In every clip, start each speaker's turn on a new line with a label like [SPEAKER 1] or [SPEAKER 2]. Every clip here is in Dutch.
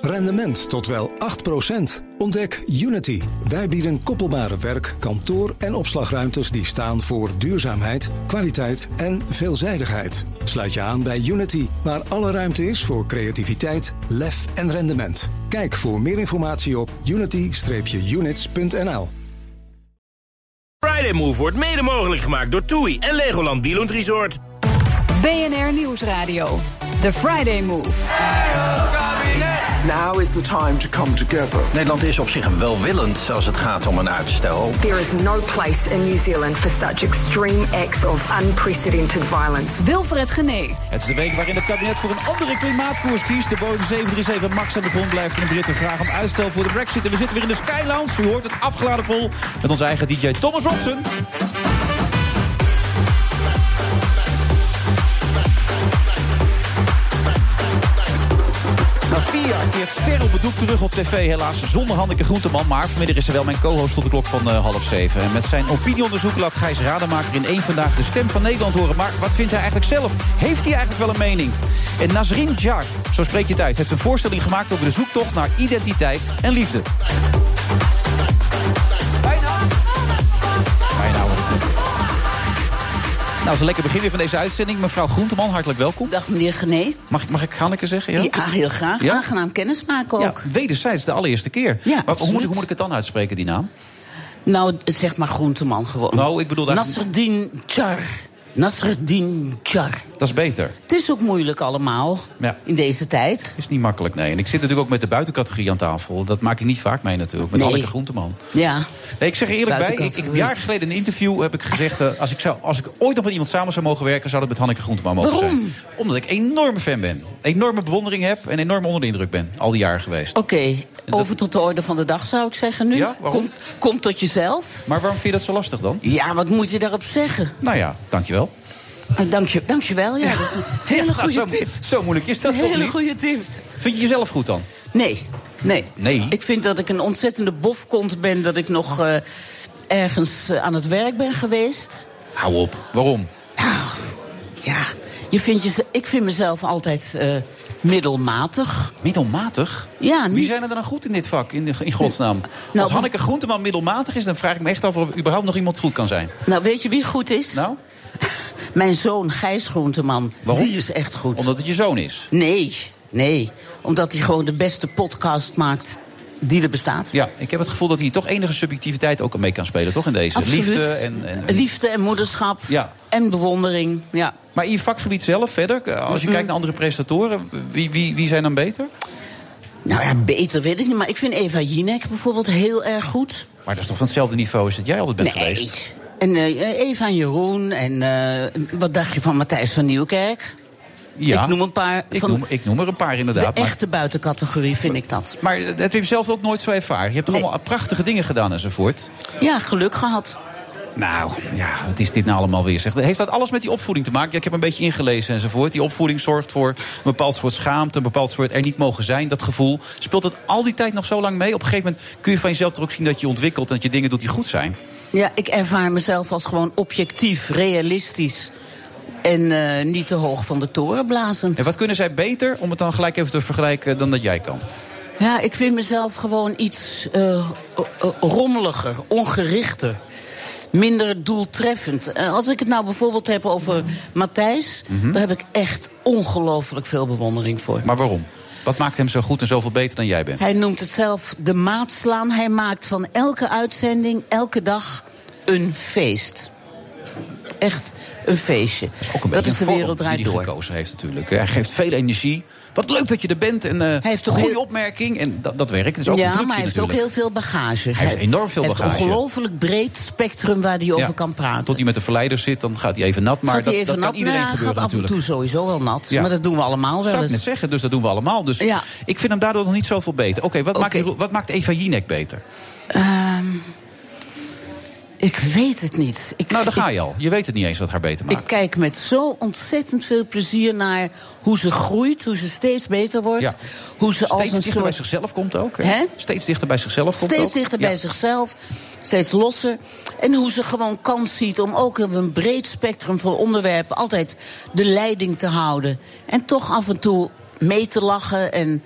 [SPEAKER 1] Rendement tot wel 8%. Ontdek Unity. Wij bieden koppelbare werk, kantoor en opslagruimtes die staan voor duurzaamheid, kwaliteit en veelzijdigheid. Sluit je aan bij Unity, waar alle ruimte is voor creativiteit, lef en rendement. Kijk voor meer informatie op unity-units.nl.
[SPEAKER 2] Friday Move wordt mede mogelijk gemaakt door TUI en Legoland Bieland Resort.
[SPEAKER 3] BNR Nieuwsradio. The Friday Move.
[SPEAKER 4] Now is the time to come together.
[SPEAKER 5] Nederland is op zich welwillend als het gaat om een uitstel.
[SPEAKER 6] There is no place in New Zealand for such extreme acts of unprecedented violence.
[SPEAKER 3] Wilfred Gené.
[SPEAKER 7] Het is de week waarin het kabinet voor een andere klimaatkoers kiest. De Boeing 737 MAX aan de grond blijft en de Britten vragen om uitstel voor de brexit. En we zitten weer in de Skylands. U hoort het afgeladen vol met onze eigen DJ Thomas Robson. Na vier jaar keert Ster op het doek terug op tv. Helaas zonder Hanneke Groenteman. Maar vanmiddag is er wel mijn co-host tot de klok van eh, half zeven. En met zijn opinieonderzoek laat Gijs Rademaker in één vandaag de stem van Nederland horen. Maar wat vindt hij eigenlijk zelf? Heeft hij eigenlijk wel een mening? En Nasrin Jar, zo spreek je het uit, heeft een voorstelling gemaakt over de zoektocht naar identiteit en liefde. Bijna hoor. Nou, dat is een lekker begin weer van deze uitzending. Mevrouw Groenteman, hartelijk welkom.
[SPEAKER 8] Dag meneer Gené.
[SPEAKER 7] Mag ik, mag ik Hanneke zeggen?
[SPEAKER 8] Ja, heel graag.
[SPEAKER 7] Ja?
[SPEAKER 8] Aangenaam kennismaken ook.
[SPEAKER 7] Ja, wederzijds de allereerste keer.
[SPEAKER 8] Ja,
[SPEAKER 7] maar hoe
[SPEAKER 8] absoluut.
[SPEAKER 7] moet, hoe moet ik het dan uitspreken, die naam?
[SPEAKER 8] Nou, zeg maar groenteman gewoon.
[SPEAKER 7] Nou, ik bedoel eigenlijk-
[SPEAKER 8] Nasreddin Char. Nasreddin Char.
[SPEAKER 7] Dat is beter.
[SPEAKER 8] Het is ook moeilijk allemaal
[SPEAKER 7] Ja.
[SPEAKER 8] in deze tijd.
[SPEAKER 7] Is niet makkelijk, nee. En ik zit natuurlijk ook met de buitencategorie aan tafel. Dat maak ik niet vaak mee natuurlijk, met
[SPEAKER 8] Nee.
[SPEAKER 7] Anneke Groenteman.
[SPEAKER 8] Ja.
[SPEAKER 7] Nee, ik zeg er eerlijk bij, ik, ik heb
[SPEAKER 8] Buitencategorie.
[SPEAKER 7] jaar geleden in een interview heb ik gezegd... eh, als, ik zou, als ik ooit nog met iemand samen zou mogen werken... zou dat met Hanneke Groenteman mogen
[SPEAKER 8] Waarom?
[SPEAKER 7] zijn. Omdat ik een enorme fan ben. Enorme bewondering heb en enorm onder de indruk ben. Al die jaren geweest.
[SPEAKER 8] Oké, over tot de orde van de dag zou ik zeggen nu.
[SPEAKER 7] Ja, waarom?
[SPEAKER 8] kom, kom tot jezelf.
[SPEAKER 7] Maar waarom vind je dat zo lastig dan?
[SPEAKER 8] Ja, wat moet je daarop zeggen?
[SPEAKER 7] Nou ja, dankjewel.
[SPEAKER 8] Ah, Dank je, dank je wel, ja. Dat is een hele
[SPEAKER 7] Ja, nou,
[SPEAKER 8] goede
[SPEAKER 7] zo,
[SPEAKER 8] tip.
[SPEAKER 7] Zo moeilijk is dat
[SPEAKER 8] Een
[SPEAKER 7] toch
[SPEAKER 8] hele
[SPEAKER 7] niet?
[SPEAKER 8] goede tip.
[SPEAKER 7] Vind je jezelf goed dan?
[SPEAKER 8] Nee, nee.
[SPEAKER 7] Nee?
[SPEAKER 8] Ik vind dat ik een ontzettende bofkont ben dat ik nog eh, ergens eh, aan het werk ben geweest.
[SPEAKER 7] Hou op. Waarom?
[SPEAKER 8] Nou, ja, je vindt jeze- ik vind mezelf altijd eh, middelmatig.
[SPEAKER 7] Middelmatig?
[SPEAKER 8] Ja,
[SPEAKER 7] Wie
[SPEAKER 8] niet- Nou,
[SPEAKER 7] zijn er dan goed in dit vak, in, de- in godsnaam? Als Hanneke Groenteman middelmatig is, dan vraag ik me echt af of er überhaupt nog iemand goed kan zijn.
[SPEAKER 8] Nou, weet je wie goed is?
[SPEAKER 7] Nou?
[SPEAKER 8] Mijn zoon Gijs Groenteman.
[SPEAKER 7] Waarom?
[SPEAKER 8] Die is echt goed.
[SPEAKER 7] Omdat het je zoon is.
[SPEAKER 8] Nee, nee. Omdat hij gewoon de beste podcast maakt die er bestaat.
[SPEAKER 7] Ja, ik heb het gevoel dat hij toch enige subjectiviteit ook mee kan spelen, toch? In deze
[SPEAKER 8] Absoluut.
[SPEAKER 7] liefde en. en, en-
[SPEAKER 8] Liefde en moederschap.
[SPEAKER 7] Ja.
[SPEAKER 8] En bewondering. Ja.
[SPEAKER 7] Maar in je vakgebied zelf verder, als je kijkt naar andere prestatoren, wie, wie, wie zijn dan beter?
[SPEAKER 8] Nou ja, beter weet ik niet. Maar ik vind Eva Jinek bijvoorbeeld heel erg goed.
[SPEAKER 7] Maar dat is toch van hetzelfde niveau als dat jij altijd bent geweest?
[SPEAKER 8] En eh, Eva en Jeroen. En eh, wat dacht je van Matthijs van Nieuwkerk? Ik noem een paar
[SPEAKER 7] Ik,
[SPEAKER 8] van-
[SPEAKER 7] noem, ik noem er een paar
[SPEAKER 8] De
[SPEAKER 7] inderdaad. maar-
[SPEAKER 8] echte buitencategorie vind ik dat.
[SPEAKER 7] Maar dat heb je zelf ook nooit zo ervaren. Je hebt toch
[SPEAKER 8] Nee.
[SPEAKER 7] allemaal prachtige dingen gedaan enzovoort.
[SPEAKER 8] Ja, geluk gehad.
[SPEAKER 7] Nou, ja, wat is dit nou allemaal weer? Zeg. Heeft dat alles met die opvoeding te maken? Ja, ik heb een beetje ingelezen enzovoort. Die opvoeding zorgt voor een bepaald soort schaamte, een bepaald soort er niet mogen zijn, dat gevoel. Speelt dat al die tijd nog zo lang mee? Op een gegeven moment kun je van jezelf toch ook zien dat je ontwikkelt en dat je dingen doet die goed zijn.
[SPEAKER 8] Ja, ik ervaar mezelf als gewoon objectief, realistisch. En eh, niet te hoog van de toren blazend.
[SPEAKER 7] En wat kunnen zij beter, om het dan gelijk even te vergelijken, dan dat jij kan?
[SPEAKER 8] Ja, ik vind mezelf gewoon iets eh, o- o- rommeliger, ongerichter. Minder doeltreffend. Eh, Als ik het nou bijvoorbeeld heb over Matthijs,
[SPEAKER 7] Mhm.
[SPEAKER 8] daar heb ik echt ongelooflijk veel bewondering voor.
[SPEAKER 7] Maar waarom? Wat maakt hem zo goed en zoveel beter dan jij bent?
[SPEAKER 8] Hij noemt het zelf de maatslaan. Hij maakt van elke uitzending, elke dag, een feest. Echt een feestje.
[SPEAKER 7] Ook een
[SPEAKER 8] dat
[SPEAKER 7] beetje
[SPEAKER 8] is de
[SPEAKER 7] een vorm
[SPEAKER 8] wereld draait
[SPEAKER 7] die hij
[SPEAKER 8] door.
[SPEAKER 7] gekozen heeft natuurlijk. Hij geeft veel energie. Wat leuk dat je er bent. En eh,
[SPEAKER 8] heeft toch
[SPEAKER 7] goede
[SPEAKER 8] heel-
[SPEAKER 7] opmerking. En dat, dat werkt. Het is ook een
[SPEAKER 8] Ja,
[SPEAKER 7] trucje
[SPEAKER 8] maar hij heeft ook
[SPEAKER 7] natuurlijk.
[SPEAKER 8] heel veel bagage. Hij
[SPEAKER 7] heeft enorm veel
[SPEAKER 8] heeft
[SPEAKER 7] bagage.
[SPEAKER 8] Een ongelooflijk breed spectrum waar hij over
[SPEAKER 7] Ja,
[SPEAKER 8] kan
[SPEAKER 7] Tot
[SPEAKER 8] praten.
[SPEAKER 7] hij met de verleider zit, dan gaat hij even nat. Maar
[SPEAKER 8] gaat hij
[SPEAKER 7] dat,
[SPEAKER 8] even
[SPEAKER 7] dat
[SPEAKER 8] nat?
[SPEAKER 7] kan iedereen
[SPEAKER 8] Nou, hij
[SPEAKER 7] gebeuren
[SPEAKER 8] gaat af en
[SPEAKER 7] natuurlijk.
[SPEAKER 8] toe sowieso wel nat.
[SPEAKER 7] Ja.
[SPEAKER 8] Maar dat doen we allemaal
[SPEAKER 7] Zou
[SPEAKER 8] wel
[SPEAKER 7] ik net
[SPEAKER 8] eens.
[SPEAKER 7] zeggen, dus dat doen we allemaal. Dus
[SPEAKER 8] Ja.
[SPEAKER 7] ik vind hem daardoor nog niet zoveel beter. Oké, wat,
[SPEAKER 8] Oké.
[SPEAKER 7] maakt, wat maakt Eva Jinek beter?
[SPEAKER 8] Ehm, Ik weet het niet. Ik,
[SPEAKER 7] Nou, daar ga
[SPEAKER 8] ik-
[SPEAKER 7] je al. Je weet het niet eens wat haar beter
[SPEAKER 8] Ik
[SPEAKER 7] maakt.
[SPEAKER 8] kijk met zo ontzettend veel plezier naar hoe ze groeit, hoe ze steeds beter wordt.
[SPEAKER 7] Ja.
[SPEAKER 8] Hoe ze als
[SPEAKER 7] Steeds
[SPEAKER 8] een
[SPEAKER 7] dichter bij
[SPEAKER 8] soort
[SPEAKER 7] zichzelf komt ook. hè?
[SPEAKER 8] Hè?
[SPEAKER 7] Steeds dichter bij zichzelf komt ook.
[SPEAKER 8] Steeds dichter bij
[SPEAKER 7] Ja.
[SPEAKER 8] zichzelf, steeds losser. En hoe ze gewoon kans ziet om ook op een breed spectrum van onderwerpen altijd de leiding te houden. En toch af en toe mee te lachen en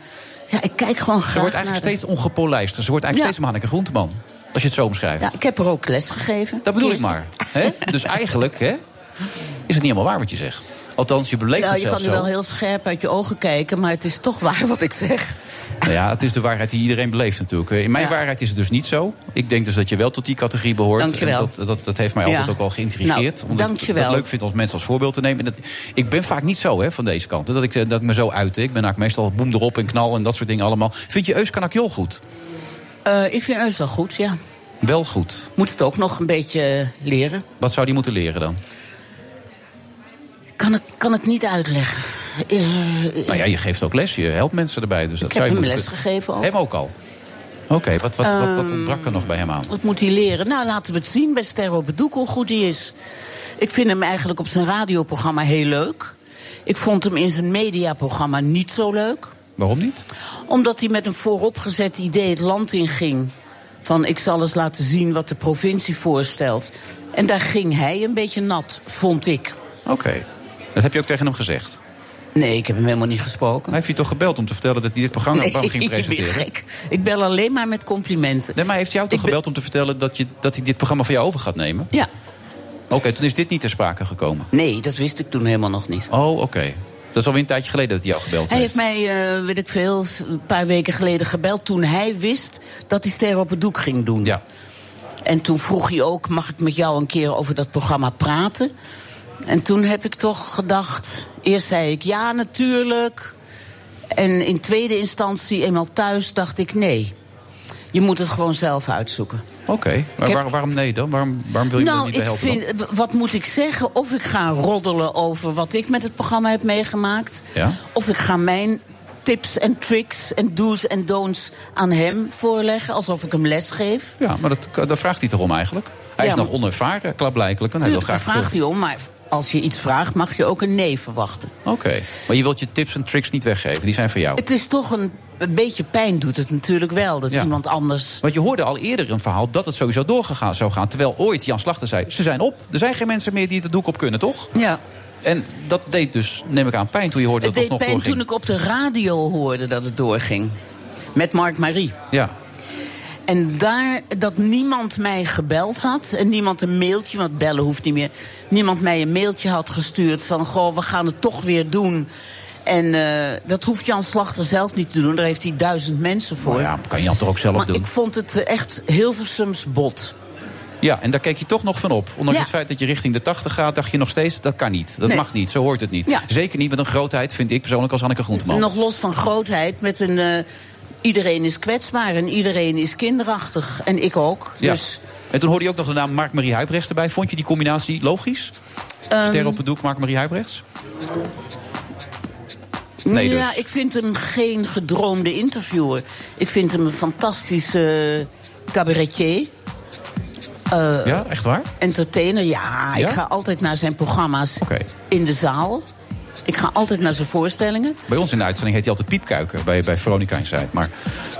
[SPEAKER 8] Ja, ik kijk gewoon graag
[SPEAKER 7] Ze wordt
[SPEAKER 8] naar
[SPEAKER 7] eigenlijk
[SPEAKER 8] de-
[SPEAKER 7] steeds ongepolijster. Ze wordt eigenlijk
[SPEAKER 8] Ja.
[SPEAKER 7] steeds een Hanneke Groenteman. Als je het zo omschrijft.
[SPEAKER 8] Ja, ik heb er ook les gegeven.
[SPEAKER 7] Dat bedoel ik
[SPEAKER 8] Keertje.
[SPEAKER 7] maar. hè? Dus eigenlijk hè, is het niet helemaal waar wat je zegt. Althans, je beleeft
[SPEAKER 8] Nou,
[SPEAKER 7] het
[SPEAKER 8] je kan
[SPEAKER 7] zelfs
[SPEAKER 8] er wel
[SPEAKER 7] zo.
[SPEAKER 8] heel scherp uit je ogen kijken, maar het is toch waar wat ik zeg.
[SPEAKER 7] Nou ja, het is de waarheid die iedereen beleeft natuurlijk. Eh, In mijn
[SPEAKER 8] Ja.
[SPEAKER 7] waarheid is het dus niet zo. Ik denk dus dat je wel tot die categorie behoort.
[SPEAKER 8] Dankjewel.
[SPEAKER 7] En Dat, dat, dat heeft mij altijd
[SPEAKER 8] Ja.
[SPEAKER 7] ook al geïntrigeerd.
[SPEAKER 8] Nou,
[SPEAKER 7] omdat ik
[SPEAKER 8] dankjewel.
[SPEAKER 7] het leuk vind om mensen als voorbeeld te nemen. En dat, ik ben vaak niet zo hè, van deze kant. hè, Dat ik, eh, dat ik me zo uit. Ik ben eigenlijk meestal boem erop en knal en dat soort dingen allemaal. Vind je Euskanakjol goed?
[SPEAKER 8] Eh, ik vind Eus wel goed, ja.
[SPEAKER 7] Wel goed.
[SPEAKER 8] Moet het ook nog een beetje eh, leren.
[SPEAKER 7] Wat zou die moeten leren dan?
[SPEAKER 8] Kan ik kan het niet uitleggen. Eh,
[SPEAKER 7] Nou ja, je geeft ook les, je helpt mensen erbij. Dus dat
[SPEAKER 8] Ik
[SPEAKER 7] zou
[SPEAKER 8] heb
[SPEAKER 7] je
[SPEAKER 8] hem
[SPEAKER 7] moeten
[SPEAKER 8] les
[SPEAKER 7] kunnen-
[SPEAKER 8] gegeven ook. Ehm,
[SPEAKER 7] Hem ook al? Oké, wat, wat, wat, wat ontbrak er nog bij hem aan?
[SPEAKER 8] Wat moet hij leren? Nou, laten we het zien bij Sterro Bedoek hoe goed hij is. Ik vind hem eigenlijk op zijn radioprogramma heel leuk. Ik vond hem in zijn mediaprogramma niet zo leuk.
[SPEAKER 7] Waarom niet?
[SPEAKER 8] Omdat hij met een vooropgezet idee het land inging. Van ik zal eens laten zien wat de provincie voorstelt. En daar ging hij een beetje nat, vond ik.
[SPEAKER 7] Oké. Dat heb je ook tegen hem gezegd.
[SPEAKER 8] Nee, ik heb hem helemaal niet
[SPEAKER 7] Hij
[SPEAKER 8] gesproken.
[SPEAKER 7] heeft je toch gebeld om te vertellen dat hij dit programma
[SPEAKER 8] Nee,
[SPEAKER 7] programma ging
[SPEAKER 8] ik ben
[SPEAKER 7] presenteren?
[SPEAKER 8] gek. Ik bel alleen maar met complimenten.
[SPEAKER 7] Nee, maar hij heeft jou toch
[SPEAKER 8] Ik ben-
[SPEAKER 7] gebeld om te vertellen dat, je, dat hij dit programma van jou over gaat nemen?
[SPEAKER 8] Ja,
[SPEAKER 7] Oké, toen is dit niet ter sprake gekomen.
[SPEAKER 8] nee, dat wist ik toen helemaal nog niet.
[SPEAKER 7] Oh, oké. Dat is alweer een tijdje geleden dat hij jou gebeld
[SPEAKER 8] Hij
[SPEAKER 7] heeft.
[SPEAKER 8] heeft mij, eh, weet ik veel, een paar weken geleden gebeld toen hij wist dat hij Sterren op het Doek ging doen.
[SPEAKER 7] Ja.
[SPEAKER 8] En toen vroeg hij ook, mag ik met jou een keer over dat programma praten? En toen heb ik toch gedacht, eerst zei ik ja natuurlijk. En in tweede instantie, eenmaal thuis, dacht ik nee. Je moet het gewoon zelf uitzoeken.
[SPEAKER 7] Oké. Maar
[SPEAKER 8] Ik heb-
[SPEAKER 7] waar- waarom nee dan? Waarom, waarom wil je me er
[SPEAKER 8] Nou,
[SPEAKER 7] niet bij
[SPEAKER 8] ik
[SPEAKER 7] helpen? dan?
[SPEAKER 8] vind, w- wat moet ik zeggen? Of ik ga roddelen over wat ik met het programma heb meegemaakt.
[SPEAKER 7] Ja.
[SPEAKER 8] Of ik ga mijn tips en tricks en do's en don'ts aan hem voorleggen. Alsof ik hem les geef.
[SPEAKER 7] Ja, Ah, maar dat, daar vraagt hij toch om eigenlijk? Hij
[SPEAKER 8] Ja,
[SPEAKER 7] is nog
[SPEAKER 8] maar-
[SPEAKER 7] onervaren, klaarblijkelijk. En hij wil
[SPEAKER 8] Tuurlijk, daar
[SPEAKER 7] graag
[SPEAKER 8] vraagt hij om. Maar als je iets vraagt, mag je ook een nee verwachten.
[SPEAKER 7] Oké, maar je wilt je tips en tricks niet weggeven, die zijn van jou.
[SPEAKER 8] Het is toch een, een beetje pijn doet het natuurlijk wel. Dat
[SPEAKER 7] Ja.
[SPEAKER 8] iemand anders...
[SPEAKER 7] Want je hoorde al eerder een verhaal dat het sowieso doorgegaan zou gaan. Terwijl ooit Jan Slachter zei, ze zijn op. Er zijn geen mensen meer die het doek op kunnen, toch?
[SPEAKER 8] Ja.
[SPEAKER 7] En dat deed dus, neem ik aan, pijn toen je hoorde
[SPEAKER 8] Het
[SPEAKER 7] dat het
[SPEAKER 8] deed
[SPEAKER 7] alsnog
[SPEAKER 8] pijn
[SPEAKER 7] doorging.
[SPEAKER 8] toen ik op de radio hoorde dat het doorging. Met Mark Marie.
[SPEAKER 7] Ja,
[SPEAKER 8] En daar dat niemand mij gebeld had en niemand een mailtje, want bellen hoeft niet meer. Niemand mij een mailtje had gestuurd van goh, we gaan het toch weer doen. En eh, dat hoeft Jan Slachter zelf niet te doen, daar heeft hij duizend mensen voor.
[SPEAKER 7] nou ja, kan Jan toch ook zelf
[SPEAKER 8] maar
[SPEAKER 7] doen?
[SPEAKER 8] ik vond het eh, echt Hilversums bot.
[SPEAKER 7] Ja, en daar keek je toch nog van op. Ondanks
[SPEAKER 8] Ja.
[SPEAKER 7] het feit dat je richting de 80 gaat, dacht je nog steeds... dat kan niet, dat
[SPEAKER 8] Nee.
[SPEAKER 7] mag niet, zo hoort het niet.
[SPEAKER 8] Ja.
[SPEAKER 7] Zeker niet met een grootheid, vind ik persoonlijk, als Anneke Groenteman.
[SPEAKER 8] Nog los van grootheid, met een eh, iedereen is kwetsbaar en iedereen is kinderachtig. En ik ook.
[SPEAKER 7] Ja.
[SPEAKER 8] Dus
[SPEAKER 7] En toen hoorde je ook nog de naam Mark-Marie Huibrechts erbij. Vond je die combinatie logisch?
[SPEAKER 8] Ehm,
[SPEAKER 7] Ster op het doek, Mark-Marie Huibrechts? Nee
[SPEAKER 8] ja,
[SPEAKER 7] dus.
[SPEAKER 8] ik vind hem geen gedroomde interviewer. Ik vind hem een fantastische eh, cabaretier, eh,
[SPEAKER 7] ja, echt waar?
[SPEAKER 8] entertainer. Ja,
[SPEAKER 7] Ja?
[SPEAKER 8] ik ga altijd naar zijn programma's
[SPEAKER 7] Oké.
[SPEAKER 8] in de zaal. Ik ga altijd naar zijn voorstellingen.
[SPEAKER 7] Bij ons in de uitzending heet hij altijd Piepkuiken. Bij, bij Veronica in Zuid. Maar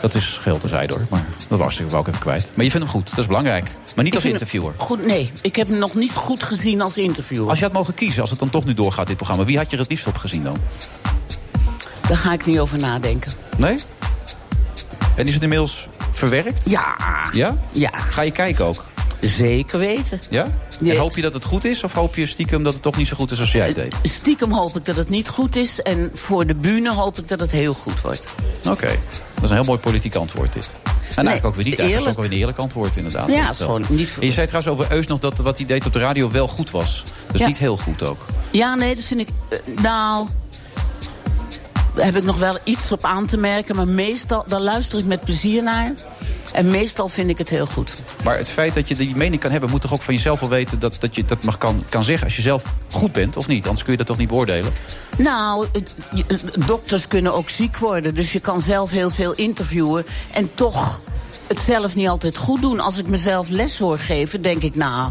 [SPEAKER 7] dat is geheel terzijde hoor. Maar dat was ik ook even kwijt. Maar je vindt hem goed, dat is belangrijk. Maar niet
[SPEAKER 8] Ik
[SPEAKER 7] als
[SPEAKER 8] vind
[SPEAKER 7] interviewer.
[SPEAKER 8] hem- Goed, nee, ik heb hem nog niet goed gezien als interviewer.
[SPEAKER 7] Als je had mogen kiezen, als het dan toch nu doorgaat, dit programma. Wie had je er het liefst op gezien dan?
[SPEAKER 8] Daar ga ik niet over nadenken.
[SPEAKER 7] Nee? En is het inmiddels verwerkt?
[SPEAKER 8] Ja,
[SPEAKER 7] Ja?
[SPEAKER 8] Ja.
[SPEAKER 7] Ga je kijken ook?
[SPEAKER 8] zeker weten.
[SPEAKER 7] Ja? En
[SPEAKER 8] Yes.
[SPEAKER 7] hoop je dat het goed is? Of hoop je stiekem dat het toch niet zo goed is als jij het deed?
[SPEAKER 8] Stiekem hoop ik dat het niet goed is. En voor de bühne hoop ik dat het heel goed wordt.
[SPEAKER 7] Oké. Dat is een heel mooi politiek antwoord dit. En
[SPEAKER 8] eh, Nee,
[SPEAKER 7] eigenlijk ook weer niet. Eigenlijk is het
[SPEAKER 8] eerlijk.
[SPEAKER 7] ook weer een eerlijk antwoord inderdaad.
[SPEAKER 8] Ja,
[SPEAKER 7] Dat
[SPEAKER 8] het is
[SPEAKER 7] wel.
[SPEAKER 8] gewoon niet-
[SPEAKER 7] En je zei trouwens over Eus nog dat wat hij deed op de radio wel goed was. Dus
[SPEAKER 8] Ja.
[SPEAKER 7] niet heel goed ook.
[SPEAKER 8] Ja, nee, dat vind ik. eh, Nou. Daar heb ik nog wel iets op aan te merken. Maar meestal. Daar luister ik met plezier naar. En meestal vind ik het heel goed.
[SPEAKER 7] Maar het feit dat je die mening kan hebben... moet toch ook van jezelf wel weten dat, dat je dat mag kan, kan zeggen... als je zelf goed bent of niet. Anders kun je dat toch niet beoordelen.
[SPEAKER 8] Nou, het- je- het- dokters kunnen ook ziek worden. Dus je kan zelf heel veel interviewen. En toch het zelf niet altijd goed doen. Als ik mezelf les hoor geven, denk ik, nou.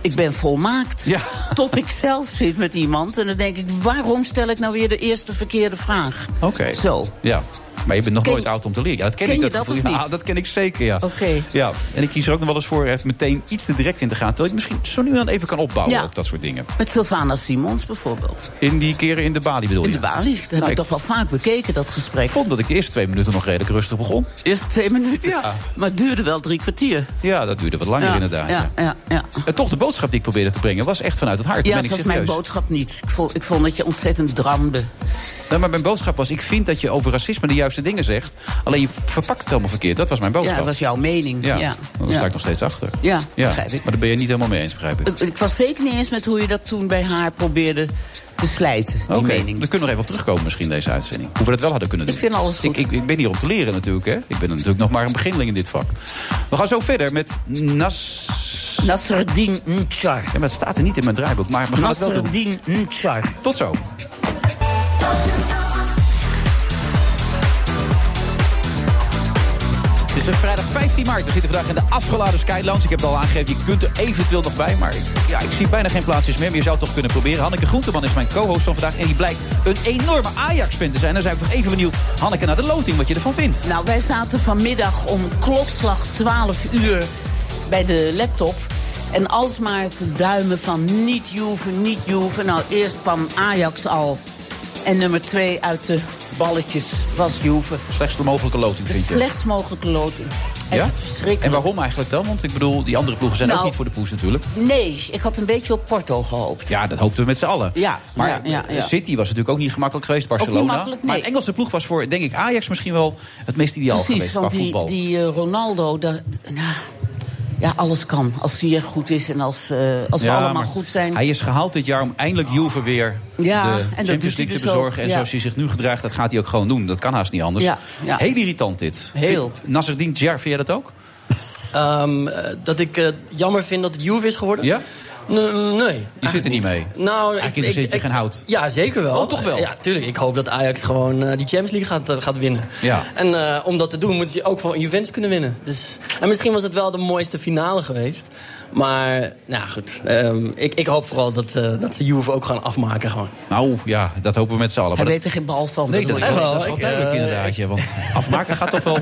[SPEAKER 8] Ik ben volmaakt.
[SPEAKER 7] Ja.
[SPEAKER 8] Tot ik zelf zit met iemand. En dan denk ik, waarom stel ik nou weer de eerste verkeerde vraag?
[SPEAKER 7] Oké.
[SPEAKER 8] Zo.
[SPEAKER 7] Ja. Maar je bent nog
[SPEAKER 8] Ken-
[SPEAKER 7] nooit oud om te leren. Ja, dat ken,
[SPEAKER 8] Ken
[SPEAKER 7] ik.
[SPEAKER 8] je dat
[SPEAKER 7] gevoel.
[SPEAKER 8] of
[SPEAKER 7] Ja,
[SPEAKER 8] niet?
[SPEAKER 7] dat ken ik zeker, ja.
[SPEAKER 8] Oké.
[SPEAKER 7] ja. En ik kies er ook nog wel eens voor echt meteen iets te direct in te gaan. Terwijl je het misschien zo nu dan even kan opbouwen,
[SPEAKER 8] Ja.
[SPEAKER 7] ook dat soort dingen.
[SPEAKER 8] Met Sylvana Simons bijvoorbeeld.
[SPEAKER 7] In die keren in de balie bedoel
[SPEAKER 8] In
[SPEAKER 7] je?
[SPEAKER 8] de Bali. Dat heb
[SPEAKER 7] Nou,
[SPEAKER 8] ik
[SPEAKER 7] ik-
[SPEAKER 8] toch wel vaak bekeken, dat gesprek.
[SPEAKER 7] Ik vond dat ik de eerste twee minuten nog redelijk rustig begon.
[SPEAKER 8] Eerst twee minuten.
[SPEAKER 7] Ja.
[SPEAKER 8] Maar het duurde wel drie kwartier.
[SPEAKER 7] Ja, dat duurde wat langer
[SPEAKER 8] Ja,
[SPEAKER 7] inderdaad.
[SPEAKER 8] Ja, ja, ja.
[SPEAKER 7] En Eh, toch de boodschap die ik probeerde te brengen was echt vanuit het hart. dat
[SPEAKER 8] Ja, het
[SPEAKER 7] ben
[SPEAKER 8] was
[SPEAKER 7] ik
[SPEAKER 8] mijn
[SPEAKER 7] serieus.
[SPEAKER 8] boodschap niet. Ik vond, ik vond dat je ontzettend dramde.
[SPEAKER 7] Nee, Nou, maar mijn boodschap was: ik vind dat je over racisme de juiste dingen zegt. Alleen je verpakt het helemaal verkeerd. Dat was mijn
[SPEAKER 8] Ja,
[SPEAKER 7] boodschap.
[SPEAKER 8] dat was jouw mening.
[SPEAKER 7] Ja,
[SPEAKER 8] Ja,
[SPEAKER 7] daar
[SPEAKER 8] ja.
[SPEAKER 7] sta ik nog steeds achter.
[SPEAKER 8] Ja, begrijp ik.
[SPEAKER 7] Maar daar ben je niet helemaal mee eens, begrijp ik.
[SPEAKER 8] Ik- Ik was zeker niet eens met hoe je dat toen bij haar probeerde te slijten, die
[SPEAKER 7] Oké,
[SPEAKER 8] mening.
[SPEAKER 7] we kunnen nog even op terugkomen misschien deze uitzending. Hoe we dat wel hadden kunnen doen.
[SPEAKER 8] Ik vind alles goed.
[SPEAKER 7] Ik, ik, ik ben hier om te leren natuurlijk, hè. Ik ben natuurlijk nog maar een beginneling in dit vak. We gaan zo verder met Nas...
[SPEAKER 8] Nasreddin Nchar.
[SPEAKER 7] Ja, maar het staat er niet in mijn draaiboek, maar we gaan het wel doen.
[SPEAKER 8] Nasreddin Nchar.
[SPEAKER 7] Tot zo. Het is eh, vrijdag 15 maart. We zitten vandaag in de afgeladen Skylounge. Ik heb het al aangegeven, je kunt er eventueel nog bij. Maar ik- ja, ik zie bijna geen plaatsjes meer. Maar je zou het toch kunnen proberen. Hanneke Groenteman is mijn co-host van vandaag. En die blijkt een enorme Ajax-fan te zijn. Dan zijn we toch even benieuwd, Hanneke, naar de loting. Wat je ervan vindt.
[SPEAKER 8] Nou, wij zaten vanmiddag om klokslag 12 uur bij de laptop. En alsmaar te duimen van niet Juve, niet Juve. Nou, eerst kwam Ajax al. En nummer 2 uit de balletjes was Juve.
[SPEAKER 7] Slechtst mogelijke loting,
[SPEAKER 8] De
[SPEAKER 7] vind je?
[SPEAKER 8] slechtst mogelijke loting. Echt verschrikkelijk.
[SPEAKER 7] En waarom eigenlijk dan? Want ik bedoel, die andere ploegen zijn
[SPEAKER 8] Nou,
[SPEAKER 7] ook niet voor de poes natuurlijk.
[SPEAKER 8] Nee, ik had een beetje op Porto gehoopt.
[SPEAKER 7] Ja, dat hoopten we met z'n allen.
[SPEAKER 8] Ja,
[SPEAKER 7] maar eh,
[SPEAKER 8] ja, ja, ja.
[SPEAKER 7] City was natuurlijk ook niet gemakkelijk geweest, Barcelona.
[SPEAKER 8] Ook niet makkelijk, nee.
[SPEAKER 7] Maar de Engelse ploeg was voor, denk ik, Ajax misschien wel het meest ideaal
[SPEAKER 8] Precies,
[SPEAKER 7] geweest qua
[SPEAKER 8] want die,
[SPEAKER 7] voetbal.
[SPEAKER 8] die eh, Ronaldo, daar, nou, ja, alles kan. Als hij er goed is en als, eh, als
[SPEAKER 7] Ja,
[SPEAKER 8] we allemaal
[SPEAKER 7] maar
[SPEAKER 8] goed zijn.
[SPEAKER 7] Hij is gehaald dit jaar om eindelijk Juve weer
[SPEAKER 8] Ja, en
[SPEAKER 7] de
[SPEAKER 8] dat doet
[SPEAKER 7] Champions
[SPEAKER 8] hij
[SPEAKER 7] League te
[SPEAKER 8] dus
[SPEAKER 7] bezorgen.
[SPEAKER 8] ook,
[SPEAKER 7] En
[SPEAKER 8] ja.
[SPEAKER 7] zoals hij zich nu gedraagt, dat gaat hij ook gewoon doen. Dat kan haast niet anders.
[SPEAKER 8] Ja, ja.
[SPEAKER 7] Heel irritant dit.
[SPEAKER 9] Heel.
[SPEAKER 7] Vind- Nasreddin Djar, vind jij dat ook?
[SPEAKER 9] Ehm, eh, dat ik eh, jammer vind dat het Juve is geworden.
[SPEAKER 7] Ja?
[SPEAKER 9] Nee, nee.
[SPEAKER 7] Je zit er niet mee.
[SPEAKER 9] Nou,
[SPEAKER 7] Eigenlijk interesseert je geen hout.
[SPEAKER 9] Ja, zeker wel.
[SPEAKER 7] Oh, toch wel?
[SPEAKER 9] Ja, tuurlijk. Ik hoop dat Ajax gewoon eh, die Champions League gaat, eh, gaat winnen.
[SPEAKER 7] Ja.
[SPEAKER 9] En eh, om dat te doen, moeten ze ook van Juventus kunnen winnen. Dus, en misschien was het wel de mooiste finale geweest. Maar, nou goed. ehm, ik, ik hoop vooral dat, eh, dat ze Juve ook gaan afmaken gewoon.
[SPEAKER 7] Nou ja, dat hopen we met z'n allen.
[SPEAKER 8] Hij
[SPEAKER 7] Maar dat-
[SPEAKER 8] weet er geen bal van.
[SPEAKER 7] nee, dat
[SPEAKER 8] bedoel
[SPEAKER 7] is
[SPEAKER 8] ik.
[SPEAKER 7] wel,
[SPEAKER 9] Echt wel,
[SPEAKER 7] dat is wel
[SPEAKER 9] ik,
[SPEAKER 7] duidelijk
[SPEAKER 9] eh,
[SPEAKER 7] inderdaad. ja, want afmaken gaat toch wel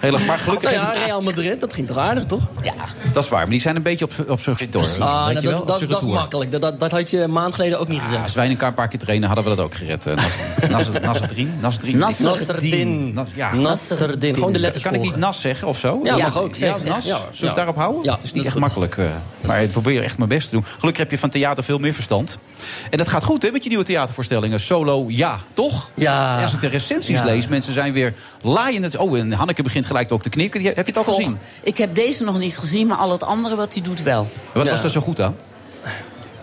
[SPEAKER 7] heel erg. Maar gelukkig...
[SPEAKER 9] Nou ja, Real Madrid, dat ging toch aardig, toch?
[SPEAKER 8] Ja,
[SPEAKER 7] Dat is waar, maar die zijn een beetje op z'n- op zijn retour.
[SPEAKER 9] Ah,
[SPEAKER 7] Weet
[SPEAKER 9] nou,
[SPEAKER 7] je wel?
[SPEAKER 9] dat,
[SPEAKER 7] Op
[SPEAKER 9] dat,
[SPEAKER 7] z'n
[SPEAKER 9] dat is
[SPEAKER 7] retour.
[SPEAKER 9] makkelijk. Dat, dat, dat had je een maand geleden ook niet
[SPEAKER 7] Ja,
[SPEAKER 9] gezegd.
[SPEAKER 7] als wij een elkaar een paar keer trainen, hadden we dat ook gered. eh, Nas- Nas- Nasreddin? Nasreddin?
[SPEAKER 8] Nas-
[SPEAKER 9] Nasreddin.
[SPEAKER 7] Nas- ja.
[SPEAKER 9] Nasreddin. Gewoon de letters
[SPEAKER 7] Kan ik niet
[SPEAKER 9] volgen.
[SPEAKER 7] Nas zeggen of zo?
[SPEAKER 9] Ja, mag ook.
[SPEAKER 7] Ja, Nas.
[SPEAKER 9] Zeker. Ja,
[SPEAKER 7] Zullen we
[SPEAKER 9] ja.
[SPEAKER 7] het daarop houden?
[SPEAKER 9] Ja,
[SPEAKER 7] het is
[SPEAKER 9] dat
[SPEAKER 7] niet
[SPEAKER 9] is
[SPEAKER 7] echt
[SPEAKER 9] goed.
[SPEAKER 7] makkelijk. eh, maar ik probeer echt mijn best te doen. Gelukkig heb je van theater veel meer verstand. En dat gaat goed, hè, met je nieuwe theatervoorstellingen. Solo, ja, toch?
[SPEAKER 9] Ja.
[SPEAKER 7] Als ik de recensies
[SPEAKER 9] Ja.
[SPEAKER 7] lees, mensen zijn weer laaiend. Oh, en Hanneke begint gelijk ook te knikken. Die- Heb je het al
[SPEAKER 8] volg-
[SPEAKER 7] gezien?
[SPEAKER 8] Ik heb deze nog niet gezien, maar al het andere wat hij doet wel.
[SPEAKER 7] Wat
[SPEAKER 9] Ja.
[SPEAKER 7] was daar zo goed aan?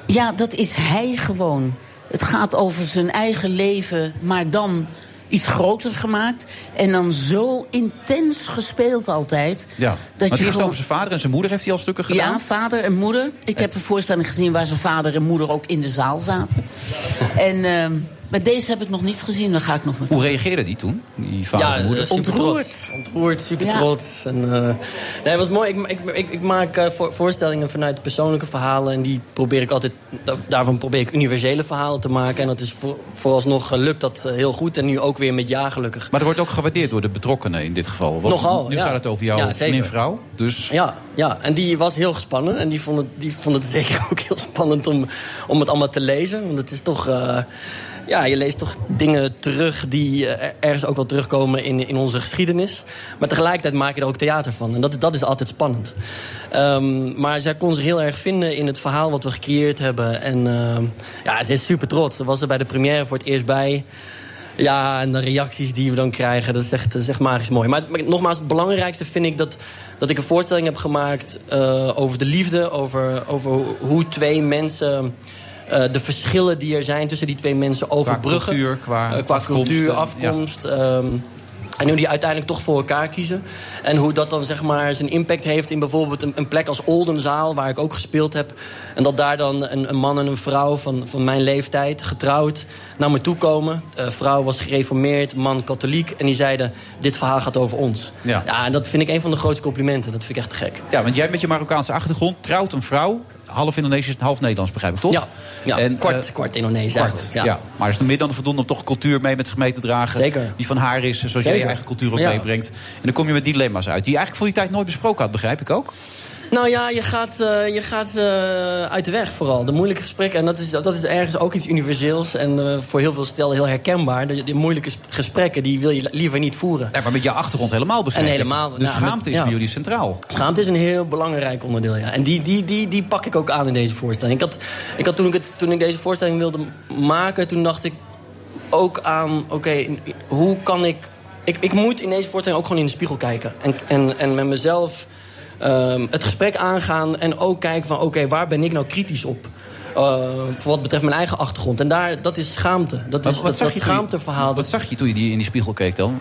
[SPEAKER 8] Ja, dat is hij gewoon. Het gaat over zijn eigen leven, maar dan iets groter gemaakt. En dan zo intens gespeeld altijd.
[SPEAKER 7] Ja.
[SPEAKER 8] Dat
[SPEAKER 7] Want eerst
[SPEAKER 8] je gewoon-
[SPEAKER 7] over zijn vader en zijn moeder heeft hij al stukken gedaan.
[SPEAKER 8] Ja, vader en moeder. Ik heb een voorstelling gezien waar zijn vader en moeder ook in de zaal zaten. En, ehm, maar deze heb ik nog niet gezien, daar ga ik nog
[SPEAKER 7] Hoe
[SPEAKER 8] met.
[SPEAKER 7] reageerde die toen? Die vader
[SPEAKER 9] Ja,
[SPEAKER 7] en moeder?
[SPEAKER 9] eh, super
[SPEAKER 8] Ontroerd.
[SPEAKER 9] trots. Ontroerd, super
[SPEAKER 8] Ja.
[SPEAKER 9] trots. En, eh, nee, het was mooi. Ik, ik, ik, ik maak eh, voor- voorstellingen vanuit persoonlijke verhalen. En die probeer ik altijd, da- daarvan probeer ik universele verhalen te maken. En dat is voor, vooralsnog eh, lukt dat eh, heel goed. En nu ook weer met ja, gelukkig.
[SPEAKER 7] Maar er wordt ook gewaardeerd door de betrokkenen in dit geval. Want
[SPEAKER 9] Nogal,
[SPEAKER 7] Nu
[SPEAKER 9] ja.
[SPEAKER 7] gaat het over jouw
[SPEAKER 9] Ja, zeker.
[SPEAKER 7] en vrouw. Dus
[SPEAKER 9] Ja, ja, en die was heel gespannen. En die vond het, die vond het zeker ook heel spannend om, om het allemaal te lezen. Want het is toch. eh, ja, je leest toch dingen terug die eh, er- ergens ook wel terugkomen in, in onze geschiedenis. Maar tegelijkertijd maak je er ook theater van. En dat, dat is altijd spannend. Ehm, maar zij kon zich heel erg vinden in het verhaal wat we gecreëerd hebben. En ehm, ja, ze is super trots. Ze was er bij de première voor het eerst bij. Ja, en de reacties die we dan krijgen, dat is echt, dat is echt magisch mooi. Maar, maar nogmaals, het belangrijkste vind ik dat, dat ik een voorstelling heb gemaakt eh, over de liefde. Over, over hoe twee mensen. eh, de verschillen die er zijn tussen die twee mensen overbruggen.
[SPEAKER 7] cultuur, qua
[SPEAKER 9] Eh, qua
[SPEAKER 7] afkomst,
[SPEAKER 9] cultuur,
[SPEAKER 7] eh, ja.
[SPEAKER 9] afkomst. ehm, en hoe die uiteindelijk toch voor elkaar kiezen. En hoe dat dan zeg maar zijn impact heeft in bijvoorbeeld een, een plek als Oldenzaal, waar ik ook gespeeld heb. En dat daar dan een, een man en een vrouw van, van mijn leeftijd, getrouwd, naar me toe komen. Eh, vrouw was gereformeerd, man katholiek. En die zeiden: Dit verhaal gaat over ons.
[SPEAKER 7] Ja.
[SPEAKER 9] ja, en dat vind ik een van de grootste complimenten. Dat vind ik echt te gek.
[SPEAKER 7] ja, want jij met je Marokkaanse achtergrond trouwt een vrouw. half Indonesisch en half Nederlands, begrijp ik toch?
[SPEAKER 9] Ja, ja
[SPEAKER 7] En,
[SPEAKER 9] kwart,
[SPEAKER 7] eh,
[SPEAKER 9] kwart Indonesisch
[SPEAKER 7] Kwart,
[SPEAKER 9] eigenlijk.
[SPEAKER 7] ja. Maar is het meer dan voldoende om toch cultuur mee met zich mee te dragen?
[SPEAKER 9] Zeker.
[SPEAKER 7] Die van haar is, zoals jij je
[SPEAKER 9] Zeker.
[SPEAKER 7] eigen cultuur ook
[SPEAKER 9] Ja.
[SPEAKER 7] meebrengt. En dan kom je met dilemma's uit, die je eigenlijk voor die tijd nooit besproken had, begrijp ik ook.
[SPEAKER 9] Nou ja, je gaat, ze- je gaat ze uit de weg vooral. De moeilijke gesprekken. En dat is, dat is ergens ook iets universeels. En eh, voor heel veel stellen heel herkenbaar. De, de moeilijke sp- gesprekken die wil je li- liever niet voeren.
[SPEAKER 7] Nee, maar met je achtergrond helemaal begrijp
[SPEAKER 9] En
[SPEAKER 7] ik.
[SPEAKER 9] helemaal,
[SPEAKER 7] De
[SPEAKER 9] nou,
[SPEAKER 7] schaamte
[SPEAKER 9] met-
[SPEAKER 7] is
[SPEAKER 9] ja.
[SPEAKER 7] bij jullie centraal.
[SPEAKER 9] Schaamte is een heel belangrijk onderdeel, ja. En die, die, die, die pak ik ook aan in deze voorstelling. Ik had, ik had toen, ik het, toen ik deze voorstelling wilde maken, toen dacht ik ook aan... Oké, hoe kan ik, ik... Ik moet in deze voorstelling ook gewoon in de spiegel kijken. En, en, en met mezelf ehm, het gesprek aangaan. En ook kijken van, oké, waar ben ik nou kritisch op? Eh, voor wat betreft mijn eigen achtergrond. En daar, dat is schaamte. Dat is dat, dat
[SPEAKER 7] toen je-
[SPEAKER 9] schaamteverhaal.
[SPEAKER 7] Wat zag je toen je die in die spiegel keek dan?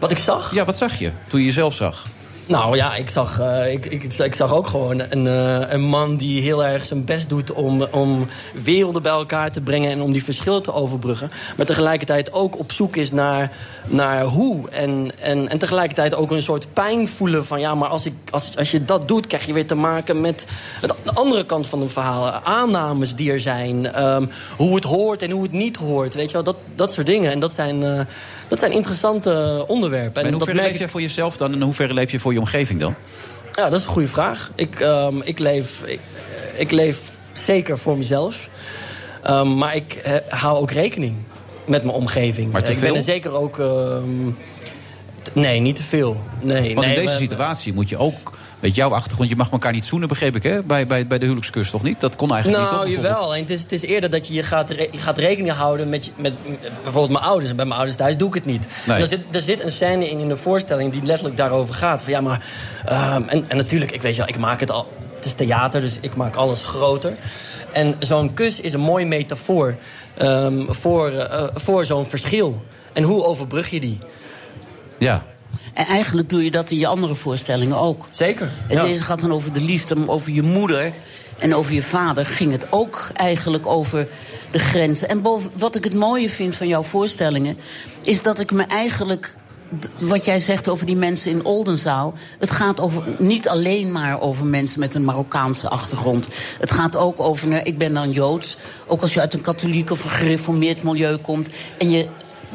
[SPEAKER 9] Wat ik zag?
[SPEAKER 7] Ja, wat zag je toen je jezelf zag?
[SPEAKER 9] Nou ja, ik zag, eh, ik, ik, ik zag ook gewoon een, eh, een man die heel erg zijn best doet om, om werelden bij elkaar te brengen en om die verschillen te overbruggen. Maar tegelijkertijd ook op zoek is naar, naar hoe. En, en, en tegelijkertijd ook een soort pijn voelen van ja, maar als, ik, als, als je dat doet, krijg je weer te maken met het, de andere kant van een verhaal. Aannames die er zijn, ehm, hoe het hoort en hoe het niet hoort. Weet je wel, dat, dat soort dingen. En dat zijn, eh, dat zijn interessante onderwerpen.
[SPEAKER 7] En in
[SPEAKER 9] dat
[SPEAKER 7] hoeverre
[SPEAKER 9] merk
[SPEAKER 7] leef je voor jezelf dan en in hoeverre leef je voor je omgeving dan?
[SPEAKER 9] ja, dat is een goede vraag. Ik, ehm, ik, leef, ik, ik leef zeker voor mezelf. Ehm, maar ik eh, hou ook rekening met mijn omgeving.
[SPEAKER 7] Maar te
[SPEAKER 9] ik ben
[SPEAKER 7] veel?
[SPEAKER 9] er zeker ook. ehm, t- nee, niet te veel. Nee,
[SPEAKER 7] Want
[SPEAKER 9] nee,
[SPEAKER 7] in deze
[SPEAKER 9] we-
[SPEAKER 7] situatie moet je ook, met jouw achtergrond, je mag elkaar niet zoenen, begreep ik, hè? Bij, bij, bij de huwelijkskus toch niet? Dat kon eigenlijk
[SPEAKER 9] Nou,
[SPEAKER 7] niet. toch, bijvoorbeeld?
[SPEAKER 9] jawel. En het, is, het is eerder dat je je gaat, re- je gaat rekening houden met, je- met met bijvoorbeeld mijn ouders. En bij mijn ouders thuis doe ik het niet.
[SPEAKER 7] Nee.
[SPEAKER 9] Er, zit, er zit een scène in in de voorstelling die letterlijk daarover gaat. Van ja, maar. ehm, en, en natuurlijk, ik weet wel, ik maak het al. Het is theater, dus ik maak alles groter. En zo'n kus is een mooie metafoor ehm, voor, eh, voor zo'n verschil. En hoe overbrug je die?
[SPEAKER 7] Ja.
[SPEAKER 8] En eigenlijk doe je dat in je andere voorstellingen ook.
[SPEAKER 9] Zeker.
[SPEAKER 8] En
[SPEAKER 9] ja.
[SPEAKER 8] deze gaat dan over de liefde, maar over je moeder en over je vader ging het ook eigenlijk over de grenzen. En boven, wat ik het mooie vind van jouw voorstellingen, is dat ik me eigenlijk. d- Wat jij zegt over die mensen in Oldenzaal. Het gaat over, niet alleen maar over mensen met een Marokkaanse achtergrond. Het gaat ook over, nou, ik ben dan Joods. Ook als je uit een katholiek of een gereformeerd milieu komt. en je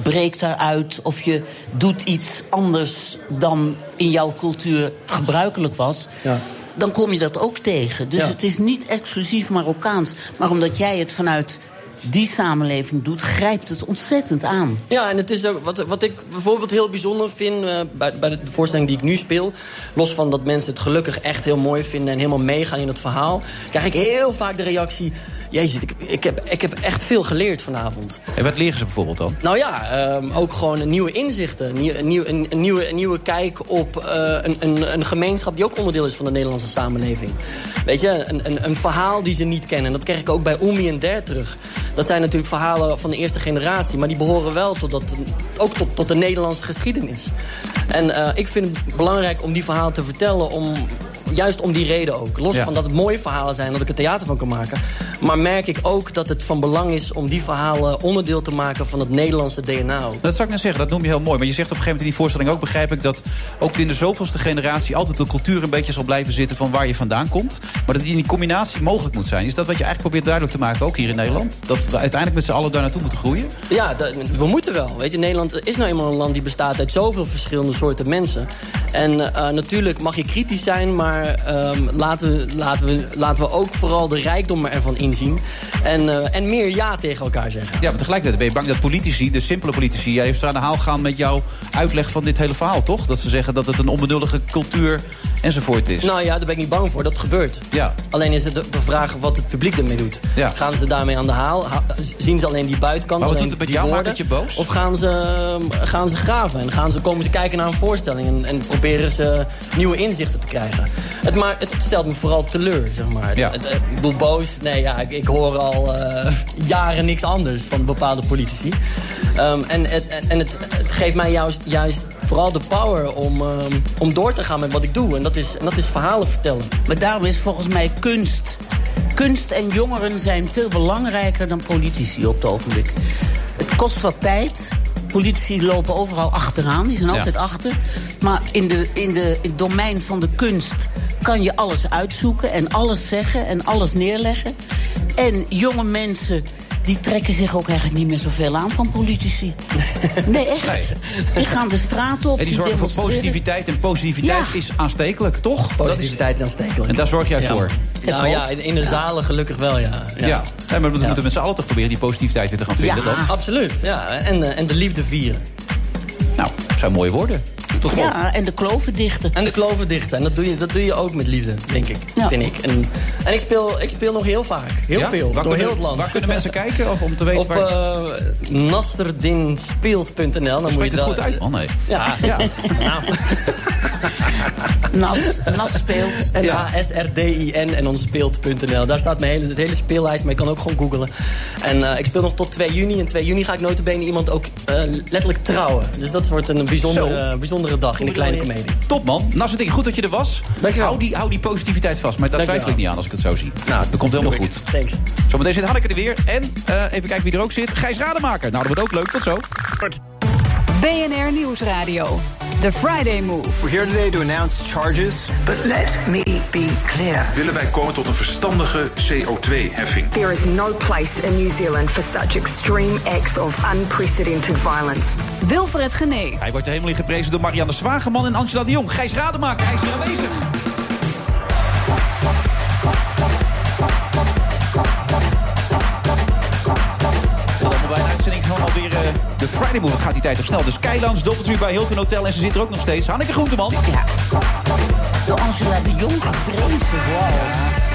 [SPEAKER 8] breekt daaruit of je doet iets anders dan in jouw cultuur gebruikelijk was.
[SPEAKER 9] Ja.
[SPEAKER 8] Dan kom je dat ook tegen. Dus
[SPEAKER 9] Ja.
[SPEAKER 8] het is niet exclusief Marokkaans. Maar omdat jij het vanuit die samenleving doet, grijpt het ontzettend aan.
[SPEAKER 9] Ja, en het is ook wat, wat ik bijvoorbeeld heel bijzonder vind eh, bij, bij de voorstelling die ik nu speel. Los van dat mensen het gelukkig echt heel mooi vinden en helemaal meegaan in het verhaal, krijg ik heel vaak de reactie: Jezus, ik, ik, heb, ik heb echt veel geleerd vanavond.
[SPEAKER 7] En wat leren ze bijvoorbeeld dan?
[SPEAKER 9] Nou ja, ehm, ook gewoon nieuwe inzichten. Nieuw, een, nieuw, een, een nieuwe, een nieuwe kijk op eh, een, een, een gemeenschap die ook onderdeel is van de Nederlandse samenleving. Weet je, een, een, een verhaal die ze niet kennen. Dat kreeg ik ook bij Oemi en Der terug. Dat zijn natuurlijk verhalen van de eerste generatie, maar die behoren wel tot dat, ook tot, tot de Nederlandse geschiedenis. En eh, ik vind het belangrijk om die verhalen te vertellen, om, juist om die reden ook. Los
[SPEAKER 7] Ja.
[SPEAKER 9] van dat het mooie verhalen zijn, dat ik er theater van kan maken. Maar merk ik ook dat het van belang is om die verhalen onderdeel te maken van het Nederlandse DNA ook.
[SPEAKER 7] Dat zou ik net zeggen, dat noem je heel mooi. Maar je zegt op een gegeven moment in die voorstelling ook, begrijp ik... dat ook in de zoveelste generatie altijd de cultuur een beetje zal blijven zitten... van waar je vandaan komt. Maar dat die in die combinatie mogelijk moet zijn. Is dat wat je eigenlijk probeert duidelijk te maken, ook hier in Nederland? Dat we uiteindelijk met z'n allen daar naartoe moeten groeien?
[SPEAKER 9] Ja, da- we moeten wel. Weet je, Nederland is nou eenmaal een land die bestaat uit zoveel verschillende soorten mensen. En eh, natuurlijk mag je kritisch zijn, maar ehm, laten, we, laten, we, laten we ook vooral de rijkdom ervan inzien. En, eh, en meer ja tegen elkaar zeggen.
[SPEAKER 7] Ja, maar tegelijkertijd ben je bang dat politici, de simpele politici... jij heeft aan de haal gaan met jouw uitleg van dit hele verhaal, toch? Dat ze zeggen dat het een onbenullige cultuur enzovoort is.
[SPEAKER 9] Nou ja, daar ben ik niet bang voor. Dat gebeurt.
[SPEAKER 7] Ja.
[SPEAKER 9] Alleen is het de de vraag wat het publiek ermee doet.
[SPEAKER 7] Ja.
[SPEAKER 9] Gaan ze daarmee aan de haal? Ha- zien ze alleen die buitenkant?
[SPEAKER 7] Maar wat
[SPEAKER 9] alleen
[SPEAKER 7] doet het met
[SPEAKER 9] die
[SPEAKER 7] jou? Maakt
[SPEAKER 9] woorden?
[SPEAKER 7] het je boos?
[SPEAKER 9] Of gaan ze, gaan ze graven? En gaan ze, komen ze kijken naar een voorstelling? En, en proberen ze nieuwe inzichten te krijgen? Het, maakt, het stelt me vooral teleur, zeg maar.
[SPEAKER 7] Ja.
[SPEAKER 9] Het, het- ik bedoel, boos? Nee, ja, ik, ik hoor al eh, jaren niks anders van bepaalde politici. Ehm, en het, en het, het geeft mij juist, juist vooral de power om, ehm, om door te gaan met wat ik doe. En dat is, en dat is verhalen vertellen.
[SPEAKER 8] Maar daarom is volgens mij kunst. Kunst en jongeren zijn veel belangrijker dan politici op het ogenblik. Het kost wat tijd. Politici lopen overal achteraan, die zijn altijd achter. Maar in, de, in, de, in het domein van de kunst kan je alles uitzoeken en alles zeggen en alles neerleggen. En jonge mensen. Die trekken zich ook eigenlijk niet meer zoveel aan van politici. Nee, echt. Die gaan de straat op.
[SPEAKER 7] En die zorgen voor
[SPEAKER 8] demonstreren.
[SPEAKER 7] positiviteit. En positiviteit
[SPEAKER 8] Ja.
[SPEAKER 7] is aanstekelijk, toch?
[SPEAKER 9] Positiviteit is aanstekelijk.
[SPEAKER 7] En daar zorg jij voor?
[SPEAKER 9] Nou ja, in, in de zalen gelukkig wel, ja.
[SPEAKER 7] Dat is, ja. Nee, maar we moeten met z'n allen toch proberen die positiviteit weer te gaan vinden.
[SPEAKER 8] Ja.
[SPEAKER 7] Dan.
[SPEAKER 9] Absoluut, ja. En, eh, en de liefde vieren.
[SPEAKER 7] Nou, zijn mooie woorden. Tot slot.
[SPEAKER 8] Ja, en de kloven dichten.
[SPEAKER 9] En de kloven dichten. En dat doe je, dat doe je ook met liefde, denk ik.
[SPEAKER 8] Ja.
[SPEAKER 9] Vind ik. En, en ik, speel, ik speel nog heel vaak. Heel
[SPEAKER 7] Ja? Waar
[SPEAKER 9] veel. door
[SPEAKER 7] kunnen,
[SPEAKER 9] heel het land.
[SPEAKER 7] Waar kunnen mensen kijken of om te weten
[SPEAKER 9] Op
[SPEAKER 7] waar...
[SPEAKER 9] eh nasterdinspeelt.nl. Dan moet je
[SPEAKER 7] Spreekt het
[SPEAKER 9] daar-
[SPEAKER 7] goed uit? Oh nee.
[SPEAKER 9] Ja. Nou. ja.
[SPEAKER 8] Nas, Nas speelt.
[SPEAKER 9] En H-S-R-D-I-N en dan speelt.nl. Daar staat mijn hele, het hele speellijst, maar je kan ook gewoon googlen. En eh, ik speel nog tot 2 juni. En 2 juni ga ik notabene iemand ook eh, letterlijk trouwen. Dus dat wordt een bijzondere, bijzondere dag in de kleine comedie.
[SPEAKER 7] Top man. Nou, zit ik goed dat je er was.
[SPEAKER 9] eh, Dankjewel.
[SPEAKER 7] Hou die, hou die positiviteit vast. Maar daar
[SPEAKER 9] Dankjewel.
[SPEAKER 7] twijfel ik niet aan als ik het zo zie. Nou, dat komt helemaal goed.
[SPEAKER 9] Thanks.
[SPEAKER 7] Zometeen zit Hanneke er weer. En eh, even kijken wie er ook zit. Gijs Rademaker. Nou, dat wordt ook leuk. Tot zo.
[SPEAKER 3] BNR Nieuwsradio. The Friday Move.
[SPEAKER 10] We're here today to announce charges.
[SPEAKER 6] But let me be clear.
[SPEAKER 11] willen wij komen tot een verstandige CO2-heffing.
[SPEAKER 6] There is no place in New Zealand for such extreme acts of unprecedented violence.
[SPEAKER 3] Wilfred Genee.
[SPEAKER 7] Hij wordt helemaal in geprezen door Marianne Zwageman en Angela de Jong. Gijs Rademaker, hij is hier aanwezig. Welkom bij een uitzending van alweer eh, de Friday Move. Het gaat die tijd toch snel. Dus Keilands, Doppeltuur bij Hilton Hotel en ze zit er ook nog steeds. Hanneke Groenteman.
[SPEAKER 8] Ja. Door Angela de Jong geprezen. Wow.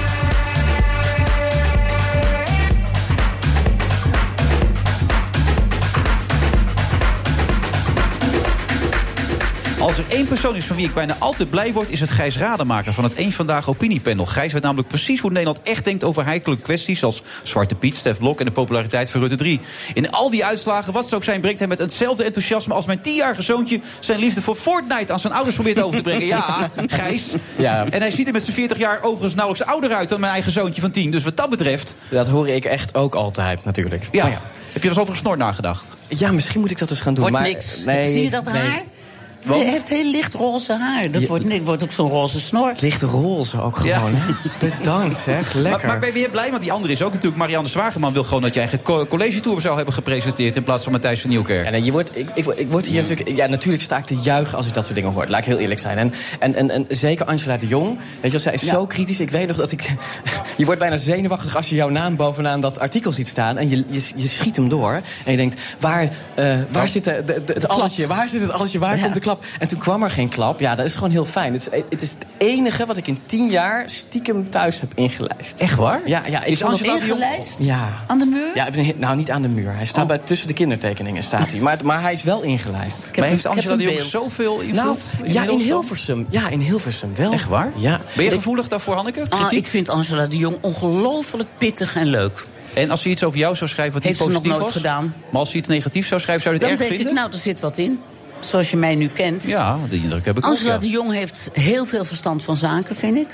[SPEAKER 7] Als er één persoon is van wie ik bijna altijd blij word, is het Gijs Rademaker van het Eén Vandaag Opiniepanel. Gijs weet namelijk precies hoe Nederland echt denkt over heikelijke kwesties als Zwarte Piet, Stef Blok en de populariteit van Rutte 3. In al die uitslagen, wat ze ook zijn, brengt hij met hetzelfde enthousiasme als mijn tienjarige zoontje zijn liefde voor Fortnite aan zijn ouders probeert over te brengen. Ja, Gijs.
[SPEAKER 12] Ja.
[SPEAKER 7] En hij ziet er met zijn 40 jaar overigens nauwelijks ouder uit dan mijn eigen zoontje van 10. Dus wat dat betreft,
[SPEAKER 12] Dat hoor ik echt ook altijd, natuurlijk.
[SPEAKER 7] ja,
[SPEAKER 12] Maar ja.
[SPEAKER 7] heb je wel eens over een snor nagedacht?
[SPEAKER 12] Ja, misschien moet ik dat eens gaan doen.
[SPEAKER 8] Wordt
[SPEAKER 12] maar,
[SPEAKER 7] Eh,
[SPEAKER 8] niks.
[SPEAKER 12] Nee,
[SPEAKER 8] Zie je dat
[SPEAKER 12] nee.
[SPEAKER 8] haar? Hij heeft heel licht roze haar. Dat wordt, niks. wordt ook zo'n roze snor.
[SPEAKER 12] Licht roze ook gewoon.
[SPEAKER 7] Ja.
[SPEAKER 12] hè? Bedankt, zeg. Lekker.
[SPEAKER 7] Maar, maar ben je weer blij? Want die andere is ook natuurlijk... Marianne Zwageman wil gewoon dat je eigen co- college tour zou hebben gepresenteerd... in plaats van Matthijs van Nieuwkerk.
[SPEAKER 12] Ja, nee, je wordt, ik, ik, word- ik word hier natuurlijk, ja, natuurlijk sta ik te juichen als ik dat soort dingen hoor. Laat ik heel eerlijk zijn. En, en, en, en zeker Angela de Jong. Weet je, wel, zij is zo kritisch. Ik weet nog dat ik. Je wordt bijna zenuwachtig als je jouw naam bovenaan dat artikel ziet staan. En je, je, je schiet hem door. En je denkt, waar, eh, waar zit de, de- de- het allesje? Waar zit het allesje? Waar komt de klap? En toen kwam er geen klap. Ja, dat is gewoon heel fijn. Het is het, is het enige wat ik in tien jaar stiekem thuis heb ingelijst.
[SPEAKER 7] Echt waar?
[SPEAKER 12] Ja, ja. Ik
[SPEAKER 7] Is
[SPEAKER 12] vond dat-
[SPEAKER 7] Angela de Jong-
[SPEAKER 8] Ingelijst?
[SPEAKER 12] Ja.
[SPEAKER 8] Aan de muur?
[SPEAKER 12] Ja, nou niet aan de muur. Hij staat bij, tussen de kindertekeningen staat hij. Maar, maar hij is wel ingelijst.
[SPEAKER 8] heb
[SPEAKER 7] Maar heeft
[SPEAKER 8] een- Oh. ik heb
[SPEAKER 7] Angela de
[SPEAKER 8] een
[SPEAKER 7] Jong
[SPEAKER 8] beeld.
[SPEAKER 7] zoveel invloed?
[SPEAKER 12] Nou, ja, in
[SPEAKER 7] Nederland?
[SPEAKER 12] Hilversum. Ja, in Hilversum wel.
[SPEAKER 7] Echt waar?
[SPEAKER 12] Ja.
[SPEAKER 7] Ben je
[SPEAKER 12] Ik-
[SPEAKER 7] gevoelig daarvoor, Hanneke?
[SPEAKER 8] Ah,
[SPEAKER 7] Kritiek?
[SPEAKER 8] ik vind Angela de Jong ongelooflijk pittig en leuk.
[SPEAKER 7] En als ze iets over jou zou schrijven wat niet
[SPEAKER 8] Heeft ze nog
[SPEAKER 7] positief
[SPEAKER 8] nooit
[SPEAKER 7] was?
[SPEAKER 8] gedaan.
[SPEAKER 7] Maar als ze iets negatiefs zou schrijven, zou je
[SPEAKER 8] Dan
[SPEAKER 7] het
[SPEAKER 8] denk
[SPEAKER 7] erg vinden?
[SPEAKER 8] ik, nou, er zit wat in. Zoals je mij nu kent.
[SPEAKER 7] Ja, die indruk heb ik ook,
[SPEAKER 8] Angela
[SPEAKER 7] ja.
[SPEAKER 8] de Jong heeft heel veel verstand van zaken, vind ik.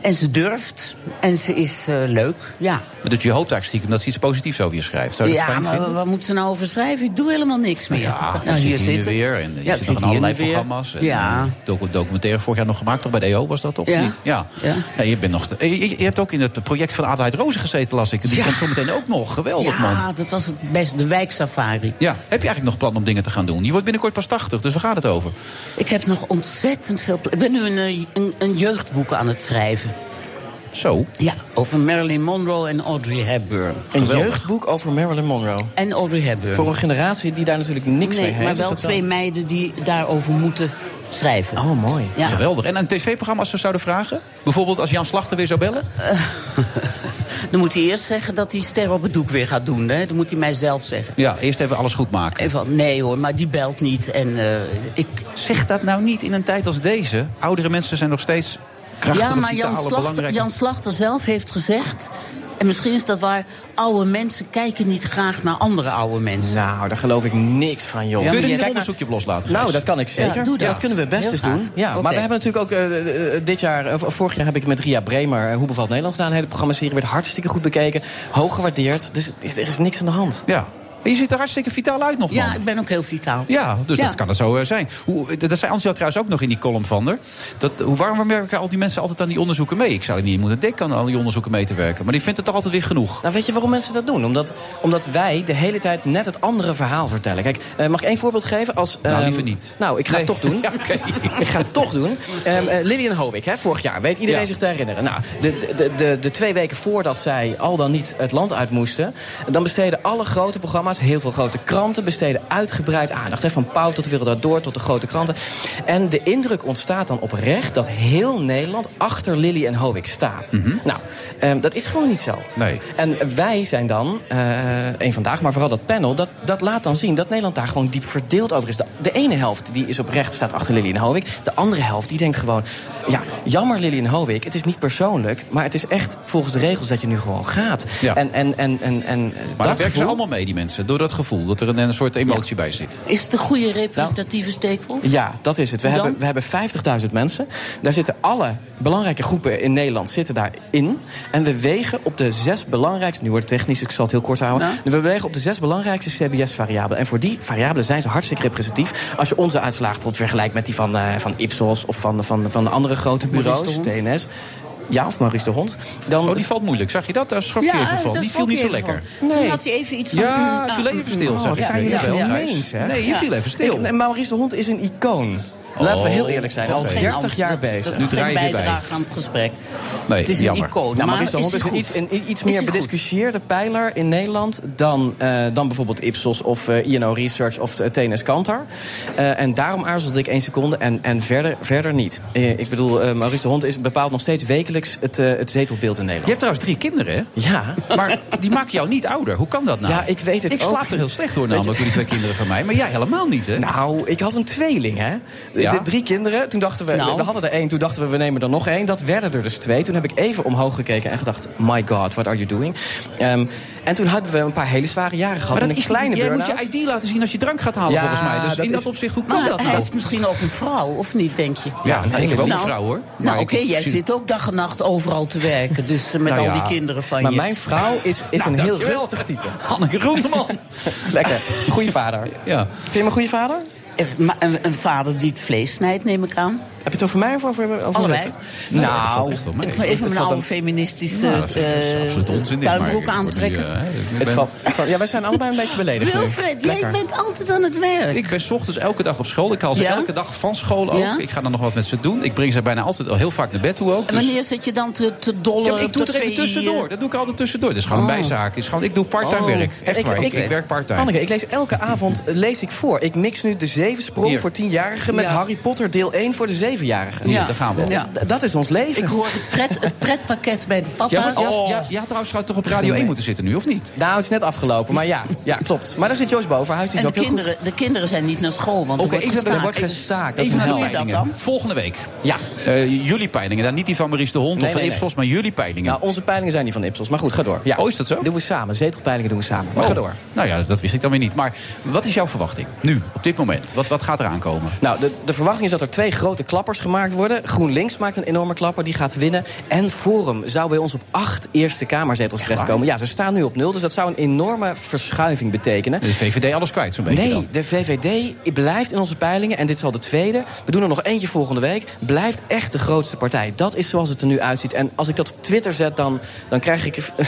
[SPEAKER 8] En ze durft. En ze is eh, leuk. Ja,
[SPEAKER 7] Maar Dus je hoopt eigenlijk stiekem dat ze iets positiefs over je schrijft. Zou je dat
[SPEAKER 8] ja
[SPEAKER 7] fijn
[SPEAKER 8] maar
[SPEAKER 7] vinden?
[SPEAKER 8] wat moet ze nou over schrijven? Ik doe helemaal niks meer.
[SPEAKER 7] Ja,
[SPEAKER 8] Nou,
[SPEAKER 7] dan zit je nu
[SPEAKER 8] zit ik.
[SPEAKER 7] weer. En eh, je
[SPEAKER 8] Ja, ik
[SPEAKER 7] zit nog
[SPEAKER 8] zit
[SPEAKER 7] aan
[SPEAKER 8] hier
[SPEAKER 7] allerlei
[SPEAKER 8] nu weer.
[SPEAKER 7] programma's. En eh,
[SPEAKER 8] Ja.
[SPEAKER 7] een docu- documentaire vorig jaar nog gemaakt, toch bij de EO was dat, toch?
[SPEAKER 8] Ja.
[SPEAKER 7] Niet? Ja.
[SPEAKER 8] Ja.
[SPEAKER 7] Ja, je, bent nog, te- eh, je, je- je hebt ook in het project van Adelheid Rozen gezeten, las ik. Die komt zo meteen ook nog. Geweldig, man.
[SPEAKER 8] Ja, dat was het best, de wijksafari.
[SPEAKER 7] Ja, heb je eigenlijk nog plan om dingen te gaan doen? Je wordt binnenkort pas 80, dus waar gaat het over?
[SPEAKER 8] Ik heb nog ontzettend veel... pla- Ik ben nu een, eh, een, een jeugdboek aan het schrijven.
[SPEAKER 7] Zo.
[SPEAKER 8] Ja, over Marilyn Monroe en Audrey Hepburn.
[SPEAKER 12] Een jeugdboek over Marilyn Monroe.
[SPEAKER 8] En Audrey Hepburn.
[SPEAKER 12] Voor een generatie die daar natuurlijk niks mee
[SPEAKER 8] nee,
[SPEAKER 12] heeft.
[SPEAKER 8] maar
[SPEAKER 12] is
[SPEAKER 8] wel
[SPEAKER 12] dat
[SPEAKER 8] twee meiden die daarover moeten schrijven.
[SPEAKER 12] Oh, mooi.
[SPEAKER 8] Ja.
[SPEAKER 7] Geweldig. En een tv-programma als ze zouden vragen? Bijvoorbeeld als Jan Slachter weer zou bellen?
[SPEAKER 8] Eh, Dan moet hij eerst zeggen dat hij ster op het doek weer gaat doen. Hè? Dan moet hij mij zelf zeggen.
[SPEAKER 7] Ja, eerst even alles goed maken.
[SPEAKER 8] Even, nee hoor, maar die belt niet. En eh, ik...
[SPEAKER 7] Zeg dat nou niet in een tijd als deze. Oudere mensen zijn nog steeds krachtige,
[SPEAKER 8] Ja, maar
[SPEAKER 7] vitale,
[SPEAKER 8] Jan Slachter,
[SPEAKER 7] belangrijke-
[SPEAKER 8] Jan Slachter zelf heeft gezegd... en misschien is dat waar... oude mensen kijken niet graag naar andere oude mensen.
[SPEAKER 12] Nou, daar geloof ik niks van, joh.
[SPEAKER 7] Kun je er niet
[SPEAKER 12] Kijk
[SPEAKER 7] een
[SPEAKER 12] maar-
[SPEAKER 7] onderzoekje op loslaten? Gijs?
[SPEAKER 12] Nou, dat kan ik zeker.
[SPEAKER 8] dus- Ja, doe dat.
[SPEAKER 12] kunnen we best
[SPEAKER 8] Heel
[SPEAKER 12] eens
[SPEAKER 8] graag.
[SPEAKER 12] doen. Ja,
[SPEAKER 8] Oké.
[SPEAKER 12] Maar we hebben natuurlijk ook eh, eh, eh, dit jaar, eh, vorig jaar heb ik met Ria Bremer eh, Hoe bevalt Nederland gedaan. Een hele programma-serie werd hartstikke goed bekeken. Hoog gewaardeerd. Dus er is niks aan de hand.
[SPEAKER 7] Ja. Je ziet er hartstikke vitaal uit nog, man.
[SPEAKER 8] Ja, ik ben ook heel vitaal.
[SPEAKER 7] Ja, dus
[SPEAKER 8] Ja.
[SPEAKER 7] dat kan het zo eh, zijn. Hoe, dat zei Ansel trouwens ook nog in die column van er. Dat, hoe, waarom werken al die mensen altijd aan die onderzoeken mee? Ik zou er niet in moeten denken aan al die onderzoeken mee te werken. Maar die vindt het toch altijd weer genoeg?
[SPEAKER 12] Nou, weet je waarom mensen dat doen? Omdat, omdat wij de hele tijd net het andere verhaal vertellen. Kijk, eh, mag ik één voorbeeld geven? Als,
[SPEAKER 7] nou,
[SPEAKER 12] ehm,
[SPEAKER 7] liever niet.
[SPEAKER 12] Nou, ik ga het
[SPEAKER 7] Nee.
[SPEAKER 12] toch doen.
[SPEAKER 7] Oké.
[SPEAKER 12] Ik ga het toch doen. Ehm eh, Lillian Howick, hè, vorig jaar. Weet iedereen
[SPEAKER 7] Ja.
[SPEAKER 12] zich te herinneren? Nou, de, de- de, de, de twee weken voordat zij al dan niet het land uit moesten... dan besteden alle grote programma's, heel veel grote kranten... besteden uitgebreid aandacht. Hè, van Pauw tot de Wereld Draait Door tot de grote kranten. En de indruk ontstaat dan oprecht... dat heel Nederland achter Lillian Howick staat. Nou, ehm, dat is gewoon niet zo.
[SPEAKER 7] Mhm. Nee.
[SPEAKER 12] En wij zijn dan, eh één vandaag, maar vooral dat panel, dat, dat laat dan zien dat Nederland daar gewoon diep verdeeld over is. De, de ene helft die is oprecht, staat achter Lillian Hovik. De andere helft die denkt gewoon: ja, jammer Lillian Hovik, het is niet persoonlijk, maar het is echt volgens de regels dat je nu gewoon gaat.
[SPEAKER 7] Ja.
[SPEAKER 12] En, en, en, en, en
[SPEAKER 7] Maar
[SPEAKER 12] dat
[SPEAKER 7] dat werken ze
[SPEAKER 12] gevoel-
[SPEAKER 7] allemaal mee, die mensen. Door dat gevoel, dat er een, een soort emotie bij zit.
[SPEAKER 8] Is het een goede representatieve steekproef?
[SPEAKER 12] Ja, dat is het. We
[SPEAKER 8] Hoe dan?
[SPEAKER 12] hebben, we hebben 50.000 mensen. Daar zitten alle belangrijke groepen in Nederland zitten daarin. En we wegen op de zes belangrijkste... Nu wordt het technisch, ik zal het heel kort houden.
[SPEAKER 7] Nou?
[SPEAKER 12] We wegen op de zes belangrijkste CBS-variabelen. En voor die variabelen zijn ze hartstikke representatief. Als je onze uitslagen bijvoorbeeld vergelijkt met die van, eh, van Ipsos... of van, van, van de andere grote bureaus,
[SPEAKER 7] Maurice de
[SPEAKER 12] TNS... Ja, of Maurice de Hond. Dan
[SPEAKER 7] Oh, die valt moeilijk. Zag je dat? Daar schrok je even van. Die viel niet zo lekker.
[SPEAKER 8] Toen had hij even iets van...
[SPEAKER 12] Oh,
[SPEAKER 8] Oh,
[SPEAKER 7] Ja, viel even stil, zeg
[SPEAKER 12] wat
[SPEAKER 7] ik.
[SPEAKER 12] zijn
[SPEAKER 7] Ja,
[SPEAKER 12] jullie
[SPEAKER 7] wel,
[SPEAKER 12] gemeens,
[SPEAKER 7] Gijs.
[SPEAKER 12] hè?
[SPEAKER 7] Nee, je viel even stil.
[SPEAKER 12] Ik- en Maurice de Hond is een icoon. Laten we heel eerlijk zijn.
[SPEAKER 7] Oh,
[SPEAKER 12] Al
[SPEAKER 7] oké.
[SPEAKER 12] 30 jaar
[SPEAKER 8] Dat is-
[SPEAKER 12] bezig.
[SPEAKER 7] Nu
[SPEAKER 8] Dat is geen
[SPEAKER 7] draai je weer bij.
[SPEAKER 8] bijdrage aan het gesprek.
[SPEAKER 7] Nee,
[SPEAKER 8] het is
[SPEAKER 7] jammer.
[SPEAKER 8] een icoon.
[SPEAKER 12] Nou,
[SPEAKER 8] maar
[SPEAKER 12] Maurice de Hond is
[SPEAKER 8] hij
[SPEAKER 12] een iets,
[SPEAKER 8] goed?
[SPEAKER 12] een iets
[SPEAKER 8] Is hij
[SPEAKER 12] meer
[SPEAKER 8] goed?
[SPEAKER 12] bediscussieerde pijler in Nederland dan, eh, dan bijvoorbeeld Ipsos of eh, INO Research of de TNS Kantar. Eh, en daarom aarzelde ik één seconde en, en verder, verder niet. Eh, ik bedoel, eh, Maurice de Hond is bepaalt nog steeds wekelijks het, eh, het zetelbeeld in
[SPEAKER 7] Je
[SPEAKER 12] Nederland.
[SPEAKER 7] hebt trouwens drie kinderen, hè?
[SPEAKER 12] Ja.
[SPEAKER 7] Maar die maken jou niet ouder. Hoe kan dat nou?
[SPEAKER 12] Ja, ik weet het
[SPEAKER 7] Ik
[SPEAKER 12] ook
[SPEAKER 7] slaap er
[SPEAKER 12] niet.
[SPEAKER 7] heel slecht door namelijk, door die twee kinderen eh, van mij. Maar jij helemaal niet, hè?
[SPEAKER 12] Nou, ik had een tweeling, hè?
[SPEAKER 7] Ja?
[SPEAKER 12] De Drie kinderen. Toen dachten we,
[SPEAKER 8] Nou.
[SPEAKER 12] we hadden er één. Toen dachten we, we nemen er nog één. Dat werden er dus twee. Toen heb ik even omhoog gekeken en gedacht, my god, what are you doing? Ehm, en toen hadden we een paar hele zware jaren gehad.
[SPEAKER 7] maar dat
[SPEAKER 12] en een
[SPEAKER 7] is
[SPEAKER 12] kleine
[SPEAKER 7] Jij moet
[SPEAKER 12] burn-out.
[SPEAKER 7] je ID laten zien als je drank gaat halen,
[SPEAKER 12] Ja,
[SPEAKER 7] volgens mij. Dus
[SPEAKER 12] dat
[SPEAKER 7] in dat
[SPEAKER 12] is-
[SPEAKER 7] opzicht, hoe kan
[SPEAKER 8] Maar
[SPEAKER 7] dat
[SPEAKER 8] hij
[SPEAKER 7] nou?
[SPEAKER 8] heeft misschien ook een vrouw, of niet, denk je?
[SPEAKER 7] Ja, nou, ik heb ook een
[SPEAKER 8] Nou,
[SPEAKER 7] vrouw, hoor. Maar
[SPEAKER 8] Nou,
[SPEAKER 7] ik
[SPEAKER 8] oké,
[SPEAKER 7] heb
[SPEAKER 8] jij
[SPEAKER 7] gezien-
[SPEAKER 8] zit ook dag en nacht overal te werken. Dus eh, met
[SPEAKER 12] Nou
[SPEAKER 8] al
[SPEAKER 12] ja,
[SPEAKER 8] die kinderen van
[SPEAKER 12] Maar
[SPEAKER 8] je.
[SPEAKER 12] mijn vrouw is, is
[SPEAKER 7] Nou,
[SPEAKER 12] een heel
[SPEAKER 7] dankjewel.
[SPEAKER 12] rustig type.
[SPEAKER 7] Hanneke Groeneman.
[SPEAKER 12] Lekker. Goeie vader.
[SPEAKER 7] Ja.
[SPEAKER 12] Vind je hem een goede vader?
[SPEAKER 8] Eh, maar Een, een vader die het vlees snijdt, neem ik aan.
[SPEAKER 12] Heb je het over mij of over, over
[SPEAKER 8] Allebei.
[SPEAKER 12] Rutte?
[SPEAKER 7] Nou,
[SPEAKER 12] Nou,
[SPEAKER 7] dat valt echt wel mee.
[SPEAKER 8] Ik ga even mijn
[SPEAKER 12] dat
[SPEAKER 8] oude
[SPEAKER 12] een-
[SPEAKER 8] feministische
[SPEAKER 7] Nou, dat vind ik- dat is
[SPEAKER 8] eh,
[SPEAKER 7] absoluut onzin. dit, maar ik
[SPEAKER 8] tuinbroek
[SPEAKER 7] word nu,
[SPEAKER 8] aantrekken.
[SPEAKER 7] eh, ik
[SPEAKER 12] het
[SPEAKER 7] ben-
[SPEAKER 12] valt, valt- ja, wij zijn allebei een beetje beledigd. nu.
[SPEAKER 8] Wilfred, jij
[SPEAKER 12] Lekker.
[SPEAKER 8] bent altijd aan het werk.
[SPEAKER 7] Ik ben 's ochtends elke dag op school. Ik haal ze
[SPEAKER 8] Ja?
[SPEAKER 7] elke dag van school ook.
[SPEAKER 8] Ja?
[SPEAKER 7] Ik ga dan nog wat met ze doen. Ik breng ze bijna altijd al heel vaak naar bed toe ook.
[SPEAKER 8] en
[SPEAKER 7] Dus
[SPEAKER 8] wanneer zit je dan te, te dollen?
[SPEAKER 7] Ja, maar ik doe
[SPEAKER 8] op
[SPEAKER 7] het er
[SPEAKER 8] dat
[SPEAKER 7] even
[SPEAKER 8] VI, eh,
[SPEAKER 7] tussendoor. Dat doe ik altijd tussendoor. Dat is gewoon
[SPEAKER 8] Oh.
[SPEAKER 7] een bijzaak. Is gewoon, ik doe parttime
[SPEAKER 8] Oh.
[SPEAKER 7] werk. Echt
[SPEAKER 12] Ik-
[SPEAKER 7] waar. Ik,
[SPEAKER 12] ik-
[SPEAKER 7] ik werk parttime.
[SPEAKER 12] Anneke, ik lees elke avond eh, lees ik voor. Ik mix nu de zevensprong
[SPEAKER 7] Hier.
[SPEAKER 12] voor tienjarigen... met
[SPEAKER 8] Ja.
[SPEAKER 12] Harry Potter deel 1 voor de zevenjarigen.
[SPEAKER 7] Ja, daar gaan we.
[SPEAKER 8] Ja.
[SPEAKER 12] D- Dat is ons leven.
[SPEAKER 8] Ik hoor het, pret, het pretpakket bij de
[SPEAKER 7] Ja, maar,
[SPEAKER 8] papa's.
[SPEAKER 7] ja, ja, je had trouwens toch op Radio 1 moeten zitten nu, of niet?
[SPEAKER 12] Nou, het is net afgelopen, maar ja, ja klopt. Maar daar zit Joost Bovenhuis, die is
[SPEAKER 8] En de
[SPEAKER 12] ook heel goed.
[SPEAKER 8] kinderen, de kinderen zijn niet naar school, want
[SPEAKER 7] Oké,
[SPEAKER 8] er wordt
[SPEAKER 7] ik-
[SPEAKER 8] gestaakt.
[SPEAKER 12] er wordt gestaakt. Dat is
[SPEAKER 7] Even naar
[SPEAKER 12] een
[SPEAKER 7] de
[SPEAKER 8] doe je
[SPEAKER 12] hel.
[SPEAKER 8] dat
[SPEAKER 7] peilingen.
[SPEAKER 8] dan?
[SPEAKER 7] Volgende week.
[SPEAKER 12] Ja.
[SPEAKER 7] Eh, jullie peilingen. Dan niet die van Maurice de Hond
[SPEAKER 12] Nee,
[SPEAKER 7] of van
[SPEAKER 12] nee, nee.
[SPEAKER 7] Ipsos, maar jullie peilingen.
[SPEAKER 12] Nou, onze peilingen zijn die van Ipsos. Maar goed, ga door. Ja.
[SPEAKER 7] Oh, is dat zo?
[SPEAKER 12] Doen we samen. Zetelpeilingen doen we samen. Maar
[SPEAKER 7] Oh,
[SPEAKER 12] ga door.
[SPEAKER 7] Nou ja, dat wist ik dan weer niet. Maar wat is jouw verwachting? Nu, op dit moment. Wat, wat gaat er aankomen?
[SPEAKER 12] Nou, de, de verwachting is dat er twee grote klappers gemaakt worden. GroenLinks maakt een enorme klapper, die gaat winnen. En Forum zou bij ons op acht Eerste Kamerzetels terechtkomen. Ja, ze staan nu op nul, dus dat zou een enorme verschuiving betekenen.
[SPEAKER 7] De VVD alles kwijt, zo'n beetje
[SPEAKER 12] Nee,
[SPEAKER 7] dan.
[SPEAKER 12] de VVD blijft in onze peilingen, en dit is al de tweede. We doen er nog eentje volgende week. Blijft echt de grootste partij. Dat is zoals het er nu uitziet. En als ik dat op Twitter zet, dan, dan krijg ik eh,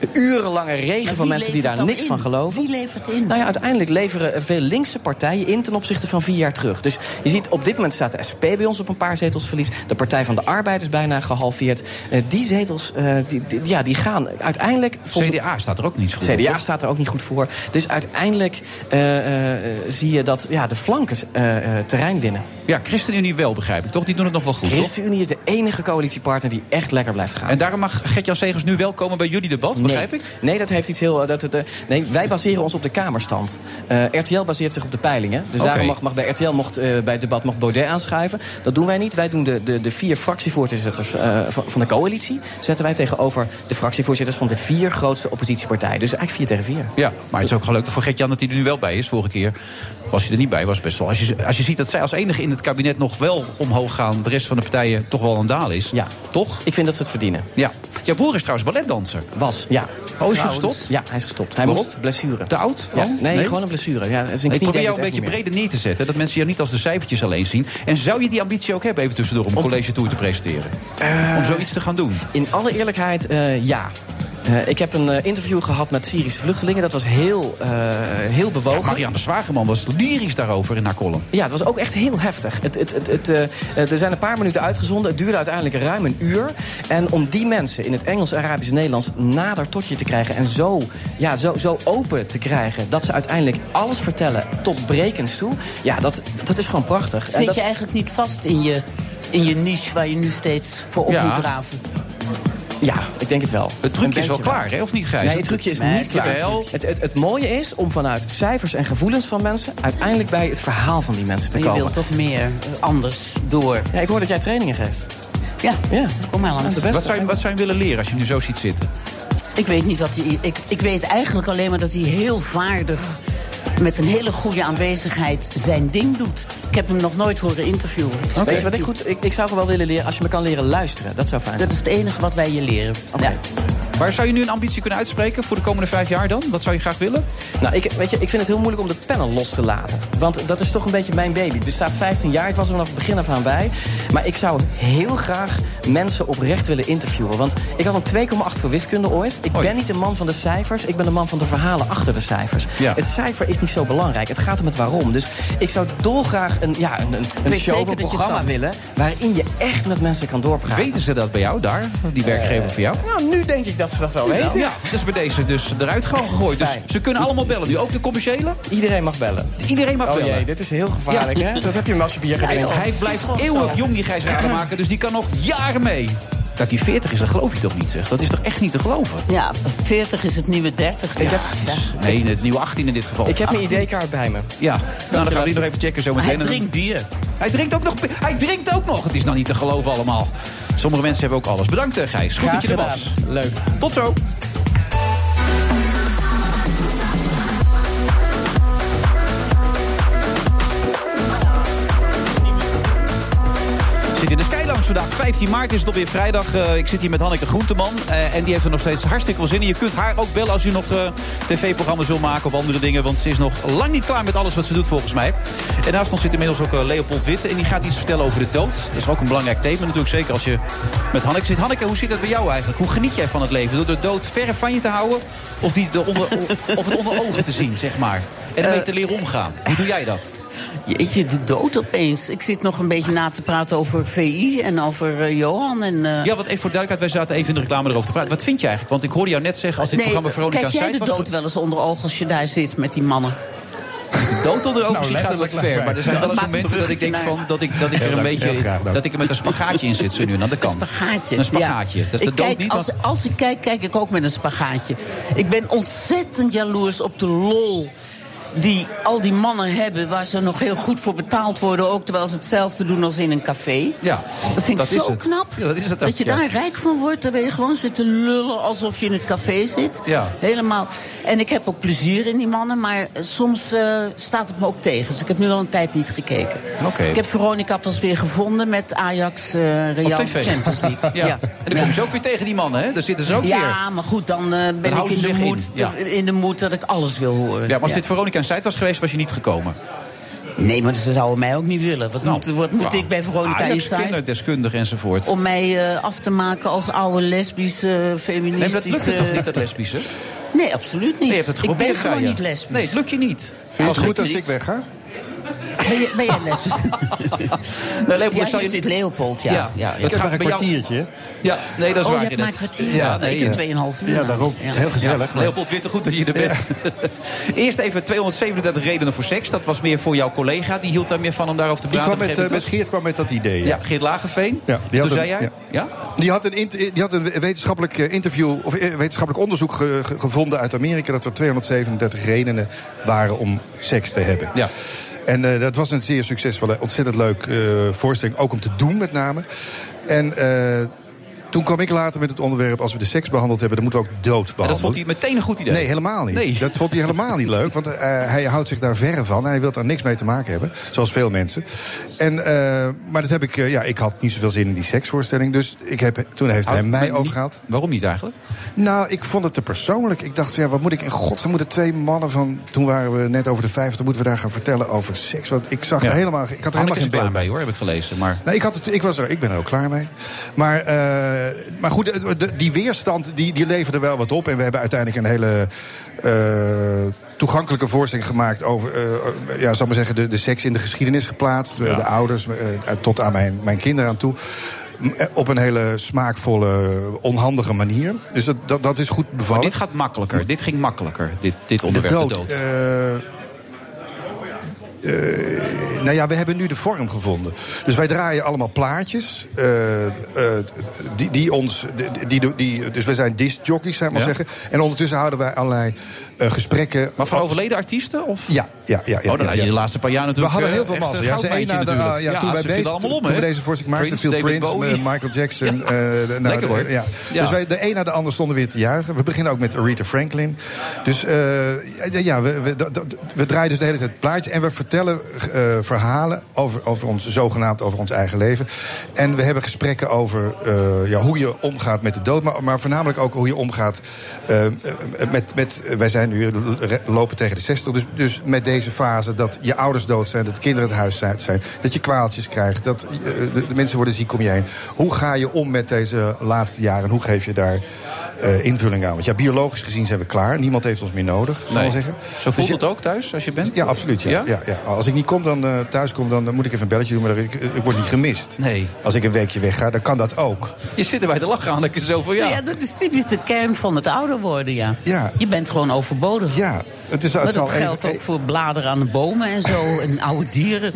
[SPEAKER 12] een urenlange regen
[SPEAKER 8] Maar
[SPEAKER 12] van
[SPEAKER 8] wie
[SPEAKER 12] mensen die
[SPEAKER 8] levert
[SPEAKER 12] daar
[SPEAKER 8] dan
[SPEAKER 12] niks
[SPEAKER 8] in?
[SPEAKER 12] van geloven.
[SPEAKER 8] Wie levert in?
[SPEAKER 12] Nou ja, uiteindelijk leveren eh, veel linkse partijen in ten opzichte van vier jaar terug. Dus je ziet, op dit moment staat de SP bij ons op een paar zetels verlies. De Partij van de Arbeid is bijna gehalveerd. Eh, die zetels, eh, die, die- ja, die gaan uiteindelijk... volgens-
[SPEAKER 7] CDA staat er ook niet goed op,
[SPEAKER 12] CDA
[SPEAKER 7] hoor.
[SPEAKER 12] staat er ook niet goed voor. Dus uiteindelijk eh, eh, eh, zie je dat ja, de flanken eh, eh, terrein winnen.
[SPEAKER 7] Ja, ChristenUnie wel, begrijp ik, toch? Die doen het nog wel goed,
[SPEAKER 12] De
[SPEAKER 7] toch?
[SPEAKER 12] ChristenUnie is de enige coalitiepartner die echt lekker blijft gaan.
[SPEAKER 7] En daarom mag Gert-Jan Segers nu wel komen bij jullie debat, begrijp
[SPEAKER 12] nee.
[SPEAKER 7] ik?
[SPEAKER 12] Nee, dat heeft iets heel. eh, Dat, het, eh, nee, wij baseren ons op de Kamerstand. Eh, RTL baseert zich op de peilingen. Dus
[SPEAKER 7] Oké.
[SPEAKER 12] daarom mag, mag bij RTL mocht, eh, bij het debat mag Baudet aanschuiven. Dat doen wij niet. Wij doen de, de, de vier fractievoorzitters eh, van, van de coalitie. Zetten wij tegenover de fractievoorzitters van de vier grootste oppositiepartijen. Dus eigenlijk vier tegen vier.
[SPEAKER 7] Ja, maar het is ook gelukkig voor Gert-Jan dat hij er nu wel bij is, vorige keer. was je er niet bij, was best wel. Als je, als je ziet dat zij als enige in het kabinet nog wel omhoog gaan, de rest van de partijen toch wel aan dalen is. Ja. Toch?
[SPEAKER 12] Ik vind dat ze het verdienen.
[SPEAKER 7] Ja. Jouw broer is trouwens balletdanser.
[SPEAKER 12] Was, ja.
[SPEAKER 7] Oh, is hij
[SPEAKER 12] Trouwens,
[SPEAKER 7] gestopt?
[SPEAKER 12] Ja, hij is gestopt. Hij
[SPEAKER 7] Waarom?
[SPEAKER 12] moest blessure.
[SPEAKER 7] Te oud?
[SPEAKER 12] Ja.
[SPEAKER 7] Oh,
[SPEAKER 12] Nee,
[SPEAKER 7] nee?
[SPEAKER 12] gewoon een blessure. Ja, zijn knie
[SPEAKER 7] ik probeer
[SPEAKER 12] deed
[SPEAKER 7] jou
[SPEAKER 12] het
[SPEAKER 7] een
[SPEAKER 12] echt
[SPEAKER 7] beetje
[SPEAKER 12] niet meer.
[SPEAKER 7] breder neer te zetten. Dat mensen jou niet als de cijfertjes alleen zien. En zou je die ambitie ook hebben, even tussendoor, om een college tour te presenteren? om zoiets te gaan doen?
[SPEAKER 12] Eh, In alle eerlijkheid, eh, ja. Eh, ik heb een eh, interview gehad met Syrische vluchtelingen. Dat was heel, eh, heel bewogen.
[SPEAKER 7] Marianne Zwageman was lyrisch daarover in haar column.
[SPEAKER 12] Ja, het was ook echt heel heftig. Het, het, het, het, eh, eh, er zijn een paar minuten uitgezonden. Het duurde uiteindelijk ruim een uur. En om die mensen in het Engels, Arabisch en Nederlands nader tot je te krijgen... en zo, ja, zo, zo open te krijgen dat ze uiteindelijk alles vertellen tot brekens toe... ja, dat, dat is gewoon prachtig. En
[SPEAKER 8] Zit
[SPEAKER 12] dat-
[SPEAKER 8] je eigenlijk niet vast in je, in je niche waar je nu steeds voor op
[SPEAKER 12] Ja.
[SPEAKER 8] moet draven?
[SPEAKER 12] Ja, ik denk het wel.
[SPEAKER 7] Het trucje
[SPEAKER 12] Een
[SPEAKER 7] is wel
[SPEAKER 12] beetje
[SPEAKER 7] klaar, hè? Of niet, Gijs?
[SPEAKER 12] Nee, het trucje is
[SPEAKER 7] Nee,
[SPEAKER 12] niet klaar.
[SPEAKER 7] jawel.
[SPEAKER 12] Het, het, het mooie is om vanuit cijfers en gevoelens van mensen... uiteindelijk bij het verhaal van die mensen te
[SPEAKER 8] Maar je
[SPEAKER 12] komen.
[SPEAKER 8] wilt toch meer eh, anders door.
[SPEAKER 12] Ja, ik hoor dat jij trainingen geeft.
[SPEAKER 8] Ja,
[SPEAKER 12] ja.
[SPEAKER 8] kom maar
[SPEAKER 12] Ja,
[SPEAKER 8] langs.
[SPEAKER 12] de beste.
[SPEAKER 7] Wat zou, je, wat zou je willen leren als je hem nu zo ziet zitten?
[SPEAKER 8] Ik weet niet wat hij. Ik, ik weet eigenlijk alleen maar dat hij heel vaardig. met een hele goede aanwezigheid zijn ding doet. Ik heb hem nog nooit horen interviewen. Ik
[SPEAKER 12] Weet
[SPEAKER 8] weet
[SPEAKER 12] je wat ik
[SPEAKER 8] niet.
[SPEAKER 12] goed... Ik, ik zou gewoon wel willen leren, als je me kan leren luisteren. Dat zou fijn zijn.
[SPEAKER 8] Dat is het enige wat wij je leren. Ja.
[SPEAKER 7] Waar zou je nu een ambitie kunnen uitspreken voor de komende vijf jaar dan? Wat zou je graag willen?
[SPEAKER 12] Nou, ik, weet je, ik vind het heel moeilijk om de panel los te laten. Want dat is toch een beetje mijn baby. Het bestaat 15 jaar, het was er vanaf het begin af aan bij. Maar ik zou heel graag mensen oprecht willen interviewen. Want ik had een 2,8 voor wiskunde ooit. Ik ben niet een man van de cijfers, ik ben een man van de verhalen achter de cijfers.
[SPEAKER 7] Ja.
[SPEAKER 12] Het cijfer is niet zo belangrijk, het gaat om het waarom. Dus ik zou dolgraag een, ja, een, een, een
[SPEAKER 8] weet
[SPEAKER 12] show,
[SPEAKER 8] zeker
[SPEAKER 12] een
[SPEAKER 8] dat je het
[SPEAKER 12] programma
[SPEAKER 8] kan.
[SPEAKER 12] willen... waarin je echt met mensen kan doorpraten.
[SPEAKER 7] Weten ze dat bij jou daar, die werkgever van jou?
[SPEAKER 12] Nou, nu denk ik dat ze dat wel weten.
[SPEAKER 7] Ja, dat is bij deze dus eruit gewoon gegooid. Dus
[SPEAKER 12] Fijn.
[SPEAKER 7] ze kunnen allemaal bellen nu, ook de commerciële?
[SPEAKER 12] Iedereen mag bellen.
[SPEAKER 7] Iedereen mag
[SPEAKER 12] Oh
[SPEAKER 7] bellen.
[SPEAKER 12] jee, dit is heel gevaarlijk,
[SPEAKER 7] Ja.
[SPEAKER 12] hè? Dat heb je hem als je bier gedrinkt.
[SPEAKER 7] Hij blijft eeuwig jong, die Gijs maken, dus die kan nog jaren mee. Dat hij 40 is, dat geloof je toch niet, zeg? Dat is toch echt niet te geloven?
[SPEAKER 8] Ja, 40 is het nieuwe 30.
[SPEAKER 12] Ik
[SPEAKER 8] Ja,
[SPEAKER 12] heb-
[SPEAKER 8] ja.
[SPEAKER 7] Nee, het nieuwe 18 in dit geval.
[SPEAKER 12] Ik heb mijn ID-kaart bij me.
[SPEAKER 7] Ja, nou, dan gaan we die nog even checken zo
[SPEAKER 8] Maar hij
[SPEAKER 7] meteen.
[SPEAKER 8] drinkt bier.
[SPEAKER 7] Hij drinkt ook nog. Hij drinkt ook nog. Het is nou niet te geloven allemaal. Sommige mensen hebben ook alles. Bedankt, eh, Gijs. Goed dat je er was.
[SPEAKER 12] Leuk.
[SPEAKER 7] Tot zo. Zit in de Skylands vandaag. 15 maart is het alweer vrijdag. Eh, ik zit hier met Hanneke Groenteman. Eh, en die heeft er nog steeds hartstikke veel zin in. Je kunt haar ook bellen als u nog eh, tv-programma's wil maken of andere dingen. Want ze is nog lang niet klaar met alles wat ze doet volgens mij. En naast ons zit inmiddels ook eh, Leopold Witte. En die gaat iets vertellen over de dood. Dat is ook een belangrijk thema natuurlijk. Zeker als je met Hanneke zit. Hanneke, hoe zit dat bij jou eigenlijk? Hoe geniet jij van het leven? Door de dood ver van je te houden? Of, die de onder, of het onder ogen te zien, zeg maar? En ermee te leren omgaan. Hoe doe jij dat?
[SPEAKER 8] Eh, Jeetje, de dood opeens. Ik zit nog een beetje na te praten over VI en over eh, Johan. En, eh,
[SPEAKER 7] Ja, want even voor de duidelijkheid, wij zaten even in de reclame erover te praten. Wat vind je eigenlijk? Want ik hoorde jou net zeggen, als dit programma Veronica
[SPEAKER 8] kijk jij
[SPEAKER 7] Zuid
[SPEAKER 8] de
[SPEAKER 7] was...
[SPEAKER 8] dood wel eens onder ogen als je daar zit met die mannen?
[SPEAKER 7] de dood onder ogen
[SPEAKER 13] Nou,
[SPEAKER 7] zien gaat wat
[SPEAKER 13] letterlijk
[SPEAKER 7] ver.
[SPEAKER 13] vlakbij.
[SPEAKER 7] Maar er zijn wel eens
[SPEAKER 8] Maak een
[SPEAKER 7] momenten dat ik denk
[SPEAKER 8] bruggetje
[SPEAKER 7] van, dat ik, dat ik er een
[SPEAKER 13] leuk,
[SPEAKER 7] beetje...
[SPEAKER 13] heel graag dan.
[SPEAKER 7] dat ik er met een spagaatje in zit, zo nu en dan. Dat kan.
[SPEAKER 8] Spagaatje.
[SPEAKER 7] Een spagaatje.
[SPEAKER 8] Ja.
[SPEAKER 7] Dat is de
[SPEAKER 8] Ik
[SPEAKER 7] dood
[SPEAKER 8] kijk,
[SPEAKER 7] niet,
[SPEAKER 8] Als, als ik kijk, kijk ik ook met een spagaatje. Ik ben ontzettend jaloers op de lol die al die mannen hebben... waar ze nog heel goed voor betaald worden... ook terwijl ze hetzelfde doen als in een café.
[SPEAKER 7] Ja,
[SPEAKER 8] Dat vind
[SPEAKER 7] dat
[SPEAKER 8] ik
[SPEAKER 7] is
[SPEAKER 8] zo
[SPEAKER 7] het.
[SPEAKER 8] knap.
[SPEAKER 7] Ja, dat is het ook,
[SPEAKER 8] je
[SPEAKER 7] ja.
[SPEAKER 8] daar rijk van wordt. Dan ben je gewoon zitten lullen alsof je in het café zit.
[SPEAKER 7] Ja.
[SPEAKER 8] Helemaal. En ik heb ook plezier in die mannen, maar eh, soms eh, staat het me ook tegen. Dus ik heb nu al een tijd niet gekeken.
[SPEAKER 7] Oké.
[SPEAKER 8] Ik heb Veronica pas weer gevonden met Ajax eh, Real
[SPEAKER 7] Op tv.
[SPEAKER 8] Champions League.
[SPEAKER 7] Ja. En dan kom je ze ook weer tegen die mannen, hè? Daar zitten ze ook weer.
[SPEAKER 8] Ja, maar goed, dan eh, ben ik
[SPEAKER 7] houden
[SPEAKER 8] in
[SPEAKER 7] ze
[SPEAKER 8] de,
[SPEAKER 7] zich
[SPEAKER 8] moed,
[SPEAKER 7] in, ja.
[SPEAKER 8] in de moed dat ik alles wil horen.
[SPEAKER 7] Ja, maar als
[SPEAKER 8] Ja.
[SPEAKER 7] dit Veronica en Zuid was geweest, was je niet gekomen.
[SPEAKER 8] Nee, maar ze zouden mij ook niet willen. Wat moet, wat moet
[SPEAKER 7] Nou, ja. Ah,
[SPEAKER 8] ik bij Veronica
[SPEAKER 7] Ajax,
[SPEAKER 8] Inside?
[SPEAKER 7] kinderdeskundige enzovoort.
[SPEAKER 8] Om mij eh, af te maken als oude lesbische, eh,
[SPEAKER 7] Nee,
[SPEAKER 8] feministische...
[SPEAKER 7] maar dat lukt je toch niet, dat lesbische? Nee,
[SPEAKER 8] Nee, absoluut niet.
[SPEAKER 7] je hebt het
[SPEAKER 8] ik
[SPEAKER 7] geprobeerd,
[SPEAKER 8] ben gewoon
[SPEAKER 7] Gaia.
[SPEAKER 8] niet lesbisch.
[SPEAKER 7] Nee, het lukt je niet.
[SPEAKER 13] Vind je
[SPEAKER 7] Als
[SPEAKER 13] het goed
[SPEAKER 7] ik-
[SPEAKER 13] als ik wegga?
[SPEAKER 8] Ben, je- ben jij lesbisch?
[SPEAKER 7] Nee, Leopold,
[SPEAKER 8] ja,
[SPEAKER 7] ik zou
[SPEAKER 8] hier
[SPEAKER 7] je
[SPEAKER 8] zit Leopold, ja. ja. ja,
[SPEAKER 13] Ik heb maar
[SPEAKER 7] gaat
[SPEAKER 13] een
[SPEAKER 7] bij jou-
[SPEAKER 13] kwartiertje. hè?
[SPEAKER 7] Ja, nee, dat is
[SPEAKER 8] Oh,
[SPEAKER 7] waar.
[SPEAKER 8] je hebt maar
[SPEAKER 7] net.
[SPEAKER 8] een kwartier.
[SPEAKER 13] Ja,
[SPEAKER 8] Ja, nee,
[SPEAKER 13] nee,
[SPEAKER 8] ik heb 2,5 uur.
[SPEAKER 13] Ja, daarom. Heel gezellig. maar-
[SPEAKER 7] Leopold Witte, goed dat je er bent. Eerst even 237 redenen voor seks. Dat was meer voor jouw collega. Die hield daar meer van om daarover te
[SPEAKER 13] Die
[SPEAKER 7] praten.
[SPEAKER 13] kwam met, eh,
[SPEAKER 7] begreep ik
[SPEAKER 13] met
[SPEAKER 7] dat?
[SPEAKER 13] Geert kwam met dat idee.
[SPEAKER 7] Ja, Geert Lagerveen.
[SPEAKER 13] Ja, die had
[SPEAKER 7] Toen
[SPEAKER 13] een-
[SPEAKER 7] zei jij... Ja.
[SPEAKER 13] ja. Die had een, int- die had een wetenschappelijk eh, interview of eh, wetenschappelijk onderzoek ge- ge- gevonden uit Amerika dat er 237 redenen waren om seks te hebben.
[SPEAKER 7] Ja.
[SPEAKER 13] En eh, dat was een zeer succesvolle, ontzettend leuk eh, voorstelling, ook om te doen met name. En eh, Toen kwam ik later met het onderwerp: als we de seks behandeld hebben, dan moeten we ook dood behandelen.
[SPEAKER 7] dat vond hij meteen een goed idee.
[SPEAKER 13] Nee, helemaal niet.
[SPEAKER 7] Nee.
[SPEAKER 13] Dat vond hij helemaal niet leuk. Want eh, hij houdt zich daar verre van. En hij wil daar niks mee te maken hebben. Zoals veel mensen. En, eh, maar dat heb ik. eh, ja, ik had niet zoveel zin in die seksvoorstelling. Dus ik heb, toen heeft hij mij overgehaald.
[SPEAKER 7] Waarom Oh, niet eigenlijk?
[SPEAKER 13] Nou, ik vond het te persoonlijk. Ik dacht, ja, wat moet ik in godsnaam moeten twee mannen van... Toen waren we net over de 50, moeten we daar gaan vertellen over seks. Want ik zag er helemaal... Ik had er helemaal geen baan
[SPEAKER 7] bij hoor, heb ik gelezen. Maar...
[SPEAKER 13] Nee, ik, had het, ik, was er, ik ben er ook klaar mee. Maar, eh, maar goed, de- de- die weerstand die, die leverde wel wat op. En we hebben uiteindelijk een hele eh, toegankelijke voorstelling gemaakt over, eh, eh, ja, zal ik maar zeggen, de, de seks in de geschiedenis geplaatst. De-
[SPEAKER 14] Ja.
[SPEAKER 13] De ouders eh, tot aan mijn, mijn kinderen aan toe. M- eh, Op een hele smaakvolle, onhandige manier. Dus dat, dat, dat is goed
[SPEAKER 7] Maar
[SPEAKER 13] bevallen.
[SPEAKER 7] dit gaat makkelijker. Dit ging makkelijker, dit, dit onderwerp.
[SPEAKER 13] De dood. Eh, eh, nou ja, we hebben nu de vorm gevonden. Dus wij draaien allemaal plaatjes. eh, eh, die, die ons, die- die, die, die- dus wij zijn discjockeys, zou ik maar
[SPEAKER 7] Ja.
[SPEAKER 13] zeggen. En ondertussen houden wij allerlei eh, gesprekken.
[SPEAKER 7] Maar voor overleden artiesten? Of?
[SPEAKER 13] Ja, ja, ja. ja
[SPEAKER 7] oh, dan
[SPEAKER 13] ja,
[SPEAKER 7] had je
[SPEAKER 13] ja.
[SPEAKER 7] de laatste paar jaar natuurlijk.
[SPEAKER 13] We hadden heel
[SPEAKER 7] eh,
[SPEAKER 13] veel
[SPEAKER 7] echt
[SPEAKER 13] mazzel.
[SPEAKER 7] een
[SPEAKER 13] Ja, ze
[SPEAKER 7] goudmijntje
[SPEAKER 13] één na de-
[SPEAKER 7] natuurlijk.
[SPEAKER 13] ja, toen wij
[SPEAKER 7] ze vielen
[SPEAKER 13] deze,
[SPEAKER 7] allemaal om,
[SPEAKER 13] toen we
[SPEAKER 7] hè?
[SPEAKER 13] deze voorstel maakten,
[SPEAKER 7] Prince,
[SPEAKER 13] viel
[SPEAKER 7] David
[SPEAKER 13] Prince,
[SPEAKER 7] Bowie.
[SPEAKER 13] eh, Michael Jackson. eh, de- nou,
[SPEAKER 7] Lekker,
[SPEAKER 13] de-
[SPEAKER 7] hoor.
[SPEAKER 13] ja.
[SPEAKER 7] Ja.
[SPEAKER 13] Dus wij, de een na de ander stonden weer te juichen. We beginnen ook met Aretha Franklin. Dus eh, ja, ja, we, we, dat- dat- we draaien dus de hele tijd plaatjes. En we vertellen eh, verhalen over, over ons, zogenaamd over ons eigen leven. En we hebben gesprekken over eh, ja, hoe je omgaat met de dood. Maar, maar voornamelijk ook hoe je omgaat eh, met, met... Wij zijn nu lopen tegen de 60. Dus, dus met deze fase dat je ouders dood zijn... dat kinderen het huis uit zijn, dat je kwaaltjes krijgt... dat eh, de, de mensen worden ziek om je heen. Hoe ga je om met deze laatste jaren? En hoe geef je daar eh, invulling aan? Want ja, biologisch gezien zijn we klaar. Niemand heeft ons meer nodig, zou ik
[SPEAKER 7] Nee.
[SPEAKER 13] maar zeggen. Dus
[SPEAKER 7] Zo voelt
[SPEAKER 13] je-
[SPEAKER 7] het ook thuis, als je bent?
[SPEAKER 13] Ja, absoluut. Ja.
[SPEAKER 7] Ja?
[SPEAKER 13] Ja? Ja, Als ik niet kom, dan, eh, thuis kom, dan, dan moet ik even een belletje doen. Maar ik, ik word niet gemist.
[SPEAKER 7] Nee.
[SPEAKER 13] Als ik een weekje wegga, dan kan dat ook.
[SPEAKER 7] Je zit er bij de lach aan, ik zo van ja.
[SPEAKER 8] Ja, dat is typisch de kern van het ouder worden, ja.
[SPEAKER 13] Ja.
[SPEAKER 8] Je bent gewoon overbodig.
[SPEAKER 13] Ja, het is- het
[SPEAKER 8] maar
[SPEAKER 13] zal eh,
[SPEAKER 8] dat
[SPEAKER 13] even-
[SPEAKER 8] geldt ook voor bladeren aan de bomen en zo, en eh, oude dieren.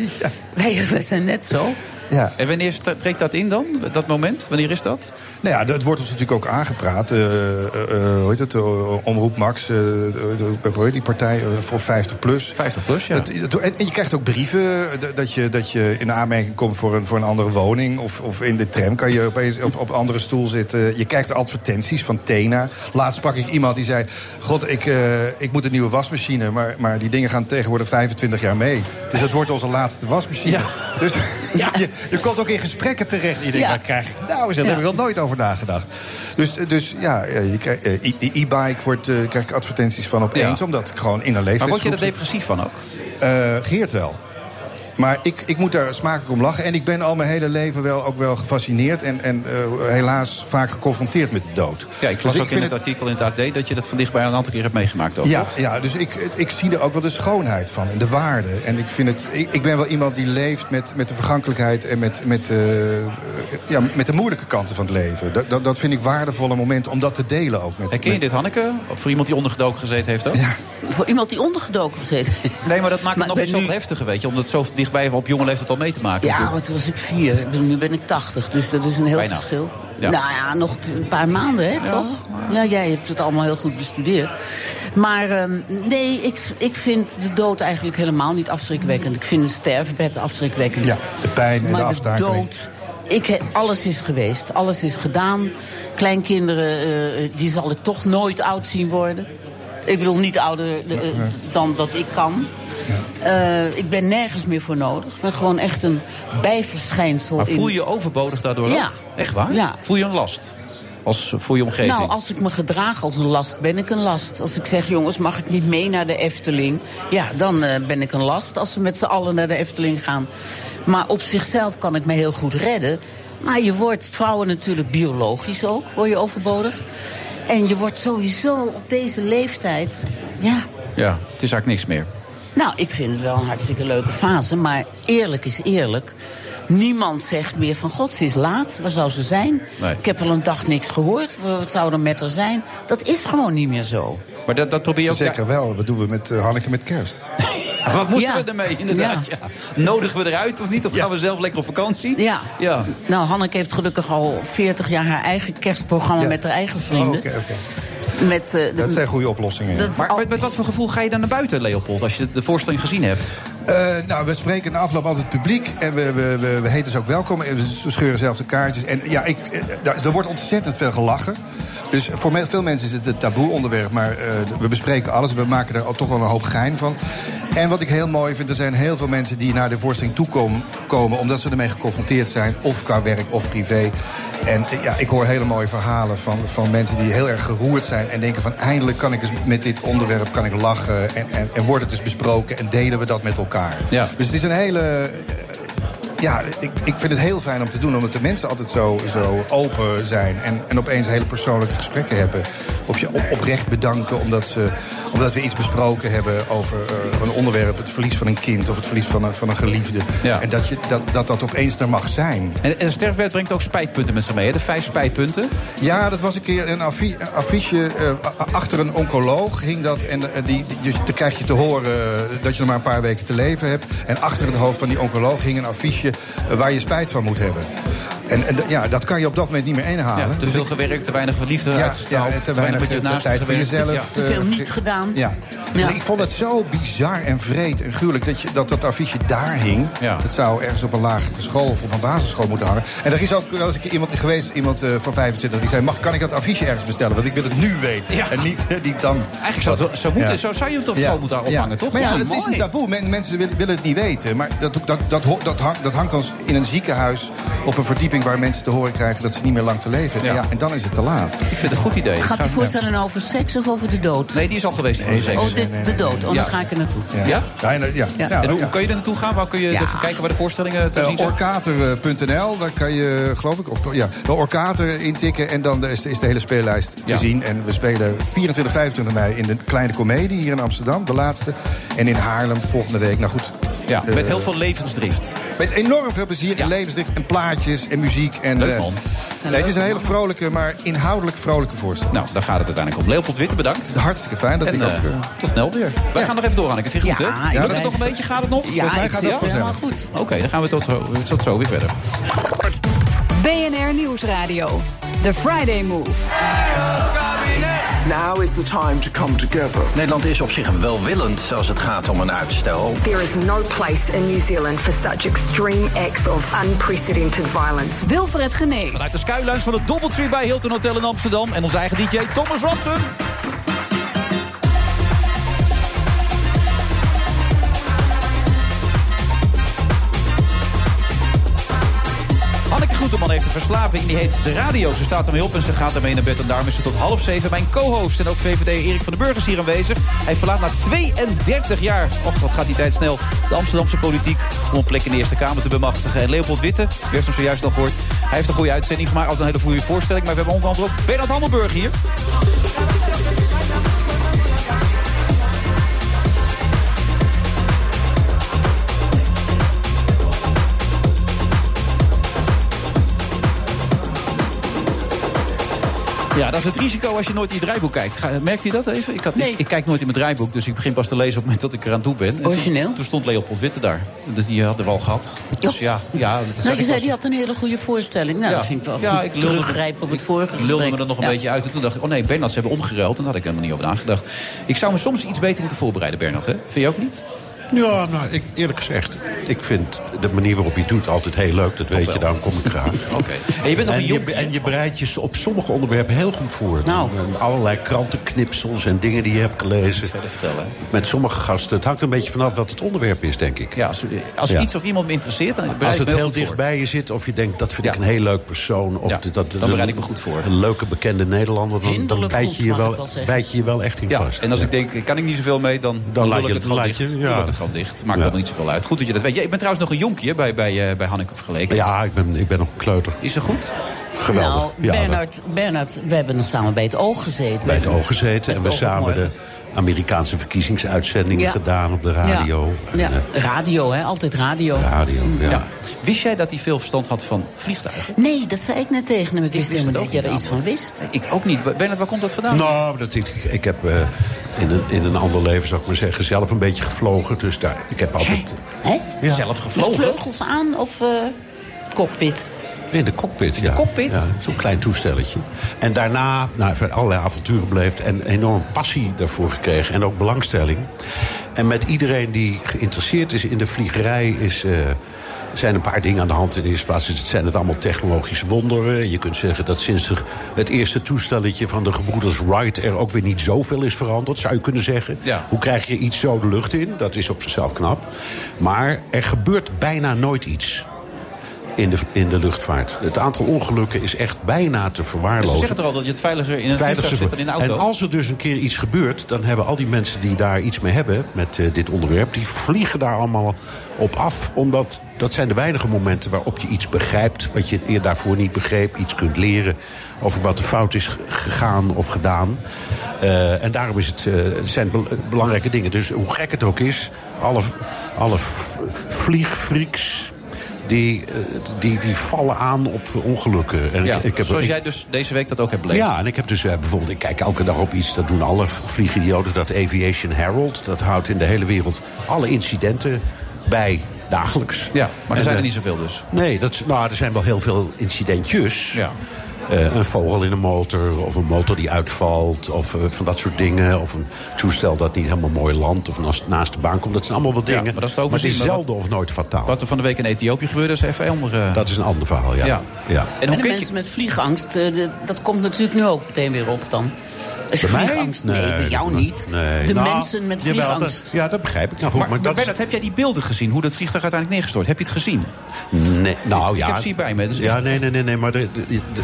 [SPEAKER 8] Wij, wij zijn net zo.
[SPEAKER 13] Ja.
[SPEAKER 7] En wanneer sta- treedt dat in dan? Dat moment? Wanneer is dat?
[SPEAKER 13] Nou ja, dat wordt ons natuurlijk ook aangepraat. Eh, eh, eh, hoe heet het? Eh, Omroep Max, eh, eh, hoe heet die partij eh, voor 50 plus.
[SPEAKER 7] 50 plus, ja.
[SPEAKER 13] en, en je krijgt ook brieven eh, dat je, dat je in aanmerking komt voor een, voor een andere woning. Of, of in de tram kan je opeens op, op een andere stoel zitten. Je krijgt advertenties van Tena. Laatst sprak ik iemand die zei... God, ik, eh, ik moet een nieuwe wasmachine. Maar, maar die dingen gaan tegenwoordig 25 jaar mee. Dus dat wordt onze laatste wasmachine. Dus je, je komt ook in gesprekken terecht. Je denkt,
[SPEAKER 14] Ja.
[SPEAKER 13] wat krijg ik nou eens? Daar
[SPEAKER 14] Ja.
[SPEAKER 13] heb ik wel nooit over nagedacht. Dus, dus ja, eh, je krijgt, eh, i- die e-bike wordt, eh, krijg ik advertenties van opeens.
[SPEAKER 7] Ja.
[SPEAKER 13] Omdat ik gewoon in een
[SPEAKER 7] Maar
[SPEAKER 13] leeftijdsgroep
[SPEAKER 7] word je er
[SPEAKER 13] zit.
[SPEAKER 7] depressief van ook?
[SPEAKER 13] Eh, Geert wel. Maar ik, ik moet daar smakelijk om lachen. En ik ben al mijn hele leven wel, ook wel gefascineerd. En, en eh, helaas vaak geconfronteerd met de dood.
[SPEAKER 7] Ja, ik las
[SPEAKER 13] Dus
[SPEAKER 7] ook in
[SPEAKER 13] vind
[SPEAKER 7] het artikel in het AD dat je dat van dichtbij een aantal keer hebt meegemaakt. Ook,
[SPEAKER 13] ja,
[SPEAKER 7] toch?
[SPEAKER 13] ja, dus ik, ik zie er ook wel de schoonheid van en de waarde. En ik, vind het, ik, ik ben wel iemand die leeft met, met de vergankelijkheid en met, met, eh, ja, met de moeilijke kanten van het leven. Dat, dat, dat vind ik waardevolle momenten om dat te delen ook met
[SPEAKER 7] Herken je dit, Hanneke? Of voor iemand die ondergedoken gezeten heeft ook?
[SPEAKER 8] Voor iemand die ondergedoken gezeten heeft.
[SPEAKER 7] Nee, maar dat maakt
[SPEAKER 8] Maar
[SPEAKER 7] het nog
[SPEAKER 8] ik
[SPEAKER 7] eens
[SPEAKER 8] ben
[SPEAKER 7] zo
[SPEAKER 8] nu-
[SPEAKER 7] heftiger, weet je. Om dat zo dichtbij op jonge leeftijd al mee te maken.
[SPEAKER 8] Ja,
[SPEAKER 7] natuurlijk.
[SPEAKER 8] maar toen was ik vier. Ik bedoel, Nu ben ik tachtig, dus dat is een heel
[SPEAKER 7] Bijna.
[SPEAKER 8] verschil.
[SPEAKER 7] Ja.
[SPEAKER 8] Nou ja, nog t- een paar maanden, hè, toch? Ja, jij hebt het allemaal heel goed bestudeerd. Maar ehm, nee, ik, ik vind de dood eigenlijk helemaal niet afschrikwekkend. Ik vind een sterfbed afschrikwekkend.
[SPEAKER 13] Ja, de pijn en de
[SPEAKER 8] maar de
[SPEAKER 13] aftakeling.
[SPEAKER 8] dood... Ik, he- alles is geweest, alles is gedaan. Kleinkinderen, eh, die zal ik toch nooit oud zien worden. Ik bedoel, niet ouder eh, dan dat ik kan. Eh, ik ben nergens meer voor nodig. Ik ben gewoon echt een bijverschijnsel.
[SPEAKER 7] Maar voel
[SPEAKER 8] in-
[SPEAKER 7] je je overbodig daardoor
[SPEAKER 8] Ja.
[SPEAKER 7] ook? Echt waar?
[SPEAKER 8] Ja.
[SPEAKER 7] Voel je een last? Als, voor je omgeving?
[SPEAKER 8] Nou, als ik me gedraag als een last, ben ik een last. Als ik zeg, jongens, mag ik niet mee naar de Efteling? Ja, dan eh, ben ik een last als ze met z'n allen naar de Efteling gaan. Maar op zichzelf kan ik me heel goed redden. Maar je wordt, vrouwen natuurlijk biologisch ook, word je overbodig. En je wordt sowieso op deze leeftijd, ja,
[SPEAKER 7] Ja, het is eigenlijk niks meer.
[SPEAKER 8] Nou, ik vind het wel een hartstikke leuke fase. Maar eerlijk is eerlijk. Niemand zegt meer van god, ze is laat. Waar zou ze zijn?
[SPEAKER 7] Nee.
[SPEAKER 8] Ik heb al een dag niks gehoord. Wat zou er met haar zijn? Dat is gewoon niet meer zo.
[SPEAKER 7] Maar dat, dat probeer je ook...
[SPEAKER 13] Zeker wel, wat doen we met eh, Hanneke met kerst?
[SPEAKER 7] Ja, Wat moeten
[SPEAKER 8] Ja.
[SPEAKER 7] we ermee, inderdaad? Ja. Nodigen we eruit of niet? Of gaan we zelf lekker op vakantie?
[SPEAKER 8] Ja.
[SPEAKER 7] ja. Oh,
[SPEAKER 8] Nou, Hanneke heeft gelukkig al 40 jaar haar eigen kerstprogramma met haar eigen vrienden.
[SPEAKER 13] Oh, oké.
[SPEAKER 8] Met, eh, de-
[SPEAKER 13] Dat zijn goede oplossingen.
[SPEAKER 8] Dat is
[SPEAKER 7] Maar met, met wat voor gevoel ga je dan naar buiten, Leopold, als je de voorstelling gezien hebt?
[SPEAKER 13] Eh, nou, we spreken na afloop altijd het publiek. En we, we, we, we heten ze ook welkom. En We scheuren zelf de kaartjes. En ja, ik, eh, daar- er wordt ontzettend veel gelachen. Dus voor me- veel mensen is het een taboe onderwerp. Maar eh, we bespreken alles. We maken er al- toch wel een hoop gein van. En wat ik heel mooi vind, er zijn heel veel mensen die naar de voorstelling toekomen. Komen, omdat ze ermee geconfronteerd zijn. Of qua werk of privé. En eh, ja, ik hoor hele mooie verhalen van, van mensen die heel erg geroerd zijn. En denken van eindelijk kan ik eens met dit onderwerp kan ik lachen. En, en, en wordt het dus besproken. En delen we dat met elkaar.
[SPEAKER 7] Ja.
[SPEAKER 13] Dus het is een hele. eh, Ja, ik, ik vind het heel fijn om te doen, omdat de mensen altijd zo, zo open zijn. En, en opeens hele persoonlijke gesprekken hebben. Of je op- oprecht bedanken omdat, ze, omdat we iets besproken hebben over eh, een onderwerp. Het verlies van een kind of het verlies van een, van een geliefde. En dat, je, dat, dat dat opeens er mag zijn.
[SPEAKER 7] En, en de sterfwet brengt ook spijtpunten met zich mee, hè? de vijf spijtpunten.
[SPEAKER 13] Ja, dat was een keer een affi- een affiche eh, a- achter een oncoloog hing dat. En eh, die, die- dus dan krijg je te horen eh, dat je nog maar een paar weken te leven hebt. En achter het hoofd van die oncoloog hing een affiche eh, waar je spijt van moet hebben. En, en d- ja, dat kan je op dat moment niet meer inhalen.
[SPEAKER 7] te veel gewerkt, te weinig liefde
[SPEAKER 13] Ja,
[SPEAKER 7] uitgestraald,
[SPEAKER 13] ja, en te weinig,
[SPEAKER 7] met je
[SPEAKER 13] eh,
[SPEAKER 7] naaste
[SPEAKER 13] tijd voor
[SPEAKER 7] gewerkt.
[SPEAKER 13] jezelf,
[SPEAKER 7] Ja.
[SPEAKER 13] Te veel eh, niet
[SPEAKER 8] gedaan.
[SPEAKER 13] Ja. Dus ik vond het zo bizar en vreed en gruwelijk dat je, dat, dat affiche daar hing. Dat zou ergens op een lagere school of op een basisschool moeten hangen. En er is ook wel eens een keer iemand geweest, iemand eh, van 25, die zei: Mag, kan ik dat affiche ergens bestellen? Want ik wil het nu weten. En niet, niet dan.
[SPEAKER 7] Eigenlijk zou, het wel- zo, moeten,
[SPEAKER 13] Ja.
[SPEAKER 7] zo zou je hem toch
[SPEAKER 13] Ja.
[SPEAKER 7] gewoon moeten ophangen,
[SPEAKER 13] Ja.
[SPEAKER 7] toch?
[SPEAKER 13] Maar ja,
[SPEAKER 7] Ja,
[SPEAKER 13] het is een
[SPEAKER 7] mooi.
[SPEAKER 13] taboe. Men- mensen willen, willen het niet weten. Maar dat, dat, dat, ho- dat, hangt, dat hangt als in een ziekenhuis op een verdieping waar mensen te horen krijgen dat ze niet meer lang te leven hebben. Ja. en dan is het te laat. Ik
[SPEAKER 7] vind het een goed idee.
[SPEAKER 8] Gaat die voorstelling over seks of over de dood?
[SPEAKER 7] Nee, die is al geweest.
[SPEAKER 13] Nee,
[SPEAKER 7] seks.
[SPEAKER 8] Oh, dit, de dood. Oh,
[SPEAKER 7] Ja.
[SPEAKER 8] dan ga ik er naartoe.
[SPEAKER 13] Ja? Ja, en, eh, ja.
[SPEAKER 8] Ja.
[SPEAKER 13] Ja,
[SPEAKER 7] en hoe
[SPEAKER 13] ja.
[SPEAKER 7] kan je er naartoe gaan? Waar kun je even kijken waar de voorstellingen te
[SPEAKER 13] Eh,
[SPEAKER 7] zien zijn?
[SPEAKER 13] orkater.nl, daar kan je, geloof ik, of, ja, de orkater intikken. En dan is de, is de hele speellijst te
[SPEAKER 7] Ja.
[SPEAKER 13] zien. En we spelen 24, 25 mei in de Kleine Comedie hier in Amsterdam, de laatste. En in Haarlem volgende week. Nou goed.
[SPEAKER 7] Ja,
[SPEAKER 13] eh,
[SPEAKER 7] met heel veel levensdrift.
[SPEAKER 13] Met enorm veel plezier en levensdicht en plaatjes en muziek. En, eh, Leuk, man. nee, het is een hele vrolijke, maar inhoudelijk vrolijke voorstelling.
[SPEAKER 7] Nou, daar gaat het uiteindelijk om. Leopold Witte, bedankt.
[SPEAKER 13] Hartstikke fijn dat
[SPEAKER 7] en,
[SPEAKER 13] ik ook
[SPEAKER 7] eh,
[SPEAKER 13] weer.
[SPEAKER 7] Tot snel weer. Wij gaan nog even door, Anneke. Vind je goed,
[SPEAKER 13] Ja,
[SPEAKER 3] Ah,
[SPEAKER 7] hè?
[SPEAKER 13] ik
[SPEAKER 7] Lukt
[SPEAKER 13] ben-
[SPEAKER 7] het nog een beetje? Gaat het nog?
[SPEAKER 3] Ja, Volgens mij ik gaat het zit wel helemaal vanzelf.
[SPEAKER 7] Oké, dan gaan we tot zo, tot zo weer verder.
[SPEAKER 3] BNR Nieuwsradio. The Friday Move.
[SPEAKER 4] Now is the time to come together.
[SPEAKER 5] Nederland is op zich welwillend als het gaat om een uitstel.
[SPEAKER 6] There is no place in New Zealand for such extreme acts of unprecedented violence.
[SPEAKER 3] Wilfred Genee.
[SPEAKER 7] Vanuit de skylounge van het Doubletree bij Hilton Hotel in Amsterdam. En onze eigen DJ Thomas Robson. Hanneke Groenteman heeft een verslaving en die heet De Radio. Ze staat ermee op en ze gaat ermee naar bed. En daarom is ze tot half zeven mijn co-host. En ook VVD Erik van den Burg is hier aanwezig. Hij verlaat na 32 jaar, och wat gaat die tijd snel, de Amsterdamse politiek om een plek in de Eerste Kamer te bemachtigen. En Leopold Witte, u heeft hem zojuist al gehoord. Hij heeft een goede uitzending gemaakt, altijd een hele goede voorstelling. Maar we hebben onder andere ook Bernard Hammelburg hier. Ja, dat is het risico als je nooit in je draaiboek kijkt. Ga- Merkt u dat even? Ik, had, ik, ik kijk nooit in mijn draaiboek, dus ik begin pas te lezen op het moment dat ik eraan toe ben. En
[SPEAKER 8] Origineel.
[SPEAKER 7] Toen, toen stond Leopold Witte daar. Dus die had er wel gehad. Dus ja, ja dat zag
[SPEAKER 8] Nou,
[SPEAKER 7] ik
[SPEAKER 8] je zei,
[SPEAKER 7] pas-
[SPEAKER 8] die had een hele goede voorstelling. Nou,
[SPEAKER 7] Ja.
[SPEAKER 8] dat vind ik wel
[SPEAKER 7] Ja,
[SPEAKER 8] goed
[SPEAKER 7] ik lulde-
[SPEAKER 8] teruggrijpen op het vorige
[SPEAKER 7] Ik lulde me
[SPEAKER 8] gesprek.
[SPEAKER 7] er nog een
[SPEAKER 8] Ja.
[SPEAKER 7] beetje uit. En toen dacht ik, oh nee, Bernard, ze hebben omgeruild. En daar had ik helemaal niet over nagedacht. Ik zou me soms iets beter moeten voorbereiden, Bernard. Hè? Vind je ook niet?
[SPEAKER 14] Ja, nou, ik, eerlijk gezegd, ik vind de manier waarop je het doet altijd heel leuk. Dat weet je, daarom kom ik graag. Oké.
[SPEAKER 7] En je bent nog
[SPEAKER 14] en,
[SPEAKER 7] een jong...
[SPEAKER 14] je, en je bereidt je op sommige onderwerpen heel goed voor.
[SPEAKER 7] Nou.
[SPEAKER 14] En Allerlei krantenknipsels en dingen die je hebt gelezen. Met sommige gasten. Het hangt een beetje vanaf wat het onderwerp is, denk ik.
[SPEAKER 7] Ja, als, Als iets of iemand me interesseert, dan bereid
[SPEAKER 14] Als
[SPEAKER 7] ik
[SPEAKER 14] het
[SPEAKER 7] me heel
[SPEAKER 14] heel
[SPEAKER 7] goed voor.
[SPEAKER 14] dichtbij je zit, of je denkt dat vind ik een heel leuk persoon. Of dat, dat,
[SPEAKER 7] dan bereid ik me goed voor.
[SPEAKER 14] Een leuke bekende Nederlander, dan, dan
[SPEAKER 7] Hinderlijk
[SPEAKER 14] bijt,
[SPEAKER 7] goed,
[SPEAKER 14] je je
[SPEAKER 7] mag ik
[SPEAKER 14] wel,
[SPEAKER 7] wel zeggen.
[SPEAKER 14] bijt je je wel echt in vast.
[SPEAKER 7] En als ik denk, kan ik niet zoveel mee, dan, dan, lul
[SPEAKER 14] laat
[SPEAKER 7] ik
[SPEAKER 14] je
[SPEAKER 7] het
[SPEAKER 14] het-
[SPEAKER 7] gewoon
[SPEAKER 14] laat
[SPEAKER 7] dicht.
[SPEAKER 14] je-
[SPEAKER 7] Dan
[SPEAKER 14] ja.
[SPEAKER 7] lul ik het gewoon dicht. Maakt allemaal niet zoveel uit. Goed dat je dat weet. Je bent trouwens nog een jonkie hè, bij, bij, eh, bij Hanneke vergeleken.
[SPEAKER 14] Ja, ik ben, ik ben nog een kleuter.
[SPEAKER 7] Is ze goed?
[SPEAKER 14] Geweldig.
[SPEAKER 8] Nou,
[SPEAKER 14] Ja,
[SPEAKER 8] Bernard, Bernard, we hebben samen bij het oog gezeten.
[SPEAKER 14] bij het oog gezeten. En we
[SPEAKER 8] Met het oog op
[SPEAKER 14] samen de
[SPEAKER 8] morgen.
[SPEAKER 14] Amerikaanse verkiezingsuitzendingen
[SPEAKER 8] Ja.
[SPEAKER 14] gedaan op de radio.
[SPEAKER 8] Ja,
[SPEAKER 7] eh,
[SPEAKER 8] Ja. radio, hè? Altijd radio.
[SPEAKER 14] Radio, ja.
[SPEAKER 7] Wist jij dat hij veel verstand had van vliegtuigen?
[SPEAKER 8] Nee, dat zei ik net tegen hem. Ik
[SPEAKER 7] wist
[SPEAKER 8] wist
[SPEAKER 7] het
[SPEAKER 8] helemaal
[SPEAKER 7] ook
[SPEAKER 8] niet dat jij er
[SPEAKER 7] niet,
[SPEAKER 8] iets van wist.
[SPEAKER 7] Ik ook niet. Bernard, waar komt dat vandaan?
[SPEAKER 14] Nou, dat ik, ik heb eh, in, een, in een ander leven, zou ik maar zeggen, zelf een beetje gevlogen. Dus daar, ik heb altijd...
[SPEAKER 8] Hè?
[SPEAKER 14] Ja.
[SPEAKER 7] Zelf
[SPEAKER 8] Met vleugels aan of eh, cockpit?
[SPEAKER 14] In de cockpit, ja.
[SPEAKER 7] cockpit?
[SPEAKER 14] Ja, Zo'n klein toestelletje. En daarna nou, ver- allerlei avonturen beleefd en enorm passie daarvoor gekregen. En ook belangstelling. En met iedereen die geïnteresseerd is in de vliegerij is... eh, zijn een paar dingen aan de hand. In de eerste plaats is het- zijn het allemaal technologische wonderen. Je kunt zeggen dat sinds de- het eerste toestelletje van de gebroeders Wright... er ook weer niet zoveel is veranderd, zou je kunnen zeggen.
[SPEAKER 7] Ja.
[SPEAKER 14] Hoe krijg je iets zo de lucht in? Dat is op zichzelf knap. Maar er gebeurt bijna nooit iets in de, in de luchtvaart. Het aantal ongelukken is echt bijna te
[SPEAKER 7] Maar Ze
[SPEAKER 14] verwaarlozen.
[SPEAKER 7] zeggen er al dat je het veiliger in een
[SPEAKER 14] Veilig
[SPEAKER 7] vliegtuig zit dan in
[SPEAKER 14] vervoer.
[SPEAKER 7] een auto.
[SPEAKER 14] En als er dus een keer iets gebeurt, dan hebben al die mensen die daar iets mee hebben met eh, dit onderwerp, die vliegen daar allemaal op af. Omdat dat zijn de weinige momenten waarop je iets begrijpt, wat je eer daarvoor niet begreep, iets kunt leren over wat er fout is g- gegaan of gedaan. Eh, en daarom is het, eh, het zijn bel- belangrijke dingen. Dus hoe gek het ook is, alle, alle v- vliegfreaks. Die, eh, die, die vallen aan op ongelukken. En
[SPEAKER 7] ja, zoals
[SPEAKER 14] ik-
[SPEAKER 7] jij dus deze week dat ook hebt beleefd.
[SPEAKER 14] ja, en ik heb dus eh, bijvoorbeeld, ik kijk elke dag op iets, dat doen alle vliegidioten, dat Aviation Herald. Dat houdt in de hele wereld alle incidenten bij dagelijks.
[SPEAKER 7] Ja, maar er
[SPEAKER 14] En,
[SPEAKER 7] zijn er
[SPEAKER 14] eh,
[SPEAKER 7] niet zoveel dus.
[SPEAKER 14] Nee, dat, is- nou, er zijn wel heel veel incidentjes. Eh, een vogel in een motor, of een motor die uitvalt, of eh, van dat soort dingen. Of een toestel dat niet helemaal mooi landt, of naast, naast de baan komt. Dat zijn allemaal wel dingen.
[SPEAKER 7] maar dat is te
[SPEAKER 14] het is
[SPEAKER 7] overzien, maar
[SPEAKER 14] zelden of nooit fataal.
[SPEAKER 7] Wat er van de week in Ethiopië gebeurde is even andere...
[SPEAKER 14] nou. Dat is een ander verhaal, ja.
[SPEAKER 7] Ja.
[SPEAKER 14] ja.
[SPEAKER 7] En
[SPEAKER 8] En,
[SPEAKER 7] hoe
[SPEAKER 8] de
[SPEAKER 7] keek
[SPEAKER 8] mensen met vliegangst, eh, de- dat komt natuurlijk nu ook meteen weer op dan. Als je
[SPEAKER 14] Bij mij?
[SPEAKER 8] vliegangst... Nee, bij
[SPEAKER 14] dat
[SPEAKER 8] jou
[SPEAKER 14] moet-
[SPEAKER 8] niet.
[SPEAKER 14] nee.
[SPEAKER 8] De
[SPEAKER 14] Nou,
[SPEAKER 8] mensen met
[SPEAKER 14] jawel,
[SPEAKER 8] vliegangst.
[SPEAKER 14] dat- ja, dat begrijp ik. Nou, goed,
[SPEAKER 7] maar,
[SPEAKER 14] maar,
[SPEAKER 7] maar
[SPEAKER 14] dat is-
[SPEAKER 7] Bernard, heb jij die beelden gezien? Hoe dat vliegtuig uiteindelijk neergestort? Heb je het gezien?
[SPEAKER 14] Nee, nou
[SPEAKER 7] Ik
[SPEAKER 14] ja.
[SPEAKER 7] heb ze hier bij me, dus
[SPEAKER 14] ja,
[SPEAKER 7] ik-
[SPEAKER 14] nee, nee, nee, nee. Maar er, er-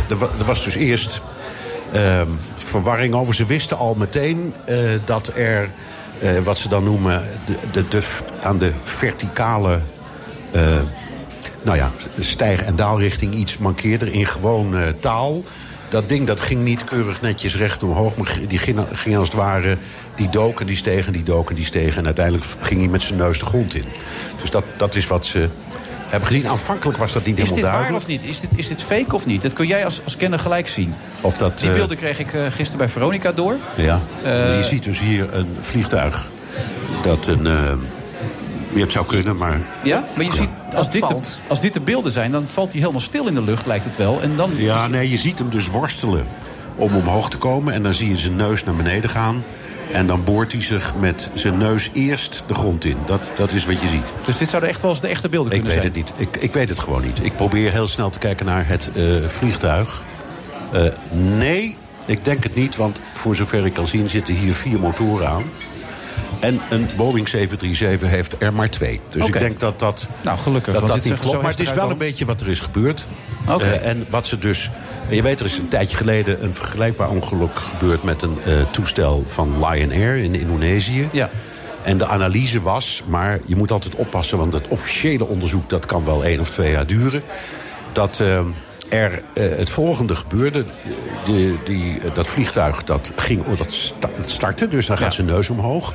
[SPEAKER 14] er wa- er was dus eerst ehm, verwarring over. Ze wisten al meteen eh, dat er, eh, wat ze dan noemen, de, de, de f- aan de verticale. eh, nou ja, stijg- en daalrichting iets mankeerde in gewoon eh, taal. Dat ding dat ging niet keurig netjes recht omhoog, maar die ging, ging als het ware... die dook en die steeg en die dook en die steeg... en uiteindelijk ging hij met zijn neus de grond in. Dus dat, dat is wat ze hebben gezien. Aanvankelijk was dat niet
[SPEAKER 7] Is dit
[SPEAKER 14] helemaal
[SPEAKER 7] waar
[SPEAKER 14] duidelijk.
[SPEAKER 7] of niet? Is dit, is dit fake of niet? Dat kun jij als, als kenner gelijk zien.
[SPEAKER 14] Of dat,
[SPEAKER 7] Die
[SPEAKER 14] eh,
[SPEAKER 7] beelden kreeg ik eh, gisteren bij Veronica door.
[SPEAKER 14] Ja.
[SPEAKER 7] Eh,
[SPEAKER 14] je ziet dus hier een vliegtuig dat een... eh, je het zou kunnen, maar...
[SPEAKER 7] Ja, maar je ziet, als dit, de, als dit de beelden zijn, dan valt hij helemaal stil in de lucht, lijkt het wel. En dan
[SPEAKER 14] Ja, nee, je ziet hem dus worstelen om omhoog te komen. En dan zie je zijn neus naar beneden gaan. En dan boort hij zich met zijn neus eerst de grond in. Dat, dat is wat je ziet.
[SPEAKER 7] Dus dit zouden echt wel eens de echte beelden
[SPEAKER 14] Ik weet
[SPEAKER 7] kunnen zijn.
[SPEAKER 14] het niet. Ik, ik weet het gewoon niet. Ik probeer heel snel te kijken naar het eh, vliegtuig. Eh, nee, ik denk het niet. Want voor zover ik kan zien zitten hier vier motoren aan. En een Boeing 737 heeft er maar twee. Dus
[SPEAKER 7] Oké.
[SPEAKER 14] ik denk dat dat,
[SPEAKER 7] Nou, gelukkig,
[SPEAKER 14] dat,
[SPEAKER 7] want
[SPEAKER 14] dat
[SPEAKER 7] dit
[SPEAKER 14] niet
[SPEAKER 7] zegt zo
[SPEAKER 14] klopt. Maar het is
[SPEAKER 7] heftig
[SPEAKER 14] wel
[SPEAKER 7] uit
[SPEAKER 14] een beetje wat er is gebeurd.
[SPEAKER 7] Oké.
[SPEAKER 14] Eh, en wat ze dus... Je weet, er is een tijdje geleden een vergelijkbaar ongeluk gebeurd... met een eh, toestel van Lion Air in Indonesië.
[SPEAKER 7] Ja.
[SPEAKER 14] En de analyse was, maar je moet altijd oppassen... want het officiële onderzoek dat kan wel één of twee jaar duren... dat eh, er eh, het volgende gebeurde. De, die, eh, dat vliegtuig dat ging, oh, dat sta- het startte, dus dan gaat zijn neus omhoog.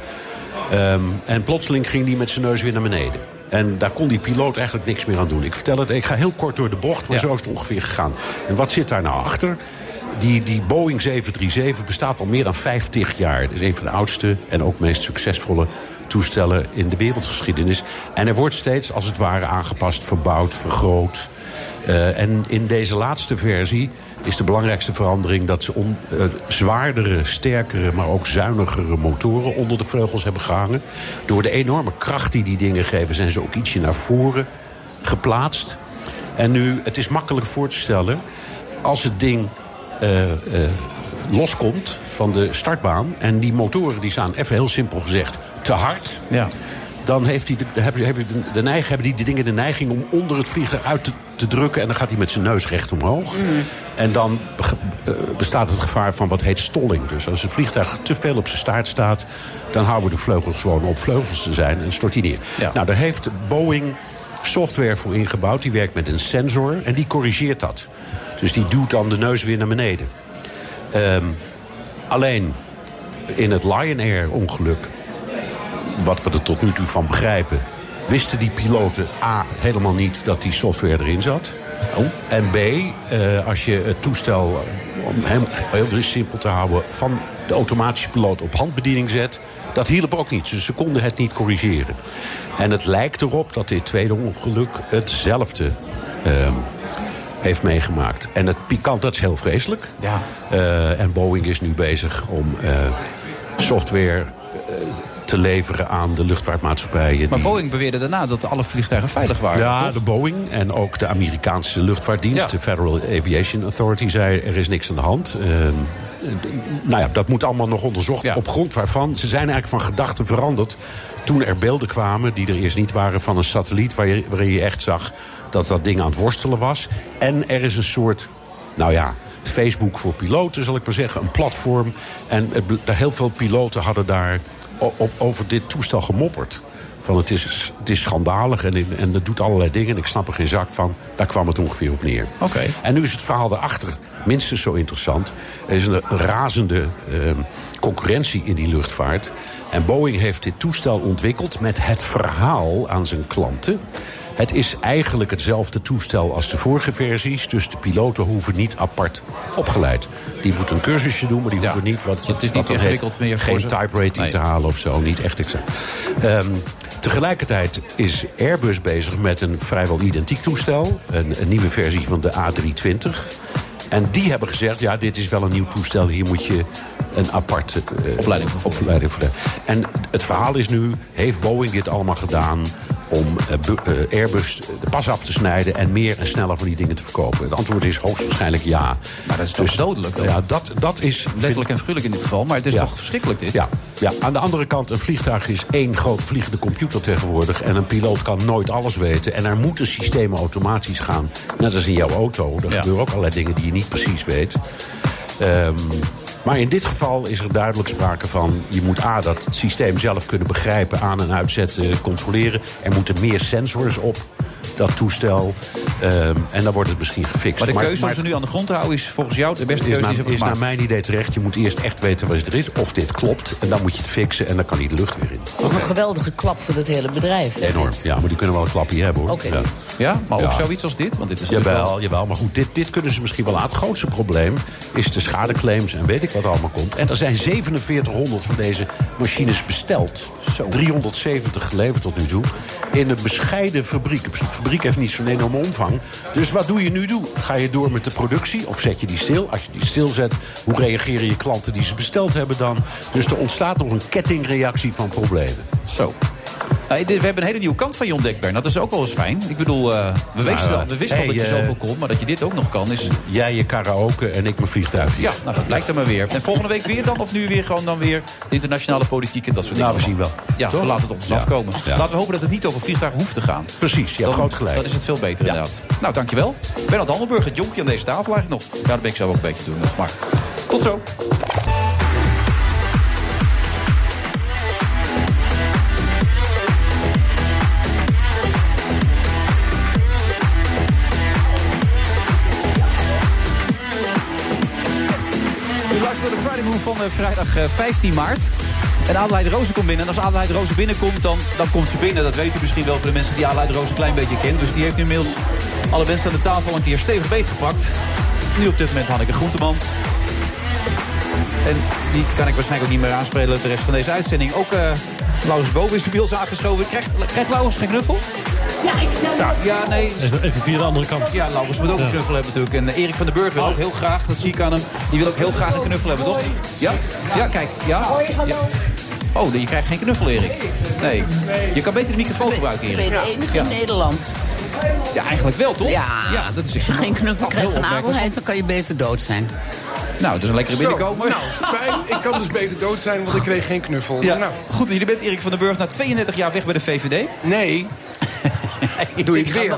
[SPEAKER 14] Ehm, en plotseling ging die met zijn neus weer naar beneden. En daar kon die piloot eigenlijk niks meer aan doen. Ik vertel het, ik ga heel kort door de bocht, maar zo is het ongeveer gegaan. En wat zit daar nou achter? Die, die Boeing 737 bestaat al meer dan 50 jaar. Het is een van de oudste en ook meest succesvolle toestellen in de wereldgeschiedenis. En er wordt steeds, als het ware, aangepast, verbouwd, vergroot. Eh, en in deze laatste versie is de belangrijkste verandering dat ze om, eh, zwaardere, sterkere, maar ook zuinigere motoren onder de vleugels hebben gehangen. Door de enorme kracht die die dingen geven, zijn ze ook ietsje naar voren geplaatst. En nu, het is makkelijk voor te stellen, als het ding eh, eh, loskomt van de startbaan en die motoren die staan, even heel simpel gezegd, te hard
[SPEAKER 7] Ja.
[SPEAKER 14] dan heeft hij de, de- heb, heb je de, de neig, hebben die, die dingen de neiging om onder het vliegtuig uit te, te drukken. En dan gaat hij met zijn neus recht omhoog. En dan ge- eh, bestaat het gevaar van wat heet stolling. Dus als het vliegtuig te veel op zijn staart staat... dan houden de vleugels gewoon op vleugels te zijn en stort hij neer. Nou, daar heeft Boeing software voor ingebouwd. Die werkt met een sensor en die corrigeert dat. Dus die duwt dan de neus weer naar beneden. Ehm, alleen in het Lion Air ongeluk wat we er tot nu toe van begrijpen, wisten die piloten A. helemaal niet dat die software erin zat. En B. eh, als je het toestel, eh, om hem heel simpel te houden, van de automatische piloot op handbediening zet. Dat hielp ook niet, dus ze konden het niet corrigeren. En het lijkt erop dat dit tweede ongeluk hetzelfde ehm, heeft meegemaakt. En het pikant, dat is heel vreselijk.
[SPEAKER 7] Ja.
[SPEAKER 14] Eh, en Boeing is nu bezig om eh, software eh, te leveren aan de luchtvaartmaatschappijen.
[SPEAKER 7] Maar
[SPEAKER 14] die-
[SPEAKER 7] Boeing beweerde daarna dat alle vliegtuigen veilig waren.
[SPEAKER 14] ja,
[SPEAKER 7] toch?
[SPEAKER 14] de Boeing en ook de Amerikaanse luchtvaartdienst,
[SPEAKER 7] Ja.
[SPEAKER 14] de Federal Aviation Authority, zei er is niks aan de hand. Eh, d- nou ja, dat moet allemaal nog onderzocht. Op grond waarvan ze zijn eigenlijk van gedachten veranderd. Toen er beelden kwamen die er eerst niet waren van een satelliet waar je, waarin je echt zag dat dat ding aan het worstelen was. En er is een soort, nou ja. Facebook voor piloten, zal ik maar zeggen. Een platform. En het, bl- heel veel piloten hadden daar o- op, over dit toestel gemopperd. Van het is, het is schandalig en, en het doet allerlei dingen en ik snap er geen zak van. Daar kwam het ongeveer op neer.
[SPEAKER 7] Oké.
[SPEAKER 14] En nu is het verhaal daarachter minstens zo interessant. Er is een razende ehm, concurrentie in die luchtvaart. En Boeing heeft dit toestel ontwikkeld met het verhaal aan zijn klanten. Het is eigenlijk hetzelfde toestel als de vorige versies. Dus de piloten hoeven niet apart opgeleid. Die moeten een cursusje doen, maar die hoeven niet wat je
[SPEAKER 7] Het is niet
[SPEAKER 14] wat dan heet,
[SPEAKER 7] ingewikkeld meer voor
[SPEAKER 14] Geen
[SPEAKER 7] ze.
[SPEAKER 14] type rating te halen of zo, niet echt exact. Ehm, tegelijkertijd is Airbus bezig met een vrijwel identiek toestel. Een, een nieuwe versie van de A320. En die hebben gezegd, ja, dit is wel een nieuw toestel. Hier moet je een aparte eh, opleiding, voor hebben. En het verhaal is nu, heeft Boeing dit allemaal gedaan... om eh, bu- eh, Airbus de pas af te snijden en meer en sneller van die dingen te verkopen? Het antwoord is hoogstwaarschijnlijk ja. Maar dat is dus, dodelijk? Ja, dat, dat is...
[SPEAKER 7] Letterlijk en figuurlijk in dit geval, maar het is
[SPEAKER 14] Ja.
[SPEAKER 7] toch verschrikkelijk dit?
[SPEAKER 14] Ja, ja, aan de andere kant, een vliegtuig is één groot vliegende computer tegenwoordig. En een piloot kan nooit alles weten. En er moeten systemen automatisch gaan. Net als in jouw auto. Er gebeuren ook allerlei dingen die je niet precies weet. Ehm, maar in dit geval is er duidelijk sprake van... je moet A, dat het systeem zelf kunnen begrijpen... aan- en uitzetten, controleren. Er moeten meer sensors op, dat toestel. Ehm, en dan wordt het misschien gefixt.
[SPEAKER 7] Maar de keuze om
[SPEAKER 14] maar-
[SPEAKER 7] ze nu aan de grond te houden is volgens jou de beste
[SPEAKER 14] is,
[SPEAKER 7] keuze die
[SPEAKER 14] naar,
[SPEAKER 7] ze hebben
[SPEAKER 14] is naar
[SPEAKER 7] gemaakt.
[SPEAKER 14] mijn idee terecht. Je moet eerst echt weten wat er is, of dit klopt. En dan moet je het fixen en dan kan die de lucht weer in.
[SPEAKER 15] Toch een geweldige klap voor het hele bedrijf.
[SPEAKER 14] Enorm. Ja, maar die kunnen wel een klapje hebben hoor.
[SPEAKER 15] Oké.
[SPEAKER 14] Ja.
[SPEAKER 7] maar ook zoiets als dit? Want dit is
[SPEAKER 14] jawel,
[SPEAKER 7] natuurlijk
[SPEAKER 14] wel... jawel, maar goed, dit, dit kunnen ze misschien wel aan. Het grootste probleem is de schadeclaims en weet ik wat allemaal komt. En er zijn 4700 van deze machines besteld. 370 geleverd tot nu toe. In een bescheiden fabriek. De fabriek heeft niet zo'n enorme omvang. Dus wat doe je nu doen? Ga je door met de productie of zet je die stil? Als je die stilzet, hoe reageren je klanten die ze besteld hebben dan? Dus er ontstaat nog een kettingreactie van problemen.
[SPEAKER 7] Zo. Nou, dit- we hebben een hele nieuwe kant van je ontdekt, Bernard. Dat is ook wel eens fijn. Ik bedoel, eh, we,
[SPEAKER 14] Nou,
[SPEAKER 7] wisten, al- we wisten al
[SPEAKER 14] hey,
[SPEAKER 7] dat je
[SPEAKER 14] eh,
[SPEAKER 7] zoveel kon, maar dat je dit ook nog kan is...
[SPEAKER 14] Jij je karaoke en ik mijn vliegtuigjes.
[SPEAKER 7] Ja, nou, dat lijkt er maar weer. En volgende week weer dan, of nu weer gewoon dan weer de internationale politiek en dat soort dingen. Nou, we zien wel. Ja,
[SPEAKER 14] Toch?
[SPEAKER 7] we laten het op ons
[SPEAKER 14] Ja.
[SPEAKER 7] afkomen.
[SPEAKER 14] Ja.
[SPEAKER 7] Laten we hopen dat het niet over vliegtuigen hoeft te gaan.
[SPEAKER 14] Precies, je hebt
[SPEAKER 7] Dan-
[SPEAKER 14] groot gelijk.
[SPEAKER 7] Dan is het veel beter, inderdaad. Nou, dankjewel. Bernard Handelburg, het jonkie aan deze tafel eigenlijk nog. Ja, dat ben ik zelf ook een beetje doen nog, maar tot zo. U luistert naar de Friday Move van eh, vrijdag eh, 15 maart. En Adelheid Rozen komt binnen. En als Adelheid Rozen binnenkomt, dan, dan komt ze binnen. Dat weet u misschien wel voor de mensen die Adelheid Rozen een klein beetje kennen. Dus die heeft inmiddels alle mensen aan de tafel al een keer stevig beetgepakt. Nu op dit moment Hanneke Groenteman. En die kan ik waarschijnlijk ook niet meer aanspelen de rest van deze uitzending. Ook eh Laurens Boven is de biels aangeschoven. Krijgt, krijgt Laurens geen knuffel?
[SPEAKER 16] Ja, ik
[SPEAKER 17] nou,
[SPEAKER 7] Ja, ja nee.
[SPEAKER 17] Even via de andere kant.
[SPEAKER 7] Ja, Laurens moet ook een knuffel hebben natuurlijk. En eh, Erik van den Burg wil ook heel graag, dat zie ik aan hem. Die wil ook heel graag een knuffel hebben, toch? Ja? Ja, kijk. Ja? Ja. Oh, je krijgt geen knuffel, Erik. Nee. Je kan beter de microfoon gebruiken,
[SPEAKER 8] Ik ben
[SPEAKER 7] Erik.
[SPEAKER 8] de enige
[SPEAKER 7] Ja.
[SPEAKER 8] in Nederland.
[SPEAKER 7] Ja, eigenlijk wel, toch?
[SPEAKER 8] Ja.
[SPEAKER 7] dat is
[SPEAKER 8] Als je geen knuffel
[SPEAKER 7] Oh,
[SPEAKER 8] krijgt
[SPEAKER 7] heel
[SPEAKER 8] van
[SPEAKER 7] opmerkelijk.
[SPEAKER 8] Adelheid, dan kan je beter dood zijn.
[SPEAKER 7] Nou, dat is een lekkere
[SPEAKER 8] Zo,
[SPEAKER 7] binnenkomer.
[SPEAKER 8] nou, fijn.
[SPEAKER 18] Ik kan dus beter dood zijn, want ik kreeg geen knuffel.
[SPEAKER 7] Ja. Nou, Goed, jullie bent Erik van den Burg na 32 jaar weg bij de VVD.
[SPEAKER 18] Nee.
[SPEAKER 7] Doe ik weer.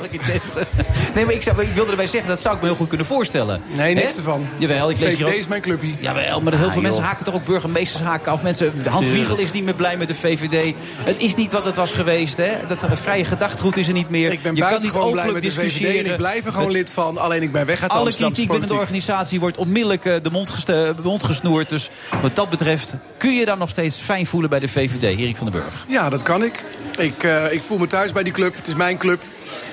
[SPEAKER 7] Nee, maar ik, zou, ik wilde erbij zeggen, dat zou ik me heel goed kunnen voorstellen.
[SPEAKER 18] Nee, niks
[SPEAKER 7] Hè?
[SPEAKER 18] ervan.
[SPEAKER 7] Jawel, ik lees hier ook...
[SPEAKER 18] VVD is mijn clubje.
[SPEAKER 7] Jawel, maar heel veel mensen haken toch ook burgemeesters haken af. Mensen, Hans
[SPEAKER 18] Tuurlijk.
[SPEAKER 7] Wiegel is niet meer blij met de VVD. Het is niet wat het was geweest. Hè? Dat er- vrije gedachtegoed is er niet meer.
[SPEAKER 18] Ik ben
[SPEAKER 7] je kan niet
[SPEAKER 18] buitengewoon blij
[SPEAKER 7] openlijk
[SPEAKER 18] met de VVD
[SPEAKER 7] discussiëren.
[SPEAKER 18] en ik blijf er gewoon
[SPEAKER 7] Het-
[SPEAKER 18] lid van. Alleen ik ben weg uit de
[SPEAKER 7] alle
[SPEAKER 18] Amsterdamse
[SPEAKER 7] kritiek binnen de
[SPEAKER 18] politiek.
[SPEAKER 7] organisatie wordt onmiddellijk eh, de mond, geste- mond gesnoerd. Dus wat dat betreft kun je dan nog steeds fijn voelen bij de VVD, Erik van den Burg.
[SPEAKER 18] Ja, dat kan ik. Ik, eh, ik voel me thuis bij die club. Het is mijn club.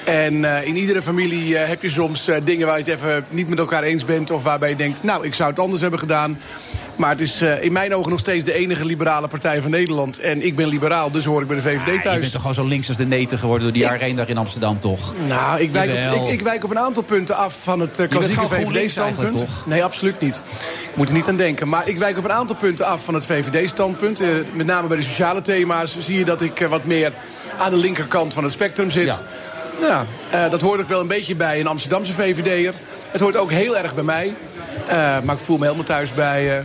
[SPEAKER 18] En eh, in iedere familie eh, heb je soms eh, dingen waar je het even niet met elkaar eens bent. Of waarbij je denkt, nou, ik zou het anders hebben gedaan. Maar het is eh, in mijn ogen nog steeds de enige liberale partij van Nederland. En ik ben liberaal, dus hoor ik bij de VVD thuis.
[SPEAKER 7] Ja, Ah, je bent toch gewoon zo links als de neten geworden door die jaren heen daar in Amsterdam, toch?
[SPEAKER 18] Nou, ik wijk,
[SPEAKER 7] Jawel.
[SPEAKER 18] op, ik, ik wijk op een aantal punten af van het eh,
[SPEAKER 7] bent
[SPEAKER 18] klassieke
[SPEAKER 7] gewoon GroenLinks
[SPEAKER 18] VVD-standpunt.
[SPEAKER 7] eigenlijk, toch?
[SPEAKER 18] Nee, absoluut niet. Moet er niet aan denken. Maar ik wijk op een aantal punten af van het VVD-standpunt. Eh, met name bij de sociale thema's zie je dat ik eh, wat meer aan de linkerkant van het spectrum zit. Ja. eh, dat hoort ook wel een beetje bij een Amsterdamse VVD'er. Het hoort ook heel erg bij mij. Eh, maar ik voel me helemaal thuis bij eh, bij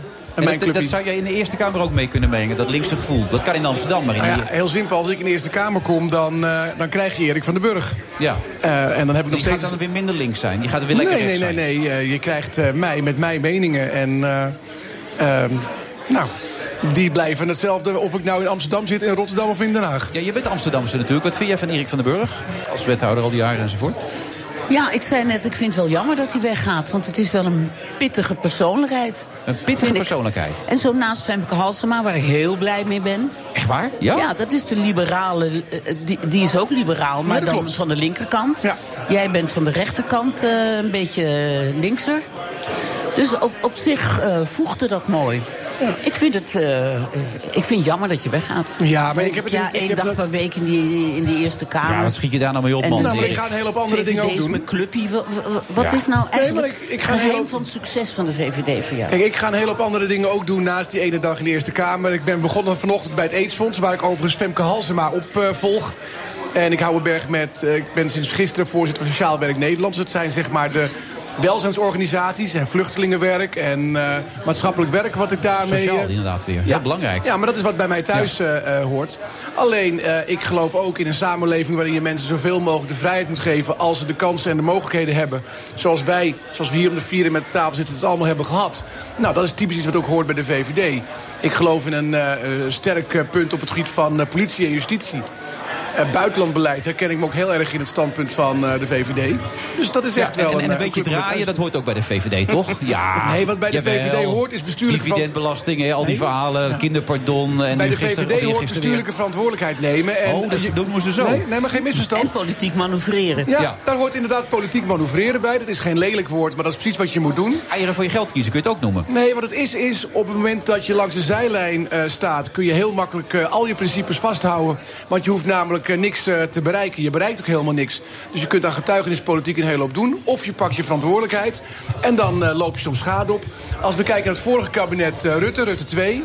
[SPEAKER 18] mijn
[SPEAKER 7] En dat, dat
[SPEAKER 18] clubje.
[SPEAKER 7] zou jij in de Eerste Kamer ook mee kunnen brengen, dat linkse gevoel. Dat kan in Amsterdam, maar in
[SPEAKER 18] Nou
[SPEAKER 7] die-
[SPEAKER 18] ja, heel simpel, als ik in de Eerste Kamer kom, dan, eh, dan krijg je Erik van den Burg.
[SPEAKER 7] Ja.
[SPEAKER 18] Eh, en dan heb ik nog
[SPEAKER 7] Die gaat
[SPEAKER 18] steeds...
[SPEAKER 7] dan weer minder links zijn. Die gaat er weer lekker
[SPEAKER 18] nee, nee,
[SPEAKER 7] rechts
[SPEAKER 18] nee,
[SPEAKER 7] zijn.
[SPEAKER 18] nee, eh, je krijgt eh, mij met mijn meningen. En eh, ehm, nou, die blijven hetzelfde of ik nou in Amsterdam zit, in Rotterdam of in Den Haag.
[SPEAKER 7] Ja, je bent Amsterdamse natuurlijk. Wat vind jij van Erik van den Burg? Als wethouder al die jaren enzovoort.
[SPEAKER 15] Ja, ik zei net, ik vind het wel jammer dat hij weggaat. Want het is wel een pittige persoonlijkheid.
[SPEAKER 7] Een pittige persoonlijkheid.
[SPEAKER 15] En zo naast Femke Halsema, waar ik heel blij mee ben.
[SPEAKER 7] Echt waar? Ja?
[SPEAKER 15] dat is de liberale. eh, Die, die is ook liberaal, maar
[SPEAKER 7] dat
[SPEAKER 15] dan
[SPEAKER 7] klopt.
[SPEAKER 15] van de linkerkant. Jij bent van de rechterkant eh, een beetje eh, linkser. Dus op, op zich eh, voegde dat mooi. Ik vind het eh, eh, ik vind jammer dat je weggaat.
[SPEAKER 18] Ja, maar
[SPEAKER 15] Denk
[SPEAKER 18] ik heb het-
[SPEAKER 15] ja,
[SPEAKER 18] ik- ik
[SPEAKER 15] één
[SPEAKER 18] heb
[SPEAKER 15] dag
[SPEAKER 18] dat-
[SPEAKER 15] per week in, die, in de Eerste Kamer.
[SPEAKER 7] Ja, wat schiet je daar nou mee op,
[SPEAKER 15] En
[SPEAKER 7] man?
[SPEAKER 15] dus-
[SPEAKER 7] Nou, maar ik ga een hele hoop
[SPEAKER 18] andere dingen ook
[SPEAKER 15] VVD is
[SPEAKER 18] doen.
[SPEAKER 15] mijn clubje. Wa- wa- wa- Wat
[SPEAKER 18] Ja.
[SPEAKER 15] is nou
[SPEAKER 18] Nee, maar
[SPEAKER 15] eigenlijk
[SPEAKER 18] ik- ik ga
[SPEAKER 15] het
[SPEAKER 18] een hele
[SPEAKER 15] geheim
[SPEAKER 18] hoop-
[SPEAKER 15] van het succes van de VVD voor jou?
[SPEAKER 18] Kijk, ik ga een hele hoop andere dingen ook doen naast die ene dag in de Eerste Kamer. Ik ben begonnen vanochtend bij het AIDS-fonds, waar ik overigens Femke Halsema op eh, volg. En ik hou een berg met, eh, ik ben sinds gisteren voorzitter van Sociaal Werk Nederland. Dus dat zijn zeg maar de welzijnsorganisaties en vluchtelingenwerk en eh, maatschappelijk werk wat ik daarmee...
[SPEAKER 7] Sociaal
[SPEAKER 18] eh,
[SPEAKER 7] inderdaad weer. Ja, belangrijk.
[SPEAKER 18] Ja, maar dat is wat bij mij thuis eh, eh, hoort. Alleen, eh, ik geloof ook in een samenleving waarin je mensen zoveel mogelijk de vrijheid moet geven als ze de kansen en de mogelijkheden hebben. Zoals wij, zoals we hier om de vieren met de tafel zitten, het allemaal hebben gehad. Nou, dat is typisch iets wat ook hoort bij de VVD. Ik geloof in een eh, eh, sterk eh, punt op het gebied van eh, politie en justitie. Eh, buitenlandbeleid herken ik me ook heel erg in het standpunt van eh, de VVD. Dus dat is echt
[SPEAKER 7] Ja, en-
[SPEAKER 18] wel
[SPEAKER 7] en, en een
[SPEAKER 18] eh,
[SPEAKER 7] beetje
[SPEAKER 18] club om het
[SPEAKER 7] draaien,
[SPEAKER 18] huis-
[SPEAKER 7] dat hoort ook bij de VVD, toch? Ja.
[SPEAKER 18] Nee, wat bij de
[SPEAKER 7] jawel.
[SPEAKER 18] VVD hoort is bestuurlijk verant-
[SPEAKER 7] Dividendbelasting, hè, al die verhalen, kinderpardon. En
[SPEAKER 18] Bij de
[SPEAKER 7] gisteren-
[SPEAKER 18] VVD hoort
[SPEAKER 7] of eergisteren weer.
[SPEAKER 18] bestuurlijke verantwoordelijkheid nemen. En
[SPEAKER 7] Oh, dat doen we ze zo.
[SPEAKER 18] Nee, nee, maar geen misverstand. En
[SPEAKER 15] politiek manoeuvreren.
[SPEAKER 18] Ja,
[SPEAKER 7] Ja.
[SPEAKER 18] daar hoort inderdaad politiek manoeuvreren bij. Dat is geen lelijk woord, maar dat is precies wat je moet doen.
[SPEAKER 7] Eieren voor je geld kiezen, kun je het ook noemen.
[SPEAKER 18] Nee, wat het is, is op het moment dat je langs de zijlijn eh, staat... kun je heel makkelijk eh, al je principes vasthouden. Want je hoeft namelijk eh, niks eh, te bereiken. Je bereikt ook helemaal niks. Dus je kunt aan getuigenispolitiek een hele hoop doen. Of je pakt je verantwoordelijkheid. En dan eh, loop je soms schade op. Als we kijken naar het vorige kabinet eh, Rutte, Rutte 2...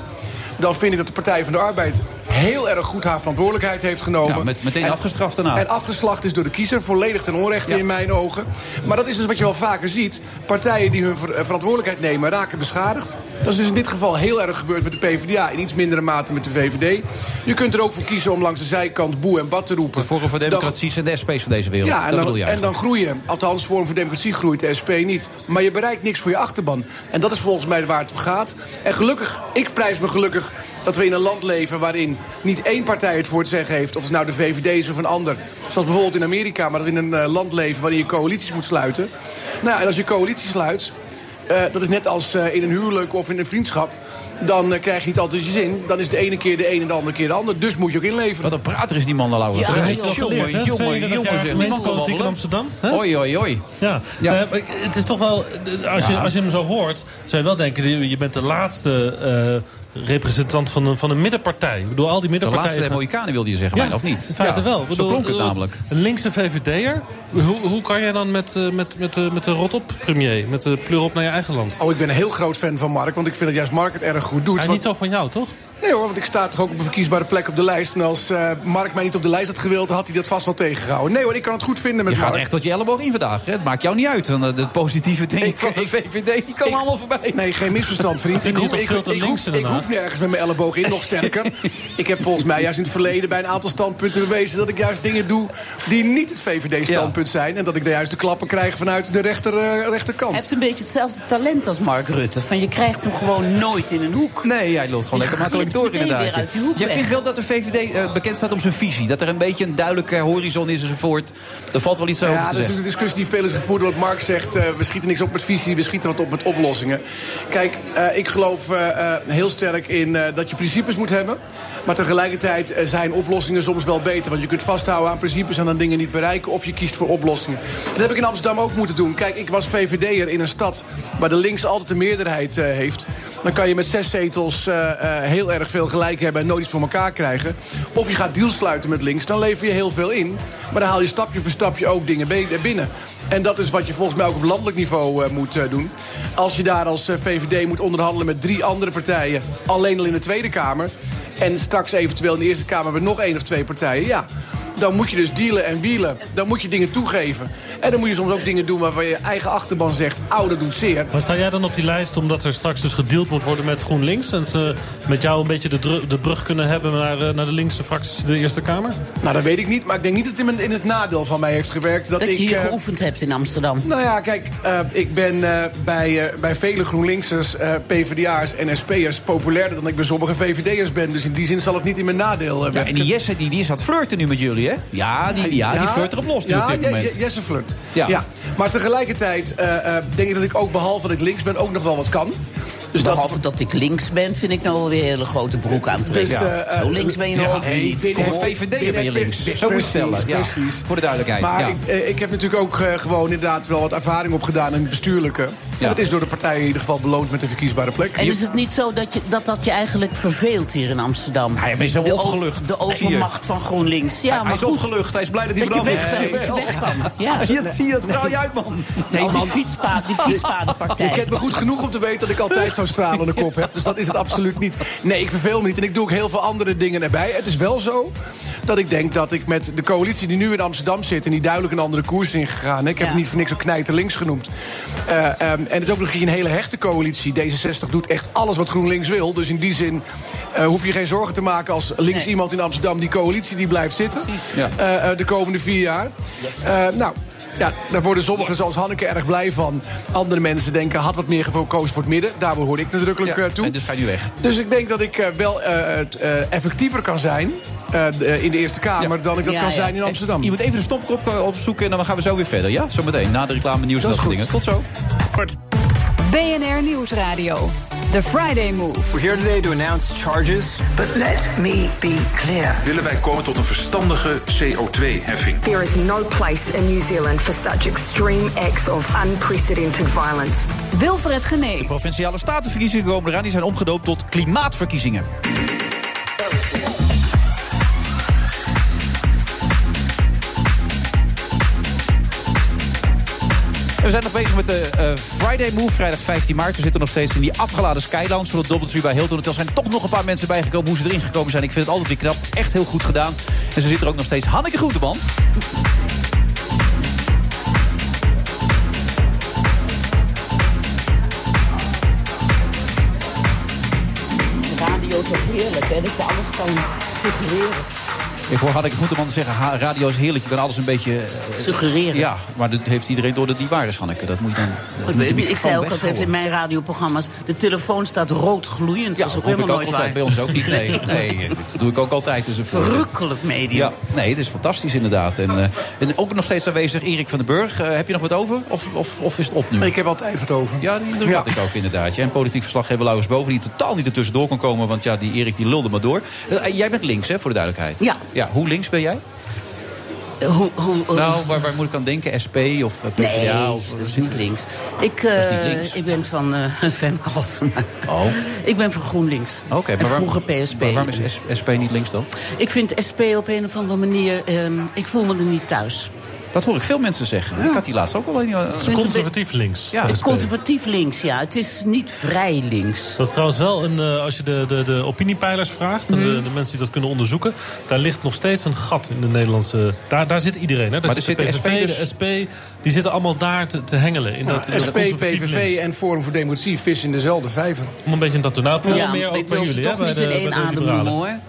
[SPEAKER 18] dan vind ik dat de Partij van de Arbeid heel erg goed haar verantwoordelijkheid heeft genomen.
[SPEAKER 7] Ja, met- meteen afgestraft daarna.
[SPEAKER 18] En afgeslacht is door de kiezer, volledig ten onrechte in mijn ogen. Maar dat is dus wat je wel vaker ziet. Partijen die hun ver- eh, verantwoordelijkheid nemen, raken beschadigd. Dat is dus in dit geval heel erg gebeurd met de PvdA. In iets mindere mate met de VVD. Je kunt er ook voor kiezen om langs de zijkant boe en bad te roepen.
[SPEAKER 7] De Forum voor
[SPEAKER 18] Dan-
[SPEAKER 7] Democratie zijn de SP's van deze wereld.
[SPEAKER 18] ja, en
[SPEAKER 7] dat wil
[SPEAKER 18] dan,
[SPEAKER 7] je
[SPEAKER 18] en
[SPEAKER 7] eigenlijk.
[SPEAKER 18] dan groeien. Althans, Forum voor Democratie groeit, de SP niet. Maar je bereikt niks voor je achterban. En dat is volgens mij waar het om gaat. En gelukkig, ik prijs me gelukkig dat we in een land leven... waarin niet één partij het voor het zeggen heeft... of het nou de VVD is of een ander. Zoals bijvoorbeeld in Amerika, maar dat we in een eh, land leven... waarin je coalities moet sluiten. Nou, en als je coalities sluit... eh, dat is net als eh, in een huwelijk of in een vriendschap. Dan eh, krijg je niet altijd je zin. Dan is de ene keer de een en de andere keer de ander. Dus moet je ook inleveren.
[SPEAKER 7] Wat een prater is die man, Laurens.
[SPEAKER 18] Ja,
[SPEAKER 7] Hè?
[SPEAKER 18] hij heeft wel geleerd, hè?
[SPEAKER 7] jongen,
[SPEAKER 18] 32 jaar
[SPEAKER 7] jongen, zeg. Die
[SPEAKER 18] geleden
[SPEAKER 7] man kan
[SPEAKER 16] politiek in
[SPEAKER 7] babbelen.
[SPEAKER 16] Amsterdam.
[SPEAKER 7] Oei, oei, oei.
[SPEAKER 16] Ja,
[SPEAKER 7] Ja.
[SPEAKER 16] eh, maar ik- het is toch wel. eh, Als, je,
[SPEAKER 7] Ja.
[SPEAKER 16] als je hem zo hoort, zou je wel denken: je- je bent de laatste eh, representant van een, van een middenpartij. Ik bedoel, al die
[SPEAKER 7] De
[SPEAKER 16] middenpartijen.
[SPEAKER 7] laatste
[SPEAKER 16] van-
[SPEAKER 7] Republikeinen wilde je zeggen,
[SPEAKER 16] Ja,
[SPEAKER 7] maar, of niet?
[SPEAKER 16] In feite
[SPEAKER 7] Ja,
[SPEAKER 16] wel. Ik
[SPEAKER 7] Zo
[SPEAKER 16] bedoel,
[SPEAKER 7] klonk het
[SPEAKER 16] eh,
[SPEAKER 7] namelijk.
[SPEAKER 16] Een linkse VVD'er, hoe, hoe kan jij dan met, eh, met, met, de- met de rot op premier, met de pleur op naar je eigen land?
[SPEAKER 18] Oh, ik ben een heel groot fan van Mark, want ik vind dat juist Mark het erg goed doet.
[SPEAKER 16] Maar
[SPEAKER 18] want-
[SPEAKER 16] niet zo van jou, toch?
[SPEAKER 18] Nee hoor, want ik sta toch ook op een verkiesbare plek op de lijst. En als eh, Mark mij niet op de lijst had gewild, had hij dat vast wel tegengehouden. Nee hoor, ik kan het goed vinden met
[SPEAKER 7] Je gaat
[SPEAKER 18] Mark.
[SPEAKER 7] echt tot je elleboog in vandaag. Hè? Het maakt jou niet uit. Want eh, de positieve dingen van de VVD, die komen allemaal voorbij.
[SPEAKER 18] Nee, geen misverstand, vriend.
[SPEAKER 7] Ik vind
[SPEAKER 18] Ik hoef,
[SPEAKER 7] het
[SPEAKER 18] ik,
[SPEAKER 7] toch veel te
[SPEAKER 18] ik hoef-
[SPEAKER 7] links,
[SPEAKER 18] ik
[SPEAKER 7] inderdaad.
[SPEAKER 18] hoef nergens met mijn elleboog in, nog sterker. ik heb volgens mij juist in het verleden bij een aantal standpunten bewezen... dat ik juist dingen doe die niet het VVD-standpunt zijn... en dat ik daar juist de klappen krijg vanuit de rechter, eh,
[SPEAKER 15] Hij
[SPEAKER 18] rechterkant.
[SPEAKER 15] heeft een beetje hetzelfde talent als Mark Rutte. Van je krijgt hem gewoon nooit in een hoek.
[SPEAKER 7] Nee, jij loopt gewoon lekker makkelijk door inderdaad.
[SPEAKER 15] Weer uit die hoek
[SPEAKER 7] Jij
[SPEAKER 15] weg.
[SPEAKER 7] vindt wel dat de VVD eh, bekend staat om zijn visie. Dat er een beetje een duidelijke horizon is enzovoort. Er valt wel iets over
[SPEAKER 18] Ja,
[SPEAKER 7] te
[SPEAKER 18] dat is
[SPEAKER 7] zeggen.
[SPEAKER 18] ook de discussie die veel is gevoerd. Wat Mark zegt, eh, we schieten niks op met visie, we schieten wat op met oplossingen. Kijk, eh, ik geloof eh, eh, heel sterk sterk in eh, dat je principes moet hebben. Maar tegelijkertijd eh, zijn oplossingen soms wel beter. Want je kunt vasthouden aan principes en aan dingen niet bereiken. Of je kiest voor oplossingen. Dat heb ik in Amsterdam ook moeten doen. Kijk, ik was VVD'er in een stad waar de links altijd de meerderheid eh, heeft. Dan kan je met zes zetels eh, eh, heel erg veel gelijk hebben en nooit iets voor elkaar krijgen. Of je gaat deals sluiten met links, dan lever je heel veel in. Maar dan haal je stapje voor stapje ook dingen be- binnen. En dat is wat je volgens mij ook op landelijk niveau eh, moet eh, doen. Als je daar als eh, VVD moet onderhandelen met drie andere partijen, alleen al in de Tweede Kamer. En straks eventueel in de Eerste Kamer met nog één of twee partijen, ja. Dan moet je dus dealen en wielen. Dan moet je dingen toegeven. En dan moet je soms ook dingen doen waarvan je eigen achterban zegt... ouder doet zeer.
[SPEAKER 16] Maar sta jij dan op die lijst omdat er straks dus gedeeld moet worden met GroenLinks... en ze met jou een beetje de, dru- de brug kunnen hebben naar, eh, naar de linkse fracties in de Eerste Kamer?
[SPEAKER 18] Nou, dat weet ik niet. Maar ik denk niet dat het in, mijn- in het nadeel van mij heeft gewerkt. Dat,
[SPEAKER 8] Dat je
[SPEAKER 18] ik,
[SPEAKER 8] hier
[SPEAKER 18] eh,
[SPEAKER 8] geoefend hebt in Amsterdam.
[SPEAKER 18] Nou ja, kijk, eh, ik ben eh, bij, eh, bij vele GroenLinksers, eh, PvdA'ers en SP'ers populairder dan ik bij sommige VVD'ers ben. Dus in die zin zal het niet in mijn nadeel eh,
[SPEAKER 7] Ja,
[SPEAKER 18] werken.
[SPEAKER 7] en die Jesse die, die is aan het flirten nu met jullie, hè? Ja, die, die- ja, die flirt erop los nu
[SPEAKER 18] ja,
[SPEAKER 7] op dit
[SPEAKER 18] Je-
[SPEAKER 7] moment.
[SPEAKER 18] Je- Jesse flirt.
[SPEAKER 7] Ja.
[SPEAKER 18] Ja. Maar tegelijkertijd eh, eh, denk ik dat ik ook, behalve dat ik links ben, ook nog wel wat kan. Dus
[SPEAKER 8] Behalve dat... ik links ben, vind ik nou wel weer een hele grote broek aantrekken.
[SPEAKER 18] Dus, eh, eh,
[SPEAKER 8] Zo links ben je nog
[SPEAKER 18] ja,
[SPEAKER 8] ook
[SPEAKER 18] nee,
[SPEAKER 8] niet.
[SPEAKER 18] binnen-
[SPEAKER 8] Kom op.
[SPEAKER 18] VVD ben je binnen- links. binnen-
[SPEAKER 7] Zo moet je het
[SPEAKER 18] precies,
[SPEAKER 7] stellen. Ja,
[SPEAKER 18] precies.
[SPEAKER 7] Voor de duidelijkheid.
[SPEAKER 18] Maar
[SPEAKER 7] ja.
[SPEAKER 18] ik, eh, ik heb natuurlijk ook eh, gewoon inderdaad wel wat ervaring opgedaan in het bestuurlijke. En dat is door de partij in ieder geval beloond met een verkiesbare plek.
[SPEAKER 8] En is het niet zo dat je, dat, dat je eigenlijk verveelt hier in Amsterdam? Hij
[SPEAKER 7] je bent zo opgelucht.
[SPEAKER 8] De overmacht van GroenLinks. Ja,
[SPEAKER 7] Hij-
[SPEAKER 8] maar
[SPEAKER 7] hij is
[SPEAKER 8] goed.
[SPEAKER 7] opgelucht. Hij is blij dat hij
[SPEAKER 8] je
[SPEAKER 7] vanaf
[SPEAKER 8] weg,
[SPEAKER 7] is.
[SPEAKER 8] dat je weg kan. Ja,
[SPEAKER 7] Ja, zie je, dat straal je uit, man.
[SPEAKER 8] Nee, die fietspaden, die fietspadenpartij.
[SPEAKER 18] Je kent me goed genoeg om te weten dat ik altijd zo'n stralende kop heb. Dus dat is het absoluut niet. Nee, ik verveel me niet. En ik doe ook heel veel andere dingen erbij. Het is wel zo dat ik denk dat ik met de coalitie die nu in Amsterdam zit... en die duidelijk een andere koers is ingegaan. hè, Ik heb het niet voor niks ook knijterlinks genoemd. Eh, ehm, en het is ook nog een hele hechte coalitie. D66 doet echt alles wat GroenLinks wil. Dus in die zin eh, hoef je geen zorgen te maken als links iemand in Amsterdam... die coalitie die blijft zitten
[SPEAKER 7] Ja.
[SPEAKER 18] eh, eh, de komende vier jaar. Eh, nou, ja, daar worden sommigen zoals Hanneke erg blij van. Andere mensen denken, had wat meer gefocust voor het midden. Daar behoor ik nadrukkelijk eh, toe.
[SPEAKER 7] En dus ga je nu weg.
[SPEAKER 18] Dus ik denk dat ik eh, wel eh, het, eh, effectiever kan zijn eh, d- eh, in de Eerste Kamer... dan ik dat kan zijn in Amsterdam.
[SPEAKER 7] Je moet even de stopkop eh, opzoeken en dan gaan we zo weer verder. Ja, zometeen. Na de reclame, nieuws en dat soort dingen. Tot zo.
[SPEAKER 3] BNR Nieuwsradio. The Friday Move.
[SPEAKER 10] We're here today to announce charges. But let me be clear.
[SPEAKER 11] Willen wij komen tot een verstandige CO2-heffing?
[SPEAKER 6] There is no place in New Zealand for such extreme acts of unprecedented violence.
[SPEAKER 3] Wilfred Genee.
[SPEAKER 7] De provinciale statenverkiezingen komen eraan. Die zijn omgedoopt tot klimaatverkiezingen. En We zijn nog bezig met de eh, Friday Move, vrijdag 15 maart. We zitten nog steeds in die afgeladen Skylands voor het dobbeltje bij Hilton Hotel. Er zijn toch nog een paar mensen bijgekomen hoe ze erin gekomen zijn. Ik vind het altijd weer knap. Echt heel goed gedaan. En ze zit er ook nog steeds. Hanneke Groenteman.
[SPEAKER 8] De radio is ook heerlijk, hè, dat je alles kan suggereren.
[SPEAKER 7] Ik hoor Hanneke Groenteman zeggen, ha, radio is heerlijk. Je kan alles een beetje... eh,
[SPEAKER 8] Suggereren.
[SPEAKER 7] Ja, maar dat heeft iedereen door dat die waar is, Hanneke. Dat moet je dan... dat
[SPEAKER 8] Ik,
[SPEAKER 7] moet de
[SPEAKER 8] weet, ik
[SPEAKER 7] microfoon
[SPEAKER 8] zei ook
[SPEAKER 7] weghouden.
[SPEAKER 8] altijd in mijn radioprogramma's... de telefoon staat rood gloeiend. dat is ook
[SPEAKER 7] Hoop
[SPEAKER 8] helemaal
[SPEAKER 7] ik ook
[SPEAKER 8] nooit
[SPEAKER 7] altijd.
[SPEAKER 8] waar.
[SPEAKER 7] Bij ons ook niet. Nee, nee, eh, dat doe ik ook altijd. Dus een voordeel.
[SPEAKER 8] Verrukkelijk medium.
[SPEAKER 7] Ja, nee, het is fantastisch inderdaad. En, eh, en ook nog steeds aanwezig Erik van den Burg. Eh, heb je nog wat over? Of, of, of is het op nu?
[SPEAKER 18] Ik heb altijd wat over.
[SPEAKER 7] Ja, die indruk had ik ook inderdaad. Ja, en politiek verslaggever Laurens Boven, die totaal niet ertussendoor kon komen. Want ja, die Erik die lulde maar door. Eh, jij bent links, hè, voor de duidelijkheid.
[SPEAKER 8] Ja. Eh,
[SPEAKER 7] ja hoe links ben jij?
[SPEAKER 8] Hoe, hoe, hoe-
[SPEAKER 7] Nou, waar, waar moet ik aan denken? SP of eh, PvdA?
[SPEAKER 8] Nee,
[SPEAKER 7] of,
[SPEAKER 8] dat is niet links. Ik,
[SPEAKER 7] is niet
[SPEAKER 8] eh,
[SPEAKER 7] links.
[SPEAKER 8] ik ben van eh Femke Halsema.
[SPEAKER 7] Oh.
[SPEAKER 8] Ik ben van GroenLinks.
[SPEAKER 7] Oké, maar
[SPEAKER 8] en
[SPEAKER 7] waarom-
[SPEAKER 8] vroeger PSP.
[SPEAKER 7] Maar waarom is S- SP niet links dan?
[SPEAKER 8] Ik vind SP op een of andere manier... ehm, ik voel me er niet thuis.
[SPEAKER 7] Dat hoor ik veel mensen zeggen. Ik had die laatst ook al een.
[SPEAKER 8] Het is conservatief
[SPEAKER 16] links.
[SPEAKER 7] Ja,
[SPEAKER 8] Het conservatief links, ja. Het is niet vrij links.
[SPEAKER 16] Dat is trouwens wel een, eh, als je de, de, de opiniepeilers vraagt, en
[SPEAKER 18] Mhm.
[SPEAKER 16] de, de mensen die dat kunnen onderzoeken, daar ligt nog steeds een gat in de Nederlandse. Daar, daar zit iedereen. Hè? Daar
[SPEAKER 7] Maar
[SPEAKER 16] zit
[SPEAKER 7] er
[SPEAKER 16] de
[SPEAKER 7] zit
[SPEAKER 16] PVV,
[SPEAKER 7] de
[SPEAKER 16] de,
[SPEAKER 7] SP
[SPEAKER 16] SP,
[SPEAKER 18] dus-
[SPEAKER 16] die zitten allemaal daar te, te hengelen. In dat, in dat
[SPEAKER 18] SP,
[SPEAKER 16] conservatief links.
[SPEAKER 18] PVV en Forum voor Democratie vissen in dezelfde vijver.
[SPEAKER 16] Om een beetje dat te nou, veel
[SPEAKER 18] Ja,
[SPEAKER 16] meer
[SPEAKER 18] maar
[SPEAKER 16] ook
[SPEAKER 18] ik
[SPEAKER 16] bij
[SPEAKER 18] wil ze
[SPEAKER 16] jullie. hè,
[SPEAKER 18] toch
[SPEAKER 16] bij
[SPEAKER 18] niet
[SPEAKER 16] de-
[SPEAKER 18] in
[SPEAKER 16] bij de
[SPEAKER 8] één adem
[SPEAKER 16] liberalen.
[SPEAKER 8] noemen, hoor.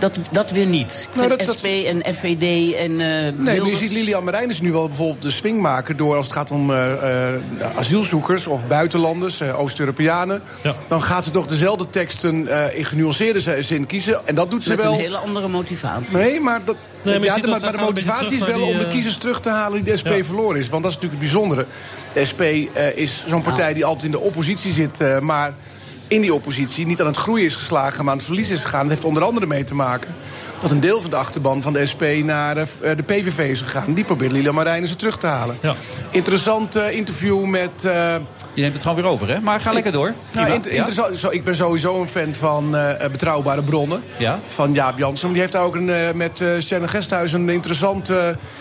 [SPEAKER 8] Dat, dat weer niet. Ik
[SPEAKER 18] Nou,
[SPEAKER 8] vind
[SPEAKER 18] dat- dat-
[SPEAKER 8] SP en FVD en eh
[SPEAKER 18] Nee, maar je
[SPEAKER 8] Wilders-
[SPEAKER 18] ziet Lilian Marijnis nu wel bijvoorbeeld de swing maken... door als het gaat om eh, eh, asielzoekers of buitenlanders, eh, Oost-Europeanen... dan gaat ze toch dezelfde teksten eh, in genuanceerde zi- zin kiezen. En dat doet ze
[SPEAKER 8] met
[SPEAKER 18] wel...
[SPEAKER 8] een hele andere motivatie.
[SPEAKER 18] Nee, maar, dat,
[SPEAKER 8] Nee, maar je
[SPEAKER 18] ja,
[SPEAKER 8] ziet
[SPEAKER 18] de- maar, maar
[SPEAKER 8] dat ze
[SPEAKER 18] de
[SPEAKER 8] gaan een beetje
[SPEAKER 18] motivatie is
[SPEAKER 8] terug
[SPEAKER 18] wel
[SPEAKER 8] naar
[SPEAKER 18] om
[SPEAKER 8] die,
[SPEAKER 18] de
[SPEAKER 8] eh,
[SPEAKER 18] kiezers terug te halen die de SP
[SPEAKER 8] Ja.
[SPEAKER 18] verloren is. Want dat is natuurlijk het bijzondere. De SP eh, is zo'n partij die altijd in de oppositie zit, eh, maar... in die oppositie niet aan het groeien is geslagen, maar aan het verlies is gegaan. Dat heeft onder andere mee te maken dat een deel van de achterban van de SP naar eh, de PVV is gegaan. Die probeert Lila Marijnen ze terug te halen. Interessant eh, interview met. eh,
[SPEAKER 7] Je neemt het gewoon weer over, hè? Maar ga lekker door.
[SPEAKER 18] nou,
[SPEAKER 7] Prima.
[SPEAKER 18] inter-
[SPEAKER 7] Ja?
[SPEAKER 18] interessant. Zo, ik ben sowieso een fan van eh, betrouwbare bronnen.
[SPEAKER 7] Ja?
[SPEAKER 18] Van Jaap Jansen. Maar Die heeft daar ook een, eh, met eh Shannon Gesthuis een interessant eh,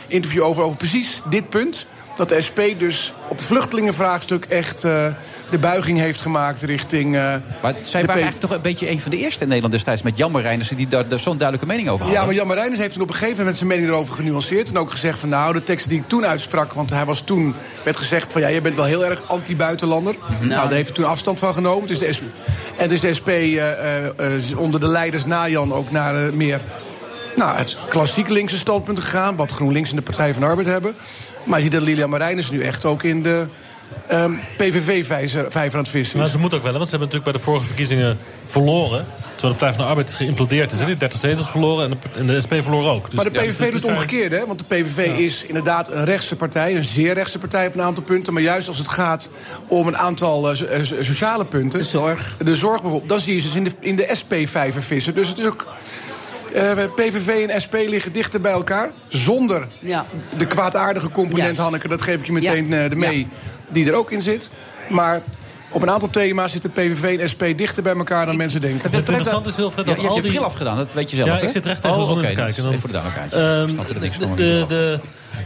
[SPEAKER 18] interview over. Over precies dit punt. Dat de SP dus op het vluchtelingenvraagstuk echt eh, de buiging heeft gemaakt richting. eh,
[SPEAKER 7] Maar zij
[SPEAKER 18] de
[SPEAKER 7] waren
[SPEAKER 18] P-
[SPEAKER 7] eigenlijk toch een beetje een van de eerste in Nederland destijds... met Jan Marijnissen die daar, daar zo'n duidelijke mening over hadden.
[SPEAKER 18] Ja, maar Jan Marijnis heeft toen op een gegeven moment zijn mening erover genuanceerd. En ook gezegd van nou, de teksten die ik toen uitsprak. Want hij was toen, werd gezegd van ja, je bent wel heel erg anti-buitenlander.
[SPEAKER 7] Mhm.
[SPEAKER 18] Nou, daar heeft hij toen afstand van genomen. Dus de SP, en dus de SP eh, eh, eh, onder de leiders na Jan ook naar eh, meer nou, het klassiek linkse standpunt gegaan. Wat GroenLinks en de Partij van de Arbeid hebben. Maar je ziet dat Lilian Marijnis nu echt ook in de ehm, PVV-vijver aan het vissen
[SPEAKER 16] Maar
[SPEAKER 18] is.
[SPEAKER 16] ze moet ook wel, hè, want ze hebben natuurlijk bij de vorige verkiezingen verloren. Terwijl de Partij van de Arbeid geïmplodeerd is. hè. Die 30 zetels verloren en de, en de SP verloor ook. Dus
[SPEAKER 18] maar de
[SPEAKER 16] ja,
[SPEAKER 18] PVV
[SPEAKER 16] dus
[SPEAKER 18] doet
[SPEAKER 16] is
[SPEAKER 18] het
[SPEAKER 16] daar-
[SPEAKER 18] omgekeerd, hè? Want de PVV is inderdaad een rechtse partij, een zeer rechtse partij op een aantal punten. Maar juist als het gaat om een aantal eh, so- eh, so- sociale punten. De zorg. De zorg bijvoorbeeld. Dan zie je ze dus in de, in de SP-vijver vissen. Dus het is ook. eh, PVV en SP liggen dichter bij elkaar. Zonder de kwaadaardige component,
[SPEAKER 19] Juist.
[SPEAKER 18] Hanneke. Dat geef ik je meteen eh, de mee, die er ook in zit. Maar op een aantal thema's zitten PVV en SP dichter bij elkaar dan mensen denken.
[SPEAKER 16] Het interessante is, Wilfred, dat
[SPEAKER 18] Ja, je hebt
[SPEAKER 16] al
[SPEAKER 18] je
[SPEAKER 16] die...
[SPEAKER 18] bril
[SPEAKER 7] afgedaan, dat weet
[SPEAKER 18] je zelf,
[SPEAKER 16] Ja,
[SPEAKER 18] hè?
[SPEAKER 16] ik zit recht tegen
[SPEAKER 18] Oh,
[SPEAKER 16] de zon
[SPEAKER 18] oké,
[SPEAKER 16] in te
[SPEAKER 18] dat is
[SPEAKER 16] kijken. Dan,
[SPEAKER 18] even voor de duidelijkheid.
[SPEAKER 16] Ehm,
[SPEAKER 18] Ik snap er niks
[SPEAKER 16] de-
[SPEAKER 18] van,
[SPEAKER 16] de- de-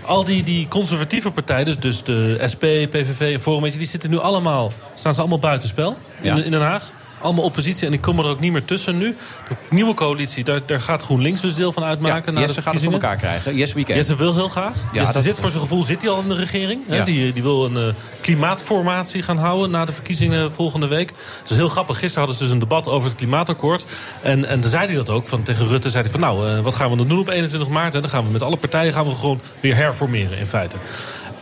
[SPEAKER 16] al die, die conservatieve partijen, dus, dus de SP, PVV en Forum... weet je, die zitten nu allemaal, staan ze allemaal buitenspel
[SPEAKER 7] Ja.
[SPEAKER 16] in, in Den Haag. Allemaal oppositie en ik kom er ook niet meer tussen nu. De nieuwe coalitie, daar, daar gaat GroenLinks dus deel van uitmaken. na
[SPEAKER 7] Jesse
[SPEAKER 16] de
[SPEAKER 7] gaat het voor
[SPEAKER 16] verkiezingen.
[SPEAKER 7] elkaar krijgen. Jesse Weekend.
[SPEAKER 16] Jesse wil heel graag.
[SPEAKER 7] Ja,
[SPEAKER 16] Jesse
[SPEAKER 7] dat-
[SPEAKER 16] zit voor zijn gevoel zit hij al in de regering.
[SPEAKER 7] Ja.
[SPEAKER 16] Hè? Die, die wil een eh, klimaatformatie gaan houden na de verkiezingen volgende week. Dat is heel grappig. Gisteren hadden ze dus een debat over het klimaatakkoord. En, en toen zei hij dat ook. Van, tegen Rutte zei hij van nou, eh, wat gaan we dan doen op 21 maart? En dan gaan we met alle partijen gaan we gewoon weer herformeren in feite.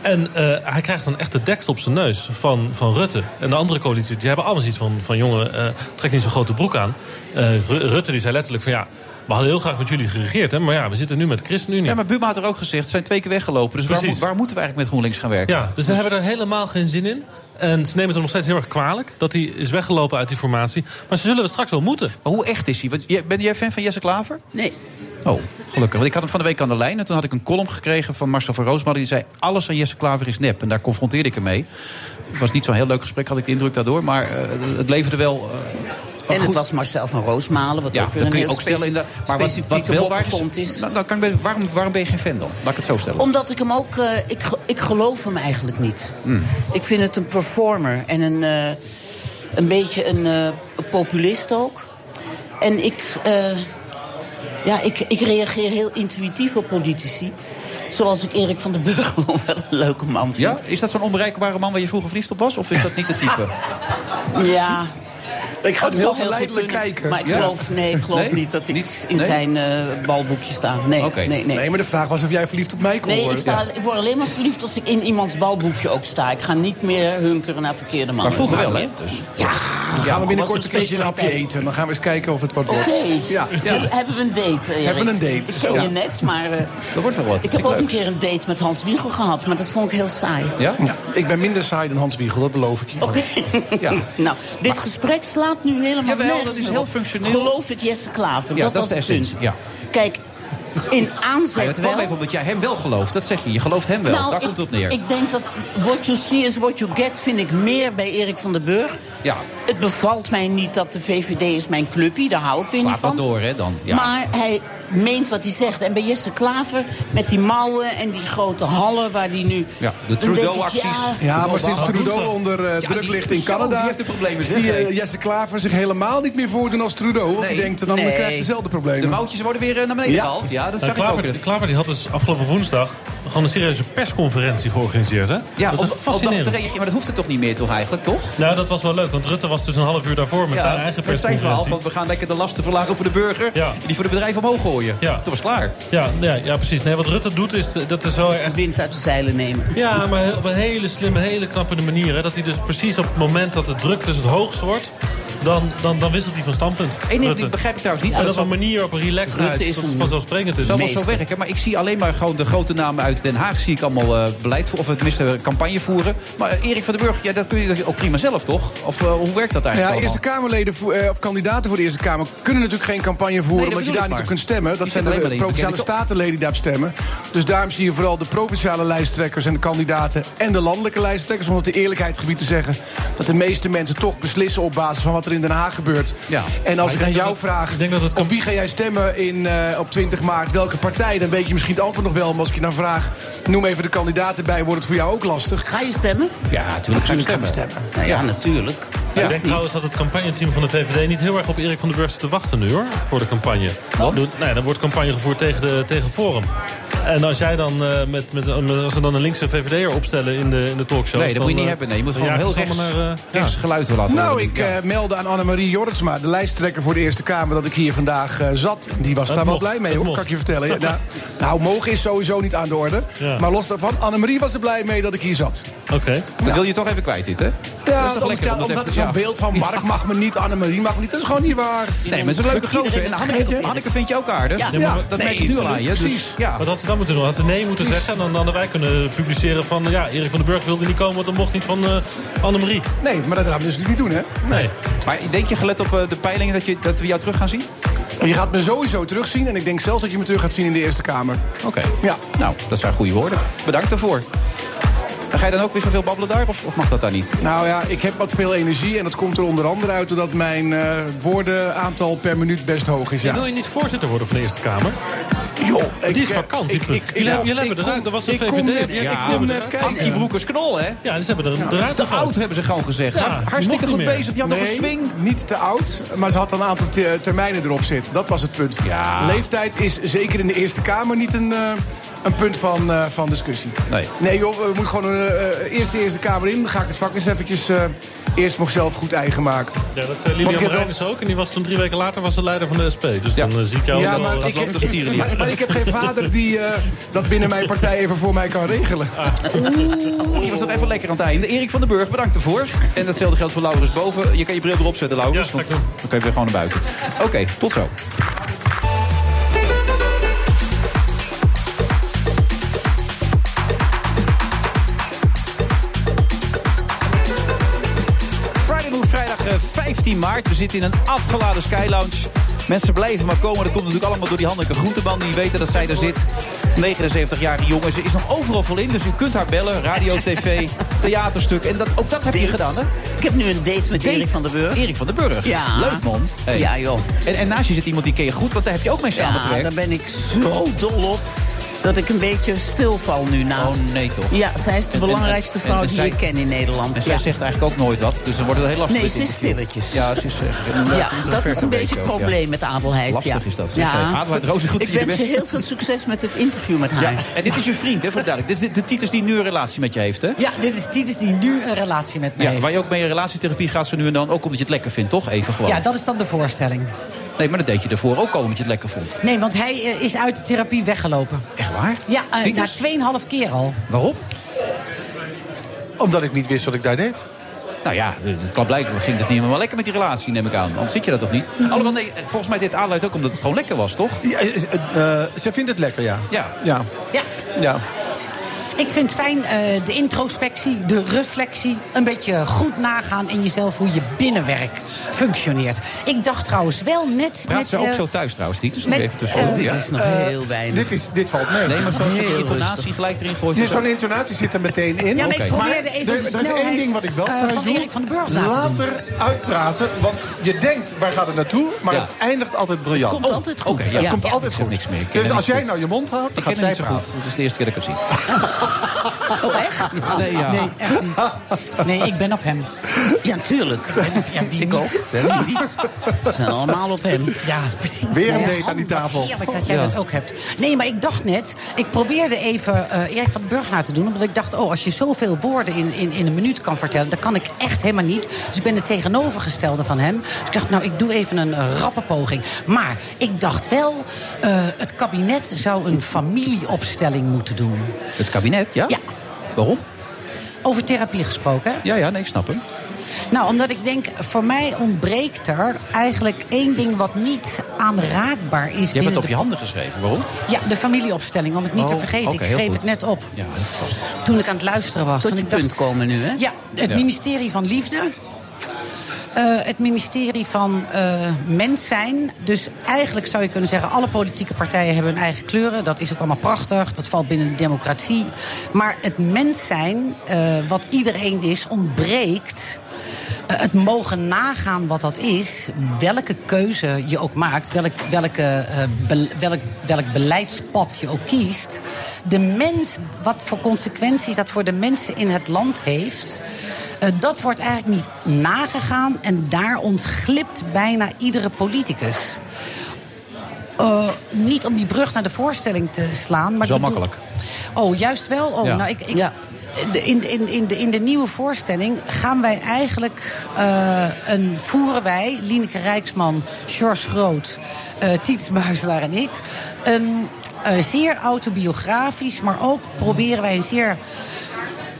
[SPEAKER 16] En eh, hij krijgt dan echt de deksel op zijn neus van, van Rutte. En de andere coalitie, die hebben allemaal iets van... van jongen, eh, trek niet zo'n grote broek aan. Eh, Ru- Rutte die zei letterlijk van ja... we hadden heel graag met jullie geregeerd, hè, maar ja, we zitten nu met de ChristenUnie.
[SPEAKER 7] Ja, maar Buma had er ook gezegd, ze zijn twee keer weggelopen. Dus waar,
[SPEAKER 16] Precies.
[SPEAKER 7] moet- waar moeten we eigenlijk met GroenLinks gaan werken?
[SPEAKER 16] Ja, dus ze hebben er helemaal geen zin in. En ze nemen het hem nog steeds heel erg kwalijk dat hij is weggelopen uit die formatie. Maar ze zullen het straks wel moeten.
[SPEAKER 7] Maar hoe echt is hij? Want jij- ben jij fan van Jesse Klaver?
[SPEAKER 8] Nee.
[SPEAKER 7] Oh, gelukkig. Want ik had hem van de week aan de lijn. En toen had ik een column gekregen van Marcel van Roosmalen. Die zei, alles aan Jesse Klaver is nep. En daar confronteerde ik hem mee. Het was niet zo'n heel leuk gesprek, had ik de indruk daardoor. Maar eh, het leverde wel... eh,
[SPEAKER 8] En het was Marcel van Roosmalen, wat
[SPEAKER 7] ja,
[SPEAKER 8] ook weer
[SPEAKER 7] dat
[SPEAKER 8] een
[SPEAKER 7] kun je
[SPEAKER 8] heel
[SPEAKER 7] ook stellen. In de,
[SPEAKER 8] speci-
[SPEAKER 7] maar wat, wat
[SPEAKER 8] specifieke
[SPEAKER 7] wel waar
[SPEAKER 8] wokkerpont is.
[SPEAKER 7] Nou, dan kan ik bij- waarom, waarom ben je geen fan dan? Laat ik het zo stellen.
[SPEAKER 8] Omdat ik hem ook... eh, ik, ge- ik geloof hem eigenlijk niet.
[SPEAKER 7] Hmm.
[SPEAKER 8] Ik vind het een performer en een, eh, een beetje een, eh, een populist ook. En ik, eh, ja, ik, ik reageer heel intuïtief op politici. Zoals ik Erik van den Burg wel een leuke man vind.
[SPEAKER 7] Ja? Is dat zo'n onbereikbare man waar je vroeger verliefd op was? Of is dat niet de type?
[SPEAKER 8] Ja.
[SPEAKER 18] Ik ga hem
[SPEAKER 8] Dat
[SPEAKER 18] heel
[SPEAKER 8] zou goed
[SPEAKER 18] verleidelijk
[SPEAKER 8] kunnen,
[SPEAKER 18] kijken.
[SPEAKER 8] Maar ik
[SPEAKER 18] Ja.
[SPEAKER 8] geloof, nee, ik geloof
[SPEAKER 18] Nee?
[SPEAKER 8] niet dat ik in
[SPEAKER 18] Nee?
[SPEAKER 8] zijn eh, balboekje sta. Nee, nee, nee.
[SPEAKER 18] Nee, maar de vraag was of jij verliefd op mij kon
[SPEAKER 8] Nee, ik,
[SPEAKER 18] worden.
[SPEAKER 8] sta, ik word alleen maar verliefd als ik in iemands balboekje ook sta. Ik ga niet meer hunkeren naar verkeerde mannen.
[SPEAKER 18] Maar vroeger wel, hè?
[SPEAKER 7] Dus.
[SPEAKER 8] Ja,
[SPEAKER 18] Ja, maar
[SPEAKER 8] Ah, was
[SPEAKER 18] binnenkort
[SPEAKER 8] een
[SPEAKER 18] een keertje een hapje
[SPEAKER 8] specialiteit.
[SPEAKER 18] eten. Dan gaan we eens kijken of het wat
[SPEAKER 8] Oké,
[SPEAKER 18] wordt. Ja.
[SPEAKER 8] Hebben- hebben we een date? eh,
[SPEAKER 18] Hebben we een
[SPEAKER 8] Erik?
[SPEAKER 18] date,
[SPEAKER 8] Ik
[SPEAKER 18] zo.
[SPEAKER 8] ken
[SPEAKER 18] Ja.
[SPEAKER 8] je net, maar... eh,
[SPEAKER 18] Dat wordt wel wat.
[SPEAKER 8] Ik
[SPEAKER 18] Vind
[SPEAKER 8] heb
[SPEAKER 18] ik
[SPEAKER 8] ook
[SPEAKER 18] leuk.
[SPEAKER 8] een keer een date met Hans Wiegel gehad, maar dat vond ik heel saai.
[SPEAKER 18] Ja? Ik ben minder saai dan Hans Wiegel, dat beloof ik je.
[SPEAKER 8] Nou, dit gesprek slaat nu helemaal
[SPEAKER 18] Jawel,
[SPEAKER 8] nergens
[SPEAKER 18] dat is
[SPEAKER 8] meer
[SPEAKER 18] heel
[SPEAKER 8] op.
[SPEAKER 18] functioneel.
[SPEAKER 8] Geloof ik Jesse Klaver,
[SPEAKER 7] Ja,
[SPEAKER 8] dat,
[SPEAKER 7] dat is
[SPEAKER 8] was
[SPEAKER 7] de
[SPEAKER 8] het punt.
[SPEAKER 7] essentie. Ja.
[SPEAKER 8] Kijk, in
[SPEAKER 7] Maar
[SPEAKER 8] aanzet
[SPEAKER 7] het
[SPEAKER 8] wel...
[SPEAKER 7] kwam even omdat jij hem wel gelooft. Dat zeg je. Je gelooft hem wel.
[SPEAKER 8] Nou,
[SPEAKER 7] Daar
[SPEAKER 8] ik-
[SPEAKER 7] komt het op neer.
[SPEAKER 8] Ik denk dat what you see is what you get vind ik meer bij Erik van den Burg.
[SPEAKER 7] ja.
[SPEAKER 8] Het bevalt mij niet dat de VVD is mijn clubje, daar hou ik weer niet
[SPEAKER 7] Slaat
[SPEAKER 8] van.
[SPEAKER 7] dat door, hè, dan. Ja.
[SPEAKER 8] Maar hij meent wat hij zegt. En bij Jesse Klaver, met die mouwen en die grote hallen waar die nu...
[SPEAKER 7] Ja,
[SPEAKER 8] Dan
[SPEAKER 7] de
[SPEAKER 8] denk ik,
[SPEAKER 7] Trudeau-acties.
[SPEAKER 8] ja,
[SPEAKER 18] Ja, maar sinds
[SPEAKER 7] Wat doen
[SPEAKER 18] Trudeau
[SPEAKER 7] ze?
[SPEAKER 18] onder eh,
[SPEAKER 7] Ja, die-
[SPEAKER 18] druk ligt in
[SPEAKER 7] zo, die
[SPEAKER 18] Canada...
[SPEAKER 7] heeft de problemen, zeg,
[SPEAKER 18] zie je
[SPEAKER 7] hè?
[SPEAKER 18] eh, Jesse Klaver zich helemaal niet meer voordoen als Trudeau. Want
[SPEAKER 7] Nee.
[SPEAKER 18] die denkt, dan
[SPEAKER 7] Nee.
[SPEAKER 18] krijg je dezelfde problemen.
[SPEAKER 7] De moutjes worden weer eh, naar beneden
[SPEAKER 18] Ja.
[SPEAKER 7] gehaald. Ja, dat
[SPEAKER 16] Nou,
[SPEAKER 7] zag ik ook.
[SPEAKER 16] Klaver, Klaver die had dus afgelopen woensdag gewoon een serieuze persconferentie georganiseerd. Hè?
[SPEAKER 7] Ja,
[SPEAKER 16] dat
[SPEAKER 7] om-
[SPEAKER 16] is
[SPEAKER 7] om
[SPEAKER 16] echt
[SPEAKER 7] dat
[SPEAKER 16] fascinerend.
[SPEAKER 7] te reageren. Maar dat hoeft er toch niet meer, toch eigenlijk, toch?
[SPEAKER 16] nou, dat was wel leuk, want Rutte was dus een half uur daarvoor met zijn eigen
[SPEAKER 7] met zijn verhaal,
[SPEAKER 16] persconferentie.
[SPEAKER 7] want we gaan lekker de lasten verlagen voor de burger... en die voor de bedrijven omhoog gooien. Toen was het klaar.
[SPEAKER 16] Ja, ja, ja, precies. Nee, wat Rutte doet is eh, dat is wel echt
[SPEAKER 8] wind uit de zeilen nemen.
[SPEAKER 16] Ja, maar he- op een hele slimme, hele knappe manier. Hè, dat hij dus precies op het moment dat de druk dus het hoogst wordt, dan, dan, dan wisselt hij van standpunt.
[SPEAKER 7] Eén ding
[SPEAKER 16] Rutte.
[SPEAKER 7] dat begrijp ik trouwens niet.
[SPEAKER 16] En
[SPEAKER 7] maar
[SPEAKER 16] dat is
[SPEAKER 7] zal-
[SPEAKER 16] een manier op een relaxedheid.
[SPEAKER 7] Rutte is
[SPEAKER 16] dat
[SPEAKER 7] een-
[SPEAKER 16] vanzelfsprekend dus. is.
[SPEAKER 7] Zal wel zo werken, maar ik zie alleen maar gewoon de grote namen uit Den Haag... zie ik allemaal eh, beleid, voor- of tenminste campagne voeren. Maar eh, Erik van den Burg, ja, dat kun je dus ook prima zelf, toch? Of eh, hoe werkt dat
[SPEAKER 18] Nou
[SPEAKER 7] eigenlijk
[SPEAKER 18] ja, Eerste
[SPEAKER 7] allemaal?
[SPEAKER 18] Kamerleden voor- eh, of kandidaten voor de Eerste Kamer kunnen natuurlijk geen campagne voeren.
[SPEAKER 7] Nee, dat
[SPEAKER 18] omdat je
[SPEAKER 7] bedoel
[SPEAKER 18] daar
[SPEAKER 7] ik
[SPEAKER 18] niet
[SPEAKER 7] maar.
[SPEAKER 18] op kunt stemmen.
[SPEAKER 7] Die
[SPEAKER 18] Dat zijn de
[SPEAKER 7] zitten alleen maar in die
[SPEAKER 18] provinciale statenleden die daarop stemmen. Dus daarom zie je vooral de provinciale lijsttrekkers en de kandidaten. en de landelijke lijsttrekkers. Om op de eerlijkheid gebied te zeggen. dat de meeste mensen toch beslissen op basis van wat er in Den Haag gebeurt.
[SPEAKER 16] Ja.
[SPEAKER 18] En
[SPEAKER 16] Maar
[SPEAKER 18] als
[SPEAKER 16] ik
[SPEAKER 18] ik aan
[SPEAKER 16] denk dat
[SPEAKER 18] jou
[SPEAKER 16] het-
[SPEAKER 18] vraag.
[SPEAKER 16] ik denk dat het
[SPEAKER 18] op wie ga jij stemmen in, eh, op 20 maart? Welke partij? Dan weet je misschien het antwoord nog wel. Maar als ik je dan vraag. noem even de kandidaten bij, wordt het voor jou ook lastig.
[SPEAKER 8] Ga je stemmen?
[SPEAKER 7] Ja, natuurlijk
[SPEAKER 16] ga ik
[SPEAKER 18] stemmen.
[SPEAKER 8] Nou ja, natuurlijk.
[SPEAKER 16] Ik denk trouwens dat het campagneteam van de VVD niet heel erg op Erik van den Burg zit te wachten nu hoor. Voor de campagne. Want? Nou ja, dan wordt campagne gevoerd tegen, de, tegen Forum. En als jij dan eh, met, met, als ze dan een linkse VVD'er opstellen in de, eh, in de talkshow.
[SPEAKER 7] Nee, dat moet je niet hebben, nee. Je moet gewoon heel rechts,
[SPEAKER 16] eh,
[SPEAKER 7] rechts geluid laten
[SPEAKER 18] nou,
[SPEAKER 7] horen.
[SPEAKER 18] ik eh, meldde aan Annemarie Jortsma, de lijsttrekker voor de Eerste Kamer, dat ik hier vandaag eh, zat. Die was
[SPEAKER 16] Het
[SPEAKER 18] daar wel
[SPEAKER 16] mocht,
[SPEAKER 18] blij mee,
[SPEAKER 16] het
[SPEAKER 18] hoor,
[SPEAKER 16] mocht.
[SPEAKER 18] kan ik je vertellen. Ja, nou, nou, mogen is sowieso niet aan de orde.
[SPEAKER 16] Ja.
[SPEAKER 18] Maar los daarvan, Annemarie was er blij mee dat ik hier zat.
[SPEAKER 16] Oké.
[SPEAKER 7] Dat wil je toch even kwijt, dit, hè?
[SPEAKER 18] Ja,
[SPEAKER 7] dat is toch
[SPEAKER 18] omdat-
[SPEAKER 7] lekker
[SPEAKER 18] ja,
[SPEAKER 7] om dat
[SPEAKER 18] omdat
[SPEAKER 7] even-
[SPEAKER 18] er zo'n
[SPEAKER 7] ja.
[SPEAKER 18] beeld van Mark mag me niet, Annemarie mag me niet. Dat is gewoon niet waar.
[SPEAKER 7] Nee, maar ze is een leuke gozer. En Hanneke, Hanneke vind je ook aardig.
[SPEAKER 18] Ja,
[SPEAKER 7] maar
[SPEAKER 18] ja.
[SPEAKER 7] dat
[SPEAKER 18] Nee,
[SPEAKER 7] merk ik nu al aan je.
[SPEAKER 16] Precies.
[SPEAKER 7] Dus, ja.
[SPEAKER 16] Wat had ze dan moeten doen? Had ze nee moeten zeggen? En dan hadden wij kunnen publiceren van... ja, Erik van den Burg wilde niet komen, want dat mocht niet van eh Annemarie.
[SPEAKER 18] Nee, maar dat gaan we dus niet doen, hè?
[SPEAKER 16] Nee.
[SPEAKER 7] Maar denk je, gelet op eh, de peilingen, dat, je, dat we jou terug gaan zien?
[SPEAKER 18] Je gaat me sowieso terugzien en ik denk zelfs dat je me terug gaat zien in de Eerste Kamer.
[SPEAKER 7] Oké. Ja. Nou, dat zijn goede woorden. Bedankt daarvoor. En ga je dan ook weer zoveel babbelen daar, of, of mag dat daar niet?
[SPEAKER 18] Nou ja, ik heb wat veel energie en dat komt er onder andere uit... doordat mijn eh woordenaantal per minuut best hoog is, ja.
[SPEAKER 16] Wil je niet voorzitter worden van de Eerste Kamer?
[SPEAKER 18] Joh, eh,
[SPEAKER 16] die is vakant, die punt. Jullie hebben- jullie hebben eruit, dat was een VVD.
[SPEAKER 7] Ankie Broekers Knol, hè?
[SPEAKER 16] Ja, dus hebben er
[SPEAKER 18] Ja.
[SPEAKER 16] eruit
[SPEAKER 7] Te
[SPEAKER 16] gehaald.
[SPEAKER 7] oud hebben ze gewoon gezegd.
[SPEAKER 16] Ja,
[SPEAKER 7] Hart- Hartstikke
[SPEAKER 16] mocht
[SPEAKER 7] goed
[SPEAKER 16] niet meer.
[SPEAKER 7] bezig. Die had nog een
[SPEAKER 18] Nee,
[SPEAKER 7] swing.
[SPEAKER 18] niet te oud, maar ze had een aantal te- termijnen erop zitten. Dat was het punt. Leeftijd is zeker in de Eerste Kamer niet een, eh, een punt van, eh, van discussie.
[SPEAKER 7] Nee.
[SPEAKER 18] Nee joh, we moeten gewoon eh, eh, eerst de Eerste Kamer in. Dan ga ik het vak eens eventjes eh, eerst nog zelf goed eigen maken.
[SPEAKER 16] Ja, dat zei
[SPEAKER 18] Want ik
[SPEAKER 16] Lilian
[SPEAKER 18] heb wel-
[SPEAKER 16] Marijnis ook. En die was toen drie weken later was de leider van de SP. Dus dan eh, zie ik jou
[SPEAKER 18] Ja,
[SPEAKER 16] wel...
[SPEAKER 18] maar
[SPEAKER 16] dat
[SPEAKER 18] ik-
[SPEAKER 16] loopt als
[SPEAKER 18] ik-
[SPEAKER 16] een tierenlier.
[SPEAKER 18] maar- maar ik heb geen vader die eh, dat binnen mijn partij even voor mij kan regelen.
[SPEAKER 7] Ah. Oeh, Oh, die was nog even lekker aan het einde. Erik van den Burg, bedankt ervoor. En datzelfde geldt voor Laurens boven. Je kan je bril erop zetten, Laurens. want dan kun je weer gewoon naar buiten. Oké, tot zo. Friday Move, vrijdag eh, 15 maart. We zitten in een afgeladen Skylounge. Mensen blijven maar komen. Dat komt natuurlijk allemaal door die Hanneke Groenteman. Die weten dat zij daar zit. 79-jarige jongen. Ze is nog overal vol in. Dus u kunt haar bellen. Radio, tv, theaterstuk. En dat, ook dat heb je
[SPEAKER 8] Dates.
[SPEAKER 7] gedaan, hè?
[SPEAKER 8] Ik heb nu een date met
[SPEAKER 7] Date.
[SPEAKER 8] Erik van den Burg.
[SPEAKER 7] Erik van den Burg.
[SPEAKER 8] Ja.
[SPEAKER 7] Leuk, man. Hey.
[SPEAKER 8] Ja, joh.
[SPEAKER 7] En, en naast je zit iemand die ken je goed. Want daar heb je ook mee
[SPEAKER 8] Ja,
[SPEAKER 7] samengewerkt.
[SPEAKER 8] daar ben ik zo dol op dat ik een beetje stilval nu naast.
[SPEAKER 7] Oh, nee, toch?
[SPEAKER 8] Ja, zij is de
[SPEAKER 7] En- en-
[SPEAKER 8] belangrijkste
[SPEAKER 7] en-
[SPEAKER 8] vrouw
[SPEAKER 7] en
[SPEAKER 8] die
[SPEAKER 7] zij-
[SPEAKER 8] ik ken in Nederland.
[SPEAKER 7] En zij
[SPEAKER 8] ja.
[SPEAKER 7] zegt eigenlijk ook nooit wat. Dus dan wordt het heel lastig.
[SPEAKER 8] Nee,
[SPEAKER 7] dit
[SPEAKER 8] ze is
[SPEAKER 7] interview.
[SPEAKER 8] stilletjes.
[SPEAKER 7] Ja, ze is... eh, inderdaad
[SPEAKER 8] ja, dat
[SPEAKER 7] introvert
[SPEAKER 8] is een beetje
[SPEAKER 7] ook,
[SPEAKER 8] het
[SPEAKER 7] ja.
[SPEAKER 8] probleem met Adelheid.
[SPEAKER 7] Lastig
[SPEAKER 8] ja.
[SPEAKER 7] is dat. Oké,
[SPEAKER 8] Ja.
[SPEAKER 7] Adelheid Rozen, goed dat
[SPEAKER 8] ik
[SPEAKER 7] je er
[SPEAKER 8] wens je
[SPEAKER 7] bent.
[SPEAKER 8] heel veel succes met het interview met haar.
[SPEAKER 7] Ja, en dit is je vriend, hè, voor de duidelijk. Dit is de, de Titus die nu een relatie met je heeft, hè?
[SPEAKER 17] Ja, dit is Titus die nu een relatie met mij
[SPEAKER 7] Ja,
[SPEAKER 17] heeft.
[SPEAKER 7] waar je ook mee in relatietherapie gaat zo nu en dan. Ook omdat je het lekker vindt, toch? Even gewoon.
[SPEAKER 17] Ja, dat is dan de voorstelling.
[SPEAKER 7] Nee, maar dat deed je ervoor ook al omdat je het lekker vond.
[SPEAKER 17] Nee, want hij eh, is uit de therapie weggelopen.
[SPEAKER 7] Echt waar?
[SPEAKER 17] Ja, eh, na
[SPEAKER 7] Titus?
[SPEAKER 17] 2,5 keer al.
[SPEAKER 7] Waarom?
[SPEAKER 13] Omdat ik niet wist wat ik daar deed.
[SPEAKER 7] Nou ja, het blijkbaar ging het niet helemaal lekker met die relatie, neem ik aan. Anders zit je dat toch niet? Allemaal nee, eh, volgens mij deed Adelheid ook omdat het gewoon lekker was, toch?
[SPEAKER 13] Ja, eh, eh, eh, ze vindt het lekker, ja.
[SPEAKER 7] Ja.
[SPEAKER 13] Ja.
[SPEAKER 17] Ja,
[SPEAKER 13] ja.
[SPEAKER 17] ik vind het fijn eh, de introspectie, de reflectie. Een beetje goed nagaan in jezelf hoe je binnenwerk functioneert. Ik dacht trouwens wel net...
[SPEAKER 7] Praat
[SPEAKER 17] met,
[SPEAKER 7] ze ook
[SPEAKER 17] eh,
[SPEAKER 7] zo thuis trouwens, Titus?
[SPEAKER 17] met,
[SPEAKER 7] even tussendoor,
[SPEAKER 17] eh,
[SPEAKER 7] ja.
[SPEAKER 17] dit is nog Eh, heel
[SPEAKER 13] weinig. dit is- dit valt mee.
[SPEAKER 7] Nee, maar zo'n
[SPEAKER 13] Heel
[SPEAKER 7] intonatie
[SPEAKER 13] rustig.
[SPEAKER 7] gelijk erin gooit.
[SPEAKER 13] Dus zo'n intonatie zit er meteen in.
[SPEAKER 17] Ja, maar ik probeerde
[SPEAKER 13] Maar
[SPEAKER 17] even
[SPEAKER 13] er-
[SPEAKER 17] de
[SPEAKER 13] Er is één
[SPEAKER 17] snelheid,
[SPEAKER 13] ding wat ik wel
[SPEAKER 17] eh,
[SPEAKER 13] thuis
[SPEAKER 17] van
[SPEAKER 13] doe.
[SPEAKER 17] Erik van den Burg laten
[SPEAKER 13] Later uitpraten, want je denkt, waar gaat het naartoe? Maar het eindigt altijd briljant.
[SPEAKER 7] Het komt altijd goed.
[SPEAKER 13] Oké,
[SPEAKER 7] Oh, Ja.
[SPEAKER 13] Het
[SPEAKER 7] Ja.
[SPEAKER 13] komt
[SPEAKER 7] Ja.
[SPEAKER 13] altijd
[SPEAKER 7] Ik zeg
[SPEAKER 13] goed.
[SPEAKER 7] niks meer. Ik ken
[SPEAKER 13] Dus
[SPEAKER 7] hem
[SPEAKER 13] als
[SPEAKER 7] niet
[SPEAKER 13] jij
[SPEAKER 7] goed.
[SPEAKER 13] nou je mond houdt,
[SPEAKER 7] Ik
[SPEAKER 13] dan
[SPEAKER 7] ken
[SPEAKER 13] gaat
[SPEAKER 7] hem niet
[SPEAKER 13] zij
[SPEAKER 7] zo goed.
[SPEAKER 13] praten.
[SPEAKER 7] Het is de eerste keer dat ik
[SPEAKER 17] Ah.
[SPEAKER 7] hem
[SPEAKER 17] Oh, echt?
[SPEAKER 7] Nee, ja.
[SPEAKER 17] Nee, echt niet. Nee, ik ben op hem.
[SPEAKER 8] Ja, tuurlijk.
[SPEAKER 17] Ja, wie
[SPEAKER 8] Ik
[SPEAKER 17] niet?
[SPEAKER 8] ook. Wie niet? We zijn allemaal op hem.
[SPEAKER 17] Ja, precies.
[SPEAKER 8] Weer een
[SPEAKER 17] Ja,
[SPEAKER 8] date aan die
[SPEAKER 17] wat
[SPEAKER 8] tafel.
[SPEAKER 17] Heerlijk dat jij
[SPEAKER 8] Ja.
[SPEAKER 17] dat ook hebt. Nee, maar ik dacht net, ik probeerde even eh Erik van den Burg na te doen. Omdat ik dacht, oh, als je zoveel woorden in, in, in een minuut kan vertellen, dat kan ik echt helemaal niet. Dus ik ben het tegenovergestelde van hem. Dus ik dacht, nou, ik doe even een eh, rappe poging. Maar ik dacht wel, eh, het kabinet zou een familieopstelling moeten doen.
[SPEAKER 7] Het kabinet, ja?
[SPEAKER 17] Ja.
[SPEAKER 7] Waarom?
[SPEAKER 17] Over therapie gesproken, hè?
[SPEAKER 7] Ja, ja, nee, ik snap hem.
[SPEAKER 17] Nou, omdat ik denk, voor mij ontbreekt er eigenlijk één ding wat niet aanraakbaar is.
[SPEAKER 7] Je hebt
[SPEAKER 17] binnen
[SPEAKER 7] het op
[SPEAKER 17] de-
[SPEAKER 7] je handen geschreven. Waarom?
[SPEAKER 17] Ja, de familieopstelling, om het niet
[SPEAKER 7] Oh,
[SPEAKER 17] te vergeten.
[SPEAKER 7] oké,
[SPEAKER 17] ik
[SPEAKER 7] heel
[SPEAKER 17] schreef
[SPEAKER 7] goed.
[SPEAKER 17] het net op.
[SPEAKER 7] Ja, fantastisch.
[SPEAKER 17] Toen ik aan het luisteren was.
[SPEAKER 8] Tot
[SPEAKER 17] en
[SPEAKER 8] je
[SPEAKER 17] ik dacht-
[SPEAKER 8] punt komen nu, hè?
[SPEAKER 17] Ja, het
[SPEAKER 8] Ja.
[SPEAKER 17] ministerie van Liefde. eh, het ministerie van eh, mens zijn. Dus eigenlijk zou je kunnen zeggen... alle politieke partijen hebben hun eigen kleuren. Dat is ook allemaal prachtig. Dat valt binnen de democratie. Maar het mens zijn, eh, wat iedereen is, ontbreekt... Eh, het mogen nagaan wat dat is, welke keuze je ook maakt, welk, welke, eh, be- welk, welk beleidspad je ook kiest. De mens, wat voor consequenties dat voor de mensen in het land heeft, eh, dat wordt eigenlijk niet nagegaan en daar ontglipt bijna iedere politicus. Eh, niet om die brug naar de voorstelling te slaan. Maar
[SPEAKER 7] Zo
[SPEAKER 17] ik bedoel-
[SPEAKER 7] makkelijk.
[SPEAKER 17] Oh, juist wel? Oh,
[SPEAKER 7] Ja.
[SPEAKER 17] nou, ik, ik, de- in, in, in, de, in de nieuwe voorstelling gaan wij eigenlijk eh, een voeren wij, Lineke Rijksman, George Groot, eh Tiets Muiselaar en ik. Een eh, zeer autobiografisch, maar ook proberen wij een zeer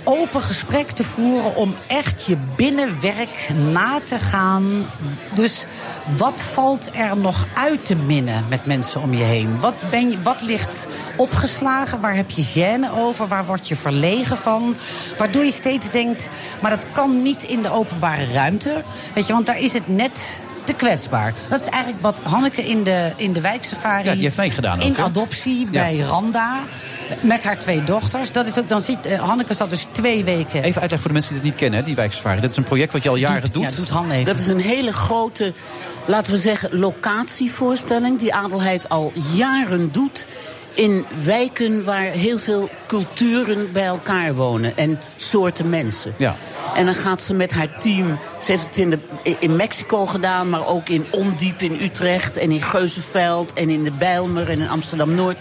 [SPEAKER 17] open gesprek te voeren om echt je binnenwerk na te gaan. Dus wat valt er nog uit te minnen met mensen om je heen? Wat, ben je, wat ligt opgeslagen? Waar heb je gêne over? Waar word je verlegen van? Waardoor je steeds denkt, maar dat kan niet in de openbare ruimte. Weet je, want daar is het net te kwetsbaar. Dat is eigenlijk wat Hanneke in de, in de wijksafari...
[SPEAKER 7] Ja, die heeft meegedaan ook,
[SPEAKER 17] In
[SPEAKER 7] hè?
[SPEAKER 17] adoptie
[SPEAKER 7] Ja.
[SPEAKER 17] bij Randa. Met haar twee dochters. Dat is ook, dan ziet, eh, Hanneke zat dus twee weken...
[SPEAKER 7] Even uitleg voor de mensen die dit niet kennen, hè, die wijksafari. Dat is een project wat je al jaren doet.
[SPEAKER 8] Dat is een hele grote, laten we zeggen, locatievoorstelling... die Adelheid al jaren doet in wijken waar heel veel culturen bij elkaar wonen. En soorten mensen.
[SPEAKER 7] Ja.
[SPEAKER 8] En dan gaat ze met haar team... Ze heeft het in, de, in Mexico gedaan, maar ook in Ondiep in Utrecht... en in Geuzenveld en in de Bijlmer en in Amsterdam-Noord.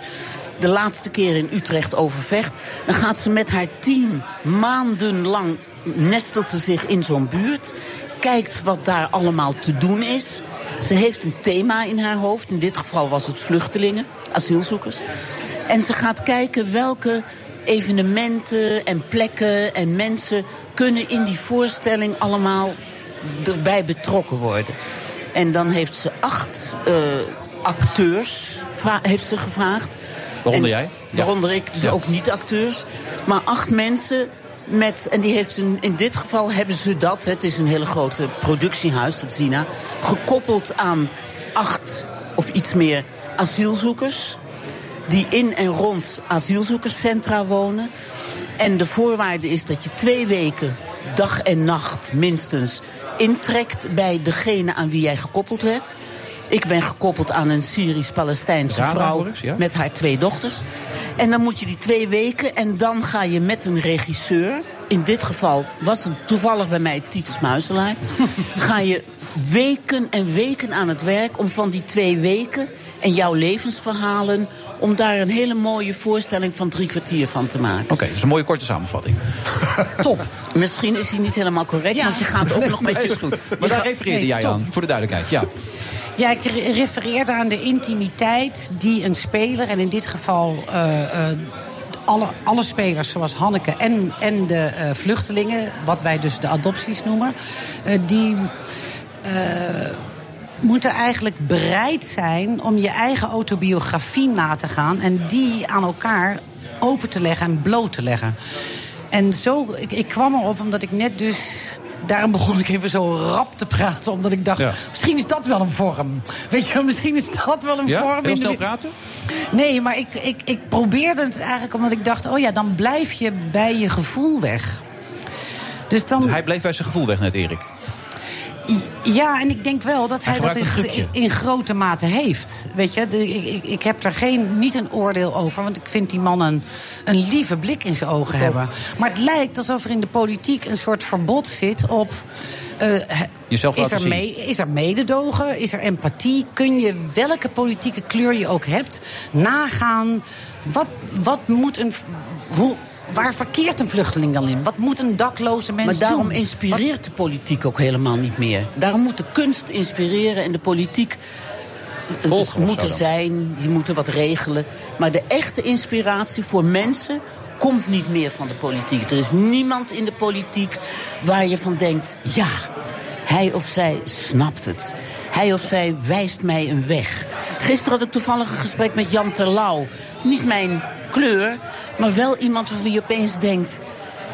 [SPEAKER 8] De laatste keer in Utrecht overvecht. Dan gaat ze met haar team maandenlang... nestelt ze zich in zo'n buurt. Kijkt wat daar allemaal te doen is. Ze heeft een thema in haar hoofd. In dit geval was het vluchtelingen, asielzoekers. En ze gaat kijken welke evenementen en plekken en mensen kunnen in die voorstelling allemaal erbij betrokken worden. En dan heeft ze acht eh, acteurs vra- heeft ze gevraagd.
[SPEAKER 7] Waaronder
[SPEAKER 8] En-
[SPEAKER 7] jij? Ja.
[SPEAKER 8] Waaronder ik, dus
[SPEAKER 7] Ja.
[SPEAKER 8] ook niet acteurs. Maar acht mensen met, en die heeft een, in dit geval hebben ze dat, het is een hele grote productiehuis, dat Zina, gekoppeld aan acht of iets meer asielzoekers. Die in en rond asielzoekerscentra wonen. En de voorwaarde is dat je twee weken, dag en nacht minstens, intrekt bij degene aan wie jij gekoppeld werd. Ik ben gekoppeld aan een Syrisch-Palestijnse
[SPEAKER 7] Rana,
[SPEAKER 8] vrouw
[SPEAKER 7] hoor ik, ja.
[SPEAKER 8] met haar twee dochters. En dan moet je die twee weken en dan ga je met een regisseur. In dit geval was het toevallig bij mij Titus Muiselaar. ga je weken en weken aan het werk om van die twee weken en jouw levensverhalen. om daar een hele mooie voorstelling van drie kwartier van te maken.
[SPEAKER 7] Oké, dat is een mooie korte samenvatting.
[SPEAKER 8] Top. Misschien is die niet helemaal correct, want je gaat ook nog met je.
[SPEAKER 7] Maar daar
[SPEAKER 8] gaat-
[SPEAKER 7] refereerde
[SPEAKER 17] nee,
[SPEAKER 7] jij
[SPEAKER 17] top.
[SPEAKER 7] aan, voor de duidelijkheid. Ja.
[SPEAKER 17] Ja, ik re- refereerde aan de intimiteit die een speler, en in dit geval eh, eh, alle, alle spelers zoals Hanneke en, en de eh, vluchtelingen, wat wij dus de adopties noemen, eh, die. eh, moeten eigenlijk bereid zijn om je eigen autobiografie na te gaan en die aan elkaar open te leggen en bloot te leggen. En zo, ik, ik kwam erop omdat ik net dus. Daarom begon ik even zo rap te praten, omdat ik dacht:
[SPEAKER 7] Ja.
[SPEAKER 17] misschien is dat wel een vorm. Weet je, wel, misschien is dat wel een vorm.
[SPEAKER 7] ja?
[SPEAKER 17] in
[SPEAKER 7] Heel
[SPEAKER 17] de-
[SPEAKER 7] snel praten?
[SPEAKER 17] Nee, maar ik, ik, ik probeerde het eigenlijk omdat ik dacht: oh ja, dan blijf je bij je gevoel weg. Dus dan.
[SPEAKER 7] Hij bleef bij zijn gevoel weg net, Erik.
[SPEAKER 17] Ja, en ik denk wel dat
[SPEAKER 7] Hij
[SPEAKER 17] hij, dat
[SPEAKER 7] gebruikt een
[SPEAKER 17] in,
[SPEAKER 7] trucje.
[SPEAKER 17] in grote mate heeft. Weet je, de- ik, ik, ik heb daar geen, niet een oordeel over, want ik vind die man een, een lieve blik in zijn ogen hebben. Maar het lijkt alsof er in de politiek een soort verbod zit op. eh, he-
[SPEAKER 7] Jezelf
[SPEAKER 17] is,
[SPEAKER 7] laten
[SPEAKER 17] er
[SPEAKER 7] zien.
[SPEAKER 17] mee, is er mededogen? Is er empathie? Kun je welke politieke kleur je ook hebt nagaan? Wat, wat moet een. v- Hoe, waar verkeert een vluchteling dan in? Wat moet een dakloze mens
[SPEAKER 8] Maar daarom
[SPEAKER 17] doen?
[SPEAKER 8] inspireert de politiek ook helemaal niet meer. Daarom moet de kunst inspireren en de politiek
[SPEAKER 7] Volgen of
[SPEAKER 8] moet
[SPEAKER 7] zo
[SPEAKER 8] er
[SPEAKER 7] dan?
[SPEAKER 8] zijn. Je moet er wat regelen. Maar de echte inspiratie voor mensen komt niet meer van de politiek. Er is niemand in de politiek waar je van denkt: ja, hij of zij snapt het. Hij of zij wijst mij een weg. Gisteren had ik toevallig een gesprek met Jan Terlouw. Niet mijn kleur, maar wel iemand waarvan je opeens denkt...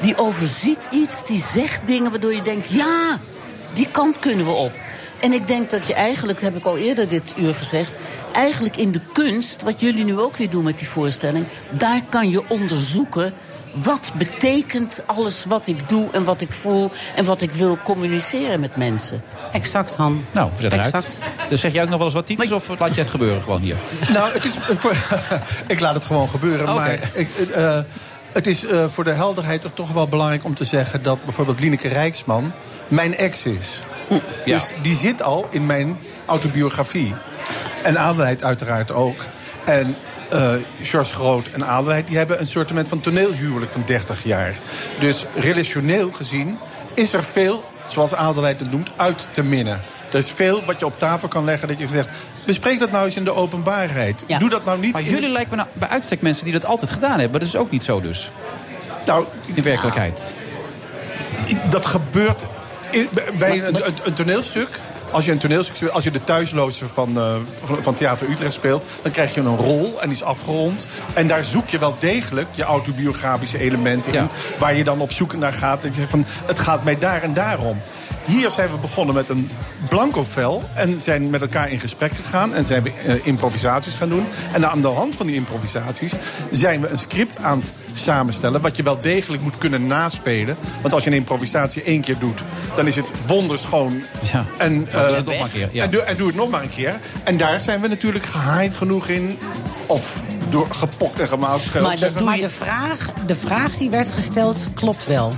[SPEAKER 8] die overziet iets, die zegt dingen waardoor je denkt... ja, die kant kunnen we op. En ik denk dat je eigenlijk, dat heb ik al eerder dit uur gezegd... eigenlijk in de kunst, wat jullie nu ook weer doen met die voorstelling... daar kan je onderzoeken wat betekent alles wat ik doe en wat ik voel... en wat ik wil communiceren met mensen.
[SPEAKER 17] Exact, Han.
[SPEAKER 7] Nou, we zijn eruit.
[SPEAKER 17] Exact.
[SPEAKER 7] Dus zeg jij ook nog wel eens wat titels of laat je het gebeuren gewoon hier?
[SPEAKER 20] Nou, het is, voor- ik laat het gewoon gebeuren.
[SPEAKER 7] Oké.
[SPEAKER 20] Maar ik, eh, eh, het is eh, voor de helderheid toch- toch wel belangrijk om te zeggen dat bijvoorbeeld Lineke Rijksman mijn ex is. Dus die zit al in mijn autobiografie. En Adelheid uiteraard ook. En eh George Groot en Adelheid die hebben een soort van toneelhuwelijk van 30 jaar. Dus relationeel gezien is er veel, zoals Adelheid het noemt, uit te minnen. Er is veel wat je op tafel kan leggen dat je zegt... bespreek dat nou eens in de openbaarheid. Doe dat nou niet
[SPEAKER 7] Maar
[SPEAKER 20] in de-
[SPEAKER 7] jullie lijken me nou bij uitstek mensen die dat altijd gedaan hebben. Maar dat is ook niet zo dus.
[SPEAKER 20] Nou,
[SPEAKER 7] in werkelijkheid.
[SPEAKER 20] dat gebeurt in- bij een, een, een toneelstuk. Als je een toneelstuk speelt, als je de thuisloze van, eh, van, van Theater Utrecht speelt, dan krijg je een rol en die is afgerond. En daar zoek je wel degelijk je autobiografische elementen in. Waar je dan op zoek naar gaat. En je zegt van het gaat mij daar en daarom. Hier zijn we begonnen met een blanco vel. En zijn met elkaar in gesprek gegaan. En zijn we eh, improvisaties gaan doen. En aan de hand van die improvisaties zijn we een script aan het samenstellen. Wat je wel degelijk moet kunnen naspelen. Want als je een improvisatie één keer doet, dan is het wonderschoon. En,
[SPEAKER 7] doe het
[SPEAKER 20] eh,
[SPEAKER 7] nog maar een keer, ja.
[SPEAKER 20] en, doe, en doe het nog maar een keer. En daar zijn we natuurlijk gehaaid genoeg in. Of door gepokt en gemaald. kan je ook zeggen.
[SPEAKER 17] maar de, vraag, de vraag die werd gesteld klopt wel.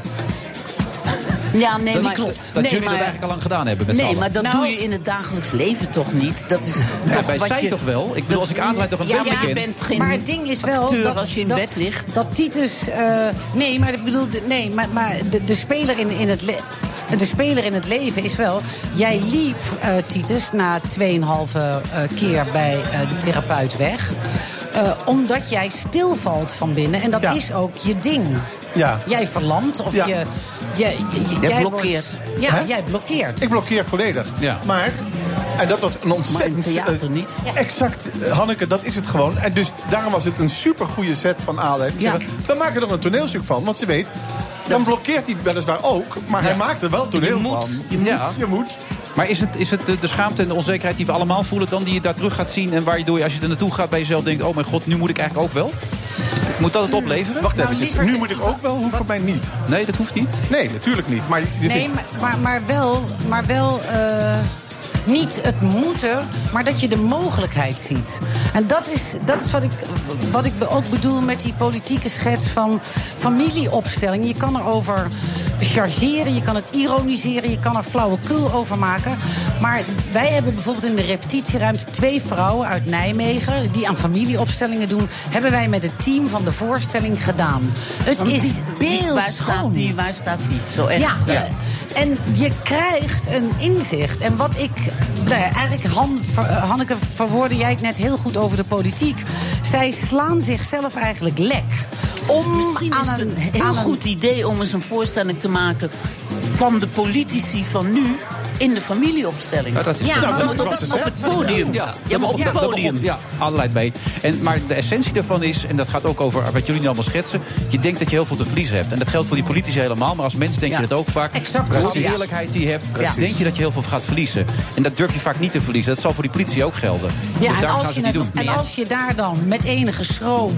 [SPEAKER 8] Ja, nee,
[SPEAKER 17] Dat
[SPEAKER 8] maar,
[SPEAKER 17] klopt.
[SPEAKER 7] Dat
[SPEAKER 8] nee,
[SPEAKER 7] jullie
[SPEAKER 8] maar-
[SPEAKER 7] dat eigenlijk al lang gedaan hebben met z'n
[SPEAKER 8] Nee,
[SPEAKER 7] allen. Nou-
[SPEAKER 8] maar
[SPEAKER 17] Nou.
[SPEAKER 8] dat doe je in het dagelijks leven toch niet? Dat is
[SPEAKER 7] Ja,
[SPEAKER 8] toch
[SPEAKER 7] wij
[SPEAKER 8] wat
[SPEAKER 7] zijn
[SPEAKER 8] je-
[SPEAKER 7] toch wel? Ik bedoel, als ik Adelheid toch een
[SPEAKER 8] ja,
[SPEAKER 7] beetje
[SPEAKER 8] maar je
[SPEAKER 7] ken.
[SPEAKER 8] bent geen
[SPEAKER 17] maar het ding is wel
[SPEAKER 8] acteur
[SPEAKER 17] dat,
[SPEAKER 8] als je in
[SPEAKER 17] dat,
[SPEAKER 8] bed ligt.
[SPEAKER 17] dat Titus. eh, nee, maar ik bedoel, de- nee, maar, maar de, de speler in, in het le- de speler in het leven is wel. Jij liep, eh, Titus, na 2,5 eh, keer bij eh, de therapeut weg. eh, omdat jij stilvalt van binnen. En dat is ook je ding.
[SPEAKER 20] Ja.
[SPEAKER 17] Jij verlamt of
[SPEAKER 20] Ja.
[SPEAKER 17] je. je, je-
[SPEAKER 20] Jij
[SPEAKER 17] jij
[SPEAKER 20] blokkeert.
[SPEAKER 17] wordt- ja,
[SPEAKER 20] Hè?
[SPEAKER 17] jij blokkeert.
[SPEAKER 20] Ik blokkeer volledig. Maar, en dat was een ontzettend...
[SPEAKER 17] Maar in theater
[SPEAKER 20] eh, Exact, eh, Hanneke, dat is het gewoon. En dus daarom was het een supergoeie set van Adelheid. We zeggen, We maken er een toneelstuk van, want ze weet... Dan blokkeert hij weliswaar
[SPEAKER 17] Nou,
[SPEAKER 20] ook, maar hij maakt er wel toneel van.
[SPEAKER 7] Ja.
[SPEAKER 20] je moet.
[SPEAKER 7] Maar is het, is het de, de schaamte en de onzekerheid die we allemaal voelen... dan die je daar terug gaat zien en waar je door, als je er naartoe gaat bij jezelf... denkt, oh mijn god, nu moet ik eigenlijk ook wel? Moet dat het opleveren?
[SPEAKER 20] Wacht even, nu moet ik ook wel, hoeft voor mij niet.
[SPEAKER 7] Nee, dat hoeft niet.
[SPEAKER 20] Nee, natuurlijk niet. Maar dit
[SPEAKER 17] Nee,
[SPEAKER 20] is...
[SPEAKER 17] maar, maar, maar wel, maar wel eh, niet het moeten, maar dat je de mogelijkheid ziet. En dat is, dat is wat ik, wat ik be- ook bedoel met die politieke schets van familieopstelling. Je kan erover chargeren, je kan het ironiseren, je kan er flauwekul over maken. Maar wij hebben bijvoorbeeld in de repetitieruimte twee vrouwen uit Nijmegen... die aan familieopstellingen doen, hebben wij met het team van de voorstelling gedaan. Het
[SPEAKER 8] Want
[SPEAKER 17] is
[SPEAKER 8] die- die- Waar staat
[SPEAKER 17] beeldschoon.
[SPEAKER 8] die, waar staat die? Zo echt.
[SPEAKER 17] Ja, eh, en je krijgt een inzicht. En wat ik. Nou ja, eigenlijk, Han, ver- eh, Hanneke, verwoordde jij het net heel goed over de politiek. Zij slaan zichzelf eigenlijk lek. Om
[SPEAKER 8] Misschien
[SPEAKER 17] aan
[SPEAKER 8] is het een
[SPEAKER 17] een-
[SPEAKER 8] heel
[SPEAKER 17] aan een-
[SPEAKER 8] goed idee om eens een voorstelling te maken van de politici van nu in de familieopstelling.
[SPEAKER 7] Ja, Nou, dat is
[SPEAKER 8] maar
[SPEAKER 7] dat
[SPEAKER 8] op-
[SPEAKER 7] is
[SPEAKER 8] op-
[SPEAKER 7] wat ze
[SPEAKER 8] op
[SPEAKER 7] zegt.
[SPEAKER 8] het podium.
[SPEAKER 7] Ja,
[SPEAKER 8] Ja, maar op het
[SPEAKER 7] dat- dat-
[SPEAKER 8] podium.
[SPEAKER 7] Ja, Adelheid mee. En, maar de essentie daarvan is, en dat gaat ook over wat jullie nu allemaal schetsen... je denkt dat je heel veel te verliezen hebt. En dat geldt voor die politici helemaal, maar als mens denk je dat ook vaak.
[SPEAKER 17] Exact.
[SPEAKER 7] Hoe
[SPEAKER 17] Precies.
[SPEAKER 7] die eerlijkheid die je hebt,
[SPEAKER 17] Precies.
[SPEAKER 7] denk je dat je heel veel gaat verliezen. En dat durf je vaak niet te verliezen. Dat zal voor die politici ook gelden.
[SPEAKER 17] Ja,
[SPEAKER 7] dus
[SPEAKER 17] en
[SPEAKER 7] daar gaan
[SPEAKER 17] als,
[SPEAKER 7] ze
[SPEAKER 17] je
[SPEAKER 7] het niet
[SPEAKER 17] het-
[SPEAKER 7] doen.
[SPEAKER 17] en als je daar dan met enige schroom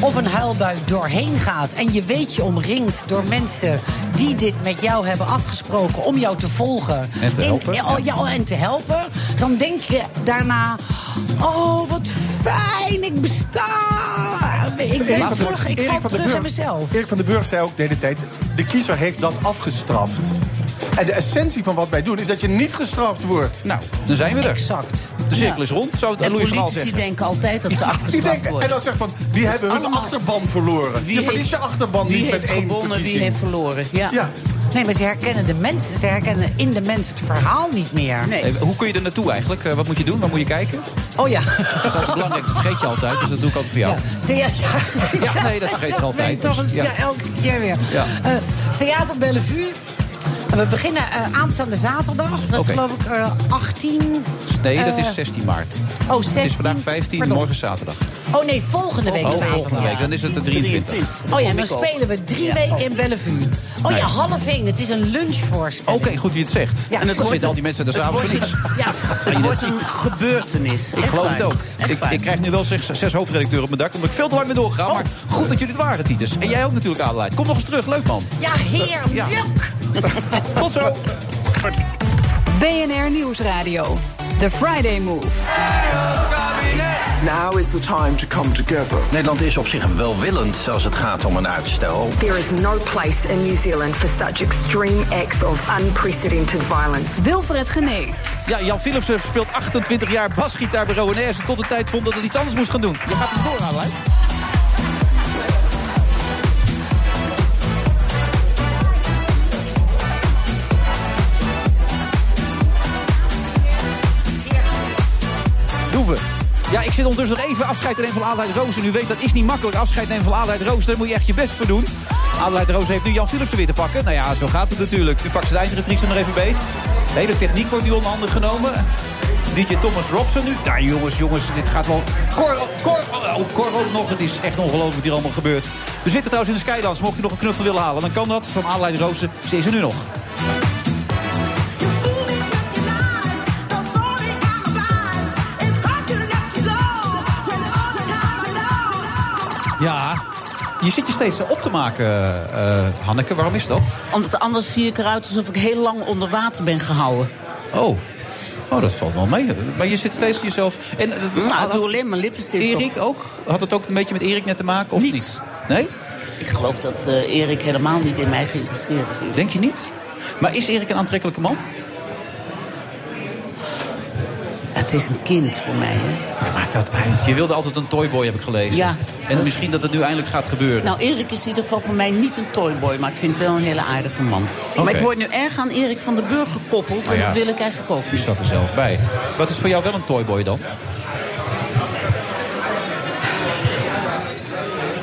[SPEAKER 17] of een huilbui doorheen gaat... en je weet je omringd door mensen die dit met jou hebben afgesproken... om jou te volgen
[SPEAKER 7] En te
[SPEAKER 17] in-
[SPEAKER 7] helpen.
[SPEAKER 17] eh, oh, ja, oh, en te helpen, dan denk je daarna... oh, wat fijn, ik besta. Ik
[SPEAKER 20] Erik
[SPEAKER 17] ben
[SPEAKER 20] van den
[SPEAKER 17] terug,
[SPEAKER 20] Burg-
[SPEAKER 17] ik
[SPEAKER 20] Erik
[SPEAKER 17] val
[SPEAKER 20] van den
[SPEAKER 17] terug in
[SPEAKER 20] Burg-
[SPEAKER 17] mezelf.
[SPEAKER 20] Erik van den Burg zei ook de hele tijd... de kiezer heeft dat afgestraft. En de essentie van wat wij doen is dat je niet gestraft wordt.
[SPEAKER 7] Nou, dan zijn we er.
[SPEAKER 17] Exact.
[SPEAKER 7] De cirkel is rond, zou het
[SPEAKER 8] en
[SPEAKER 7] Louis van Gaal
[SPEAKER 8] politici
[SPEAKER 7] zeggen.
[SPEAKER 8] denken altijd dat ze
[SPEAKER 20] Die
[SPEAKER 8] afgestraft
[SPEAKER 20] denken,
[SPEAKER 8] worden.
[SPEAKER 20] en dan zegt van, die
[SPEAKER 8] Dat is
[SPEAKER 20] hebben hun
[SPEAKER 8] allemaal-
[SPEAKER 20] achterban verloren. je verliest je achterban
[SPEAKER 8] wie
[SPEAKER 20] niet met
[SPEAKER 8] heeft
[SPEAKER 20] één
[SPEAKER 8] gewonnen,
[SPEAKER 20] verkiezing.
[SPEAKER 8] Wie heeft verloren, ja.
[SPEAKER 20] Ja.
[SPEAKER 17] Nee, maar ze herkennen de mensen. Ze herkennen in de mens het verhaal niet meer.
[SPEAKER 7] Eh, Hoe kun je er naartoe eigenlijk? Eh, wat moet je doen? Waar moet je kijken?
[SPEAKER 17] Oh ja.
[SPEAKER 7] Dat is altijd belangrijk. Dat vergeet je altijd. Dus dat doe ik altijd voor jou.
[SPEAKER 17] Theater.
[SPEAKER 7] Ja, nee, dat vergeet ze altijd,
[SPEAKER 17] Nee, toch
[SPEAKER 7] dus,
[SPEAKER 17] eens,
[SPEAKER 7] ja.
[SPEAKER 17] ja. elke keer weer.
[SPEAKER 7] Ja.
[SPEAKER 17] Eh, Theater Bellevue. We beginnen eh, aanstaande zaterdag. Dat is
[SPEAKER 7] Oké.
[SPEAKER 17] geloof ik eh, 18.
[SPEAKER 7] Nee, dat
[SPEAKER 17] eh,
[SPEAKER 7] is 16 maart.
[SPEAKER 17] Oh,
[SPEAKER 7] Het is
[SPEAKER 17] 16?
[SPEAKER 7] vandaag 15,
[SPEAKER 17] Pardon.
[SPEAKER 7] morgen zaterdag.
[SPEAKER 17] Oh nee, volgende week
[SPEAKER 7] oh,
[SPEAKER 17] zaterdag.
[SPEAKER 7] volgende week. Dan is het de 23.
[SPEAKER 17] Oh ja, dan spelen we drie weken in Bellevue. Oh
[SPEAKER 7] Nee.
[SPEAKER 17] ja, half één. Het is een lunchvoorstelling.
[SPEAKER 7] Oké, goed dat je het zegt.
[SPEAKER 17] Ja,
[SPEAKER 7] en dan
[SPEAKER 17] het
[SPEAKER 7] zitten
[SPEAKER 17] wordt-
[SPEAKER 7] al die mensen daar
[SPEAKER 17] het
[SPEAKER 7] s'avonds voor
[SPEAKER 17] wordt-
[SPEAKER 7] niets.
[SPEAKER 17] Ja,
[SPEAKER 7] Ja,
[SPEAKER 8] het wordt
[SPEAKER 7] dat-
[SPEAKER 8] een gebeurtenis.
[SPEAKER 7] Ik
[SPEAKER 8] Echt
[SPEAKER 7] geloof het
[SPEAKER 8] waar.
[SPEAKER 7] ook.
[SPEAKER 8] Echt
[SPEAKER 7] Ik,
[SPEAKER 8] waar.
[SPEAKER 7] ik krijg nu wel zes, zes hoofdredacteuren op mijn dak, omdat ik veel te lang ben
[SPEAKER 17] Oh.
[SPEAKER 7] doorgegaan. Maar goed dat jullie het waren, Titus. En jij ook natuurlijk, Adelheid. Kom nog eens terug, leuk man.
[SPEAKER 17] Ja, heerlijk.
[SPEAKER 7] Tot zo.
[SPEAKER 3] BNR Nieuwsradio. The Friday Move.
[SPEAKER 4] Now is the time to come together.
[SPEAKER 5] Nederland is op zich welwillend als het gaat om een uitstel.
[SPEAKER 6] There is no place in New Zealand for such extreme acts of unprecedented violence.
[SPEAKER 3] Wilfred Genee.
[SPEAKER 7] Ja, Jan Philipsen speelt 28 jaar basgitaar bij Rowanese... tot de tijd vond dat het iets anders moest gaan doen. Je gaat hem door, Adelheid. Doen we. Ja, ik zit ondertussen nog even afscheid te nemen van Adelheid Roos. En u weet, dat is niet makkelijk. Afscheid nemen van Adelheid Roos, daar moet je echt je best voor doen. Adelheid Roos heeft nu Jan Philipsen weer te pakken. Nou ja, zo gaat het natuurlijk. Nu pakt ze de eindredactrice er nog even beet. De hele techniek wordt nu onder handen genomen. DJ Thomas Robson nu. Nou jongens, jongens, dit gaat wel... Cor, Cor, oh, Cor ook nog. Het is echt ongelooflijk wat hier allemaal gebeurt. We zitten trouwens in de Skydance. Mocht je nog een knuffel willen halen, dan kan dat. Van Adelheid Roos, ze is er nu nog. Ja, je zit je steeds op te maken, eh, Hanneke. Waarom is dat?
[SPEAKER 8] Omdat anders zie ik eruit alsof ik heel lang onder water ben gehouden.
[SPEAKER 7] Oh. Oh, dat valt wel mee. Maar je zit steeds jezelf. En, eh,
[SPEAKER 8] Nou,
[SPEAKER 7] had-
[SPEAKER 8] ik doe alleen maar lippenstift op.
[SPEAKER 7] Erik ook? Had het ook een beetje met Erik net te maken? Of niet? Nee?
[SPEAKER 8] Ik geloof dat eh, Erik helemaal niet in mij geïnteresseerd is.
[SPEAKER 7] Denk je niet? Maar is Erik een aantrekkelijke man?
[SPEAKER 8] Het is een kind voor mij, hè?
[SPEAKER 7] Ja, maakt dat uit. Je wilde altijd een toyboy, heb ik gelezen.
[SPEAKER 8] Ja.
[SPEAKER 7] En misschien dat het nu eindelijk gaat gebeuren.
[SPEAKER 8] Nou, Erik is in ieder geval voor mij niet een toyboy, maar ik vind het wel een hele aardige man. Maar ik word nu erg aan Erik van den Burg gekoppeld en
[SPEAKER 7] Ah, ja.
[SPEAKER 8] dat wil ik eigenlijk ook
[SPEAKER 7] Je
[SPEAKER 8] niet.
[SPEAKER 7] zat er zelf bij. Wat is voor jou wel een toyboy dan?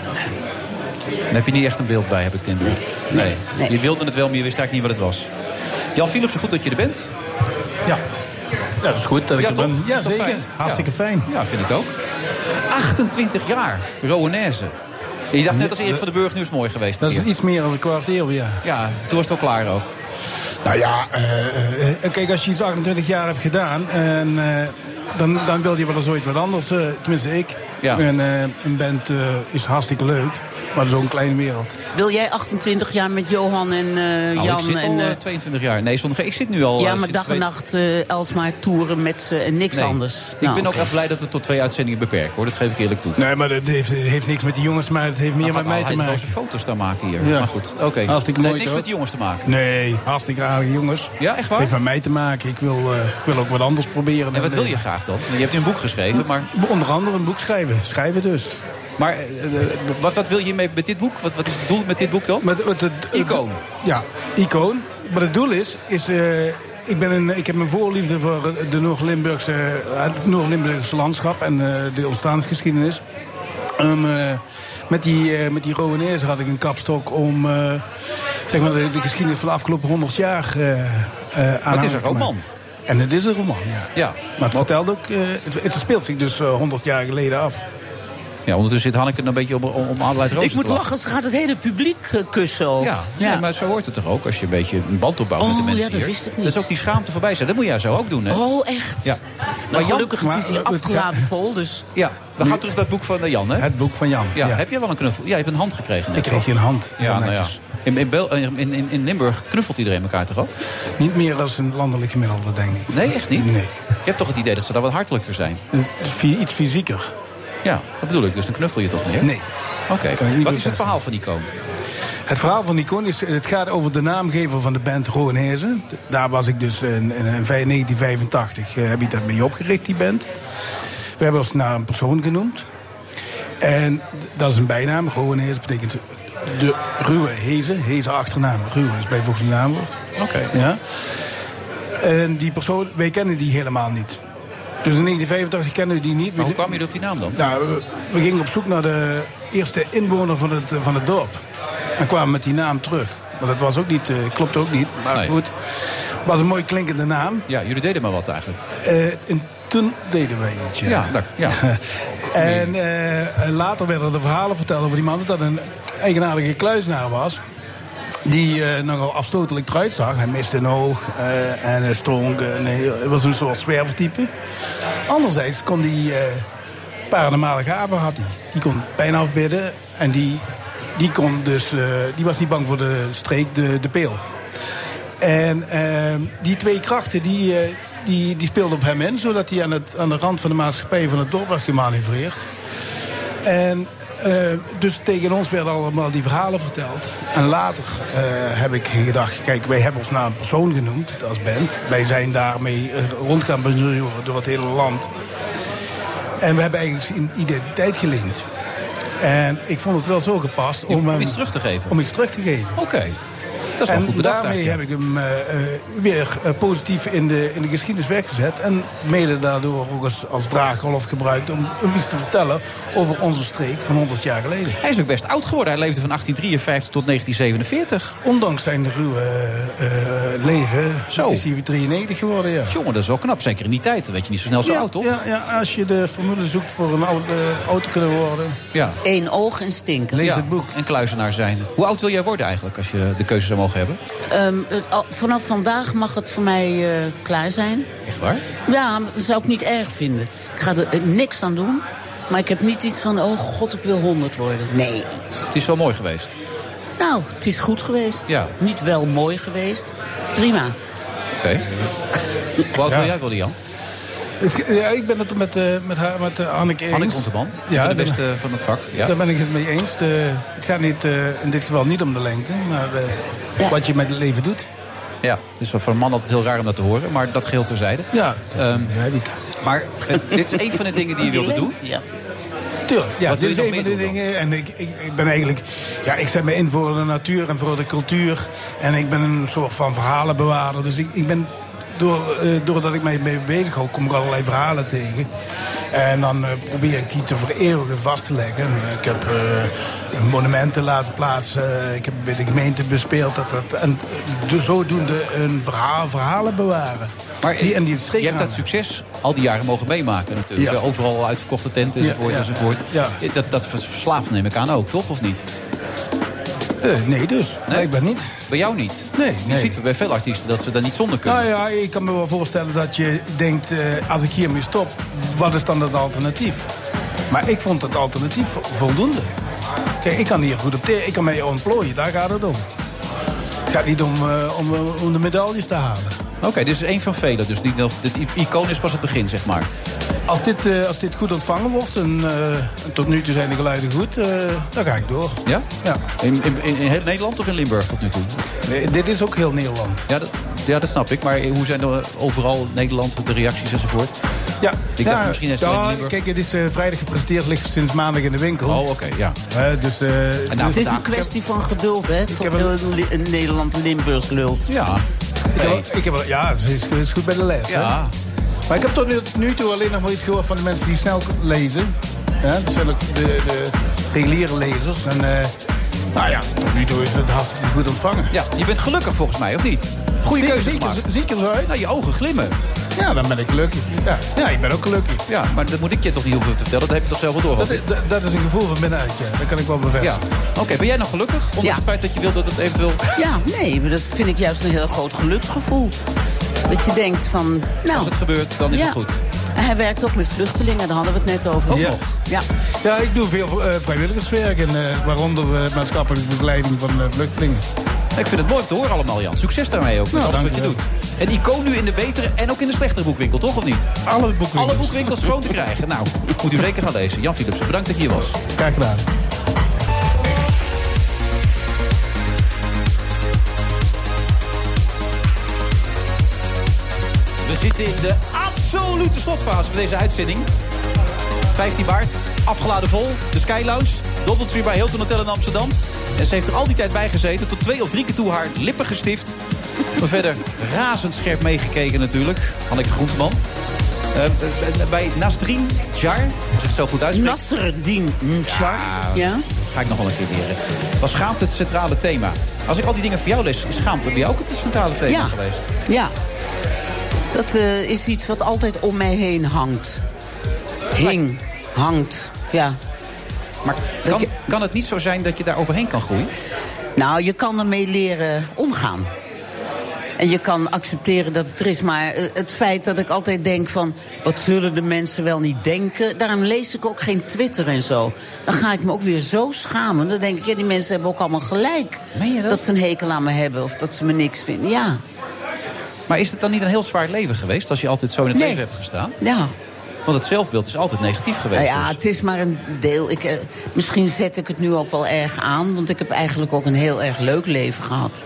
[SPEAKER 7] Daar heb je niet echt een beeld bij, heb ik de indruk. Nee. Je wilde het wel, maar je wist eigenlijk niet wat het was. Jan Philips, goed dat je er bent. Ja. Ja, dat is goed
[SPEAKER 21] dat ik er ben. Ja, zeker.
[SPEAKER 7] Hartstikke fijn. Ja, vind ik ook. 28 jaar, Rowanese. En Je dacht net als Erik van de Burg, nu is het mooi geweest.
[SPEAKER 21] Dat
[SPEAKER 7] een
[SPEAKER 21] is
[SPEAKER 7] keer.
[SPEAKER 21] iets meer dan een kwart eeuw, ja.
[SPEAKER 7] Ja, toen was het al klaar ook.
[SPEAKER 21] Nou ja, eh, eh, kijk, als je iets 28 jaar hebt gedaan, en, eh, dan, dan wil je wel eens ooit wat anders. eh, tenminste, ik.
[SPEAKER 7] Ja.
[SPEAKER 21] En eh, een band eh, is hartstikke leuk, maar zo'n kleine wereld.
[SPEAKER 8] Wil jij 28 jaar met Johan en eh,
[SPEAKER 7] Nou,
[SPEAKER 8] Jan
[SPEAKER 7] ik zit
[SPEAKER 8] en...
[SPEAKER 7] al eh,
[SPEAKER 8] eh,
[SPEAKER 7] 22 jaar. Nee, zonder ge- ik zit nu al... eh,
[SPEAKER 8] ja, maar
[SPEAKER 7] sinds
[SPEAKER 8] dag en
[SPEAKER 7] twee-
[SPEAKER 8] nacht eh Elsmaar toeren met ze en niks
[SPEAKER 7] Nee.
[SPEAKER 8] anders.
[SPEAKER 7] Ik
[SPEAKER 8] Nou,
[SPEAKER 7] ben ook
[SPEAKER 8] oké.
[SPEAKER 7] echt blij dat we het tot twee uitzendingen beperken, hoor. Dat geef ik eerlijk toe.
[SPEAKER 21] Nee, maar dat heeft, heeft niks met die jongens, maar het heeft meer
[SPEAKER 7] Wat
[SPEAKER 21] met mij te
[SPEAKER 7] Hij
[SPEAKER 21] maken.
[SPEAKER 7] heeft roze foto's daar maken hier.
[SPEAKER 21] Ja.
[SPEAKER 7] Maar goed, oké.
[SPEAKER 21] Hartstikke
[SPEAKER 7] Het heeft
[SPEAKER 21] mooi,
[SPEAKER 7] niks
[SPEAKER 21] toch?
[SPEAKER 7] met die jongens te maken.
[SPEAKER 21] Nee, hartstikke aardige jongens.
[SPEAKER 7] Ja, echt waar?
[SPEAKER 21] Het heeft met mij te maken. Ik wil, eh, ik wil ook wat anders proberen.
[SPEAKER 7] En
[SPEAKER 21] dan
[SPEAKER 7] wat wil je
[SPEAKER 21] dit.
[SPEAKER 7] graag dan? Je hebt nu een boek geschreven, maar...
[SPEAKER 21] Onder andere een boek schrijven. Schrijven dus.
[SPEAKER 7] Maar eh, eh, wat, wat wil je mee met dit boek? Wat, wat is het doel met dit boek dan?
[SPEAKER 21] Met, met het,
[SPEAKER 7] Icoon.
[SPEAKER 21] Ja, icoon. Maar het doel is, is eh, ik, ben een, ik heb een voorliefde voor eh, de Noord-Limburgse, eh, het Noord-Limburgse landschap en eh, de ontstaansgeschiedenis. Ehm, eh, met die, eh met die Rowanese had ik een kapstok om eh, zeg maar de, de geschiedenis van de afgelopen 100 jaar eh eh, aan
[SPEAKER 7] het is
[SPEAKER 21] te
[SPEAKER 7] een
[SPEAKER 21] maken.
[SPEAKER 7] roman.
[SPEAKER 21] En het is een roman, ja.
[SPEAKER 7] Ja.
[SPEAKER 21] Maar het vertelt ook, eh, het, het speelt zich dus eh, 100 jaar geleden af.
[SPEAKER 7] ja, ondertussen zit Hanneke een beetje om, om, om Adelheid Rozen
[SPEAKER 8] Ik moet
[SPEAKER 7] te lachen.
[SPEAKER 8] lachen, ze gaat het hele publiek eh, kussen ook.
[SPEAKER 7] Ja, nee, maar zo hoort het toch ook als je een beetje een band opbouwt met de
[SPEAKER 8] Oh,
[SPEAKER 7] mensen
[SPEAKER 8] ja, dat
[SPEAKER 7] hier.
[SPEAKER 8] wist ik niet.
[SPEAKER 7] Dat is ook die schaamte voorbij zijn. Dat moet jij zo ook doen, hè?
[SPEAKER 8] Oh, echt?
[SPEAKER 7] Ja.
[SPEAKER 8] Nou, gelukkig het is hier
[SPEAKER 7] maar-
[SPEAKER 8] afgeladen vol, dus...
[SPEAKER 7] Ja, we gaan terug naar het boek van eh, Jan, hè?
[SPEAKER 21] Het boek van Jan.
[SPEAKER 7] Ja, heb je wel een knuffel? Ja, je hebt een hand gekregen. Net,
[SPEAKER 21] Ik kreeg je een hand.
[SPEAKER 7] Ja, nou ja. In, in, Bel- in, in, in Limburg knuffelt iedereen elkaar toch ook?
[SPEAKER 21] Niet meer als een landelijk gemiddelde, denk ik.
[SPEAKER 7] Nee, echt niet? Je hebt toch het idee dat ze daar wat hartelijker zijn?
[SPEAKER 21] Het is fy- Iets fysieker.
[SPEAKER 7] Ja, dat bedoel ik. Dus dan knuffel je toch meer?
[SPEAKER 21] Nee.
[SPEAKER 7] Oké.
[SPEAKER 21] Kan ik niet
[SPEAKER 7] Wat is het
[SPEAKER 21] bevestigen.
[SPEAKER 7] verhaal van Icoon?
[SPEAKER 21] Het verhaal van Nicoon is, het gaat over de naamgever van de band Roanese. Daar was ik dus in, in, in 1985, eh, heb ik dat mee opgericht, die band. We hebben ons naar een persoon genoemd. En d- dat is een bijnaam, Roanese betekent de ruwe Hezen. Hezen achternaam. Ruwe is bijvoeglijk een naamwoord.
[SPEAKER 7] Oké.
[SPEAKER 21] Ja. En die persoon, wij kennen die helemaal niet. Dus in 1985 kennen we die niet.
[SPEAKER 7] Maar hoe kwam je op die naam dan?
[SPEAKER 21] Nou, we, we gingen op zoek naar de eerste inwoner van het, eh, van het dorp. En kwamen met die naam terug. Want dat was ook niet, eh, klopte ook niet. Maar
[SPEAKER 7] Nee.
[SPEAKER 21] goed, was een mooi klinkende naam.
[SPEAKER 7] Ja, jullie deden maar wat eigenlijk.
[SPEAKER 21] Eh, en toen deden wij iets.
[SPEAKER 7] Ja, nou, dat- ja.
[SPEAKER 21] en eh, later werden er verhalen verteld over die man dat dat een eigenaardige kluisnaar was. Die eh, nogal afstotelijk eruit zag. Hij miste een oog eh, en hij stonk. en hij- hij was een soort zwervertype. Anderzijds kon die eh paranormale gaven had hij. Die kon pijn afbidden en die, die, kon dus, eh, die was niet bang voor de streek, de, de peel. En ehm, die twee krachten die, eh, die, die speelden op hem in, zodat hij aan, het, aan de rand van de maatschappij van het dorp was gemanoeuvreerd. En eh, dus tegen ons werden allemaal die verhalen verteld. En later eh, heb ik gedacht, kijk, wij hebben ons naam een persoon genoemd als band. Wij zijn daarmee eh, rond gaan bezoeken door het hele land. En we hebben eigenlijk een identiteit gelinkt. En ik vond het wel zo gepast om, hem-
[SPEAKER 7] iets terug te geven.
[SPEAKER 21] om iets terug te geven.
[SPEAKER 7] Oké. Dat is wel
[SPEAKER 21] en
[SPEAKER 7] goed bedacht
[SPEAKER 21] daarmee heb ik
[SPEAKER 7] eigenlijk,
[SPEAKER 21] hem eh, eh, weer eh, positief in de, in de geschiedenis weggezet. En mede daardoor ook als, als draaggolf gebruikt om, om iets te vertellen over onze streek van 100 jaar geleden.
[SPEAKER 7] Hij is ook best oud geworden. Hij leefde van 1853 tot 1947.
[SPEAKER 21] Ondanks zijn ruwe eh, eh, leven is hij 93 geworden, ja.
[SPEAKER 7] Jongen, dat is wel knap. Zeker in die tijd. Dan Weet je niet zo snel zo
[SPEAKER 21] ja,
[SPEAKER 7] oud, toch?
[SPEAKER 21] Ja, ja, als je de formule zoekt voor een oude eh, auto kunnen worden.
[SPEAKER 7] Ja.
[SPEAKER 8] Eén oog en stinken.
[SPEAKER 7] Ja, En kluizenaar zijn. Hoe oud wil jij worden eigenlijk, als je de keuze zou mogen hebben?
[SPEAKER 8] Ehm, het- al- vanaf vandaag mag het voor mij eh, klaar zijn.
[SPEAKER 7] Echt waar?
[SPEAKER 8] Ja, maar dat zou ik niet erg vinden. Ik ga er eh, niks aan doen. Maar ik heb niet iets van, oh god, ik wil 100 worden. Nee.
[SPEAKER 7] Het is wel mooi geweest.
[SPEAKER 8] Nou, het is goed geweest.
[SPEAKER 7] Ja.
[SPEAKER 8] Niet wel mooi geweest. Prima.
[SPEAKER 7] Oké. Hoe oud wil jij worden, Jan?
[SPEAKER 21] Het- ja, ik ben het met, eh, met, haar, met eh, Hanneke eens.
[SPEAKER 7] Anneke Konteman.
[SPEAKER 21] Ja,
[SPEAKER 7] Ja, de
[SPEAKER 21] daar-
[SPEAKER 7] beste van het vak. Ja.
[SPEAKER 21] Daar ben ik het mee eens. De- het gaat niet, eh, in dit geval niet om de lengte, maar eh, wat je met het leven doet.
[SPEAKER 7] Ja, dus voor een man altijd heel raar om dat te horen, maar dat geheel terzijde.
[SPEAKER 21] Ja,
[SPEAKER 7] Ehm,
[SPEAKER 21] ik.
[SPEAKER 7] Maar eh, dit is een van de dingen die je wilde doen.
[SPEAKER 8] Ja.
[SPEAKER 21] Tuurlijk, ja,
[SPEAKER 7] Wat wil
[SPEAKER 21] dit
[SPEAKER 7] je
[SPEAKER 21] is
[SPEAKER 7] nog
[SPEAKER 21] een van
[SPEAKER 7] meer
[SPEAKER 21] de dingen. En ik, ik, ik ben eigenlijk, ja, ik zet me in voor de natuur en voor de cultuur. En ik ben een soort van verhalenbewaarder. Dus ik, ik ben, door, eh, doordat ik mij mee bezig hou, kom ik allerlei verhalen tegen. En dan eh, probeer ik die te vereeuwigen vast te leggen. En Ik heb eh, monumenten laten plaatsen. Ik heb bij de gemeente bespeeld. Dat, dat, en dus zodoende een verhaal, verhalen bewaren.
[SPEAKER 7] Maar eh,
[SPEAKER 21] die, en die het
[SPEAKER 7] je hebt dat
[SPEAKER 21] streekverhalen.
[SPEAKER 7] succes al die jaren mogen meemaken natuurlijk.
[SPEAKER 21] Ja.
[SPEAKER 7] Eh, Overal uitverkochte tenten enzovoort.
[SPEAKER 21] Ja, ja.
[SPEAKER 7] enzovoort.
[SPEAKER 21] Ja.
[SPEAKER 7] Eh, Dat, dat vers- verslaaft neem ik aan ook, toch? Of niet?
[SPEAKER 21] Eh, nee, dus. Blijkbaar niet.
[SPEAKER 7] Bij jou niet?
[SPEAKER 21] Nee,
[SPEAKER 7] Je
[SPEAKER 21] nee.
[SPEAKER 7] ziet bij veel artiesten dat ze daar niet zonder kunnen.
[SPEAKER 21] Nou ja, ik kan me wel voorstellen dat je denkt, eh, als ik hiermee stop, wat is dan het alternatief? Maar ik vond het alternatief vo- voldoende. Kijk, ik kan hier goed op tegen, ik kan mij ontplooien, daar gaat het om. Het gaat niet om, eh, om, eh, om de medailles te halen.
[SPEAKER 7] Oké, dit is één van velen. Dus die, dat- dit i- icoon is pas het begin, zeg maar.
[SPEAKER 21] Als dit, eh, als dit goed ontvangen wordt, en eh, tot nu toe zijn de geluiden goed, eh, dan ga ik door.
[SPEAKER 7] Ja?
[SPEAKER 21] Ja.
[SPEAKER 7] In, in, in heel Nederland of in Limburg tot nu toe?
[SPEAKER 21] Nee, dit is ook heel Nederland.
[SPEAKER 7] Ja dat, ja, dat snap ik. Maar hoe zijn er overal in Nederland de reacties enzovoort?
[SPEAKER 21] Ja,
[SPEAKER 7] Ik dacht misschien is het alleen
[SPEAKER 21] ja,
[SPEAKER 7] Limburg.
[SPEAKER 21] Kijk, het is eh, vrijdag gepresenteerd, ligt sinds maandag in de winkel.
[SPEAKER 7] Oh, oké, ja.
[SPEAKER 21] Eh, dus, eh,
[SPEAKER 7] Nou,
[SPEAKER 8] het
[SPEAKER 21] dus-
[SPEAKER 8] is een kwestie van geduld, hè? Tot
[SPEAKER 21] heb hem-
[SPEAKER 8] heel Li- eh, Nederland Limburg lult.
[SPEAKER 7] Ja.
[SPEAKER 21] Ik heb, wel- ik heb, wel- ja, ze is, is goed bij de les.
[SPEAKER 7] Ja.
[SPEAKER 21] Hè? Maar ik heb tot nu, nu toe alleen nog maar iets gehoord van de mensen die snel lezen. Ja, dat zijn ook de, de reguliere lezers. En, eh, nou ja, tot nu toe is het hartstikke goed ontvangen.
[SPEAKER 7] Ja, je bent gelukkig volgens mij, of niet? Goede keuze
[SPEAKER 21] zeker,
[SPEAKER 7] gemaakt.
[SPEAKER 21] Zeker zo uit.
[SPEAKER 7] Nou, je ogen glimmen.
[SPEAKER 21] Ja, dan ben ik gelukkig. Ja, ja ik ben ook gelukkig.
[SPEAKER 7] Ja, maar dat moet ik je toch niet hoeven te vertellen. Dat heb je toch zelf wel door.
[SPEAKER 21] Dat,
[SPEAKER 7] hoop ik?
[SPEAKER 21] is- dat, dat is een gevoel van binnenuit, ja. Dat kan ik wel
[SPEAKER 7] Ja.
[SPEAKER 21] bevestigen.
[SPEAKER 7] Oké, ben jij nog gelukkig? Ondanks
[SPEAKER 8] Ja.
[SPEAKER 7] het feit dat je wil dat het eventueel...
[SPEAKER 8] Ja, nee, maar dat vind ik juist een heel groot geluksgevoel. Dat je denkt van, nou...
[SPEAKER 7] Als het gebeurt, dan is
[SPEAKER 8] ja.
[SPEAKER 7] het goed.
[SPEAKER 8] En hij werkt ook met vluchtelingen, daar hadden we het net over.
[SPEAKER 21] Ook Ja. nog?
[SPEAKER 8] Ja.
[SPEAKER 21] Ja, ik doe veel eh, vrijwilligerswerk, en, eh, waaronder eh, maatschappelijke begeleiding van eh, vluchtelingen.
[SPEAKER 7] Ik vind het mooi om te horen allemaal, Jan. Succes daarmee ook, met
[SPEAKER 21] Nou,
[SPEAKER 7] alles wat je
[SPEAKER 21] dankjewel.
[SPEAKER 7] doet. En icoon nu in de betere en ook in de slechtere boekwinkel, toch of niet?
[SPEAKER 21] Alle boekwinkels.
[SPEAKER 7] Alle boekwinkels gewoon te krijgen. Nou, moet u zeker gaan lezen. Jan Philips, bedankt dat je hier was.
[SPEAKER 21] Graag gedaan.
[SPEAKER 7] We zitten in de absolute slotfase van deze uitzending. 15 baard, afgeladen vol, de Sky Lounge. Doubletree bij Hilton Hotel in Amsterdam. En ze heeft er al die tijd bij gezeten. Tot twee of drie keer toe haar lippen gestift. Maar verder razendscherp meegekeken natuurlijk. Hanneke Groenteman. Eh, eh, eh, bij Nasrin Jar, als ik het zo goed uitspreek.
[SPEAKER 8] Nasreddin Jar.
[SPEAKER 7] Ja,
[SPEAKER 8] Ja.
[SPEAKER 7] dat ga ik nog wel een keer leren. Was schaamte het centrale thema? Als ik al die dingen voor jou les, is schaamte bij jou ook het centrale thema
[SPEAKER 8] Ja.
[SPEAKER 7] geweest?
[SPEAKER 8] Ja. Dat eh, is iets wat altijd om mij heen hangt. Hing, hangt, ja.
[SPEAKER 7] Maar kan, kan het niet zo zijn dat je daar overheen kan groeien?
[SPEAKER 8] Nou, je kan ermee leren omgaan. En je kan accepteren dat het er is. Maar eh, het feit dat ik altijd denk van... wat zullen de mensen wel niet denken? Daarom lees ik ook geen Twitter en zo. Dan ga ik me ook weer zo schamen. Dan denk ik, ja, die mensen hebben ook allemaal gelijk. dat? ze een hekel aan me hebben of dat ze me niks vinden. Ja,
[SPEAKER 7] Maar is het dan niet een heel zwaar leven geweest als je altijd zo in het
[SPEAKER 8] Nee.
[SPEAKER 7] leven hebt gestaan?
[SPEAKER 8] ja.
[SPEAKER 7] Want het zelfbeeld is altijd negatief geweest. dus.
[SPEAKER 8] Nou ja, het is maar een deel. Ik, eh, misschien zet ik het nu ook wel erg aan, want ik heb eigenlijk ook een heel erg leuk leven gehad.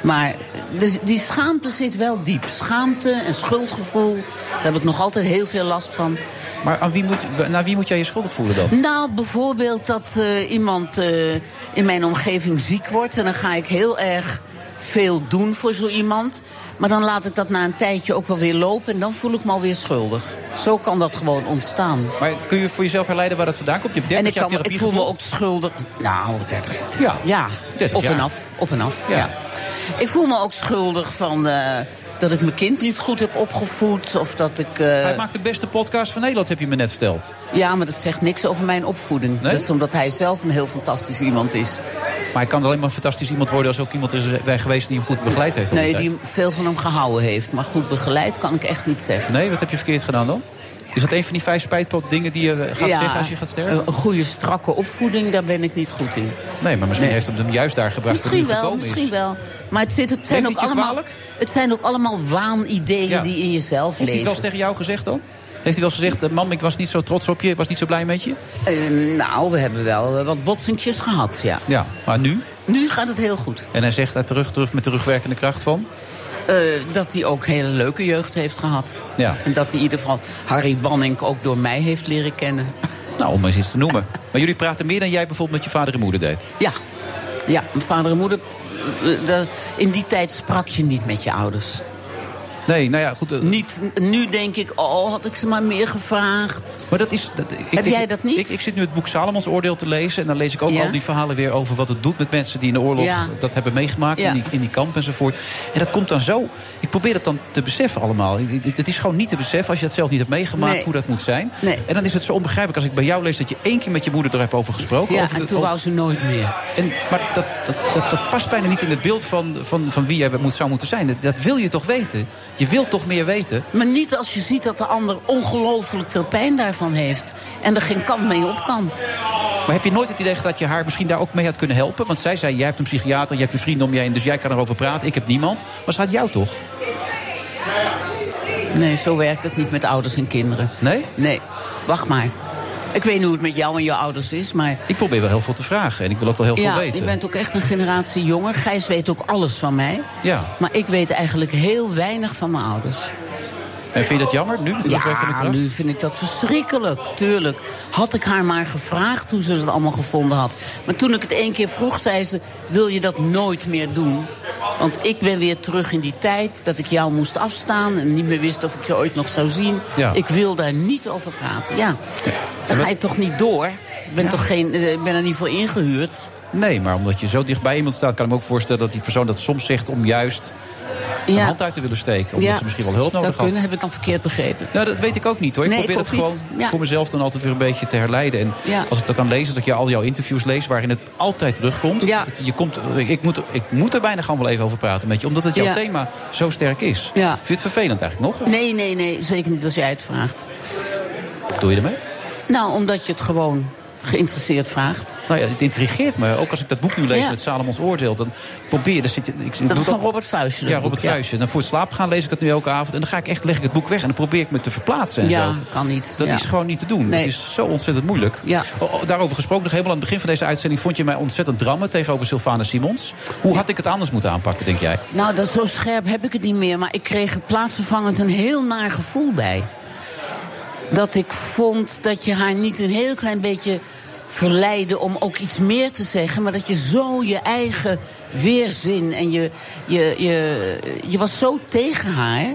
[SPEAKER 8] Maar de, die schaamte zit wel diep. Schaamte en schuldgevoel, daar heb ik nog altijd heel veel last van.
[SPEAKER 7] dus. Maar aan wie moet, naar wie moet jij je schuldig voelen dan?
[SPEAKER 8] Nou, bijvoorbeeld dat eh, iemand eh, in mijn omgeving ziek wordt. En dan ga ik heel erg veel doen voor zo iemand. Maar dan laat ik dat na een tijdje ook wel weer lopen. En dan voel ik me alweer schuldig. Zo kan dat gewoon ontstaan.
[SPEAKER 7] Maar kun je voor jezelf herleiden waar dat vandaan komt? Je hebt
[SPEAKER 8] En
[SPEAKER 7] 30
[SPEAKER 8] ik,
[SPEAKER 7] jaar
[SPEAKER 8] kan,
[SPEAKER 7] therapie
[SPEAKER 8] ik voel me
[SPEAKER 7] gevolgd.
[SPEAKER 8] ook schuldig. Nou, 30.
[SPEAKER 7] Ja,
[SPEAKER 8] ja
[SPEAKER 7] 30
[SPEAKER 8] op en
[SPEAKER 7] jaar.
[SPEAKER 8] af. Op en af.
[SPEAKER 7] Ja.
[SPEAKER 8] Ja. Ik voel me ook schuldig van eh, dat ik mijn kind niet goed heb opgevoed. Of dat ik. eh,
[SPEAKER 7] Hij maakt de beste podcast van Nederland, heb je me net verteld.
[SPEAKER 8] Ja, maar dat zegt niks over mijn opvoeding.
[SPEAKER 7] Nee?
[SPEAKER 8] Dat is omdat hij zelf een heel fantastisch iemand is.
[SPEAKER 7] Maar hij kan alleen maar een fantastisch iemand worden... als ook iemand is bij geweest die hem goed begeleid heeft. al
[SPEAKER 8] Nee,
[SPEAKER 7] tijd.
[SPEAKER 8] die veel van hem gehouden heeft. Maar goed begeleid kan ik echt niet zeggen.
[SPEAKER 7] nee, wat heb je verkeerd gedaan dan? Is dat een van die vijf spijtpot dingen die je eh, gaat
[SPEAKER 8] Ja,
[SPEAKER 7] zeggen als je gaat sterven?
[SPEAKER 8] Een goede, strakke opvoeding, daar ben ik niet goed in.
[SPEAKER 7] Nee, maar misschien
[SPEAKER 8] Nee.
[SPEAKER 7] heeft hem hem juist daar gebracht waar
[SPEAKER 8] Misschien
[SPEAKER 7] hij nu
[SPEAKER 8] wel,
[SPEAKER 7] gekomen is.
[SPEAKER 8] misschien wel. Maar het, zit ook, het zijn
[SPEAKER 7] Neemt
[SPEAKER 8] ook
[SPEAKER 7] hij het je
[SPEAKER 8] allemaal, het zijn ook allemaal waanideeën
[SPEAKER 7] Ja.
[SPEAKER 8] die in jezelf
[SPEAKER 7] Heeft hij het
[SPEAKER 8] leven.
[SPEAKER 7] wel eens tegen jou gezegd dan? Heeft hij wel eens gezegd, eh, mam, ik was niet zo trots op je, ik was niet zo blij met je?
[SPEAKER 8] Eh, nou, we hebben wel eh, wat botsingjes gehad, ja.
[SPEAKER 7] Ja, maar nu?
[SPEAKER 8] Nu gaat het heel goed.
[SPEAKER 7] En hij zegt daar terug, terug met terugwerkende kracht van.
[SPEAKER 8] Eh, dat hij ook hele leuke jeugd heeft gehad.
[SPEAKER 7] Ja.
[SPEAKER 8] En dat hij in ieder geval Harry Banning ook door mij heeft leren kennen.
[SPEAKER 7] Nou, om eens iets te noemen. Maar jullie praten meer dan jij bijvoorbeeld met je vader en moeder deed.
[SPEAKER 8] Ja, ja mijn vader en moeder... eh, de- in die tijd sprak je niet met je ouders.
[SPEAKER 7] Nee, nou ja, goed. eh,
[SPEAKER 8] Niet, nu denk ik, oh, had ik ze maar meer gevraagd.
[SPEAKER 7] Maar dat is. Dat, ik-
[SPEAKER 8] Heb
[SPEAKER 7] ik-
[SPEAKER 8] jij dat niet?
[SPEAKER 7] Ik, ik zit nu het boek Salomons Oordeel te lezen. En dan lees ik ook
[SPEAKER 8] Ja.
[SPEAKER 7] al die verhalen weer over wat het doet met mensen die in de oorlog
[SPEAKER 8] Ja.
[SPEAKER 7] dat hebben meegemaakt.
[SPEAKER 8] Ja.
[SPEAKER 7] In, die, in die kamp enzovoort. En dat komt dan zo. Ik probeer dat dan te beseffen allemaal. Ik- ik- Het is gewoon niet te beseffen als je dat zelf niet hebt meegemaakt
[SPEAKER 8] Nee.
[SPEAKER 7] hoe dat moet zijn.
[SPEAKER 8] Nee.
[SPEAKER 7] En dan is het zo onbegrijpelijk als ik bij jou lees dat je één keer met je moeder er hebt over gesproken.
[SPEAKER 8] Ja,
[SPEAKER 7] over
[SPEAKER 8] en
[SPEAKER 7] het-
[SPEAKER 8] toen
[SPEAKER 7] over-
[SPEAKER 8] wou ze nooit meer.
[SPEAKER 7] En, maar dat, dat, dat, dat past bijna niet in het beeld van, van, van wie jij moet, zou moeten zijn. Dat, dat wil je toch weten? Je wilt toch meer weten?
[SPEAKER 8] Maar niet als je ziet dat de ander ongelooflijk veel pijn daarvan heeft. En er geen kant mee op kan.
[SPEAKER 7] Maar heb je nooit het idee gehad dat je haar misschien daar ook mee had kunnen helpen? Want zij zei, jij hebt een psychiater, jij hebt je vrienden om je heen... dus jij kan erover praten, ik heb niemand. Maar ze had jou toch?
[SPEAKER 8] Nee, zo werkt het niet met ouders en kinderen.
[SPEAKER 7] Nee?
[SPEAKER 8] Nee, wacht maar. Ik weet niet hoe het met jou en je ouders is, maar...
[SPEAKER 7] Ik probeer wel heel veel te vragen en ik wil ook wel heel
[SPEAKER 8] ja,
[SPEAKER 7] veel weten.
[SPEAKER 8] je bent ook echt een generatie jonger. Gijs weet ook alles van mij.
[SPEAKER 7] Ja.
[SPEAKER 8] Maar ik weet eigenlijk heel weinig van mijn ouders.
[SPEAKER 7] En vind je dat jammer nu, met terugwerkende
[SPEAKER 8] Ja,
[SPEAKER 7] kracht?
[SPEAKER 8] nu vind ik dat verschrikkelijk, tuurlijk. Had ik haar maar gevraagd hoe ze het allemaal gevonden had. Maar toen ik het één keer vroeg, zei ze... wil je dat nooit meer doen? Want ik ben weer terug in die tijd dat ik jou moest afstaan... en niet meer wist of ik je ooit nog zou zien.
[SPEAKER 7] Ja.
[SPEAKER 8] Ik wil daar niet over praten. Ja, daar ga je toch niet door? Ik ben, toch geen, eh, ik ben er niet voor ingehuurd.
[SPEAKER 7] Nee, maar omdat je zo dichtbij iemand staat... kan ik me ook voorstellen dat die persoon dat soms zegt... om juist een
[SPEAKER 8] Ja.
[SPEAKER 7] hand uit te willen steken. Omdat
[SPEAKER 8] Ja,
[SPEAKER 7] ze misschien wel hulp
[SPEAKER 8] zou
[SPEAKER 7] nodig had.
[SPEAKER 8] kunnen, heb ik dan verkeerd begrepen.
[SPEAKER 7] Nou, dat weet ik ook niet hoor. Ik
[SPEAKER 8] Nee,
[SPEAKER 7] probeer
[SPEAKER 8] ik
[SPEAKER 7] dat
[SPEAKER 8] ook
[SPEAKER 7] gewoon
[SPEAKER 8] niet. Ja.
[SPEAKER 7] voor mezelf dan altijd weer een beetje te herleiden. En
[SPEAKER 8] Ja.
[SPEAKER 7] als ik dat dan lees, dat ik je al jouw interviews lees waarin het altijd terugkomt.
[SPEAKER 8] Ja.
[SPEAKER 7] Je komt, ik, moet, ik moet er bijna gewoon wel even over praten met je, omdat het jouw
[SPEAKER 8] Ja.
[SPEAKER 7] thema zo sterk is.
[SPEAKER 8] Ja.
[SPEAKER 7] Vind je het vervelend eigenlijk nog? Of
[SPEAKER 8] Nee, nee, nee, zeker niet als jij het vraagt.
[SPEAKER 7] wat doe je ermee?
[SPEAKER 8] Nou, omdat je het gewoon geïnteresseerd vraagt.
[SPEAKER 7] Nou ja, het intrigeert me. Ook als ik dat boek nu lees
[SPEAKER 8] Ja.
[SPEAKER 7] met Salomons Oordeel, dan probeer je. dan zit je- ik,
[SPEAKER 8] Dat is
[SPEAKER 7] doe
[SPEAKER 8] van
[SPEAKER 7] ook-
[SPEAKER 8] Robert Vuijsje. dat
[SPEAKER 7] Ja,
[SPEAKER 8] boek,
[SPEAKER 7] Robert Vuijsje. Dan voor het slapen gaan lees ik dat nu elke avond. En dan ga ik echt, leg ik het boek weg en dan probeer ik me te verplaatsen. En
[SPEAKER 8] Ja,
[SPEAKER 7] zo.
[SPEAKER 8] kan niet.
[SPEAKER 7] Dat
[SPEAKER 8] Ja.
[SPEAKER 7] is gewoon niet te doen.
[SPEAKER 8] Nee.
[SPEAKER 7] Dat is zo ontzettend moeilijk.
[SPEAKER 8] Ja.
[SPEAKER 7] Oh, oh, daarover gesproken, nog helemaal aan het begin van deze uitzending... vond je mij ontzettend drammen tegenover Sylvana Simons. Hoe had ik het anders moeten aanpakken, denk jij?
[SPEAKER 8] Nou, dat zo scherp heb ik het niet meer. Maar ik kreeg er plaatsvervangend een heel naar gevoel bij. Dat ik vond dat je haar niet een heel klein beetje verleiden om ook iets meer te zeggen. Maar dat je zo je eigen weerzin en je, je, je, je was zo tegen haar.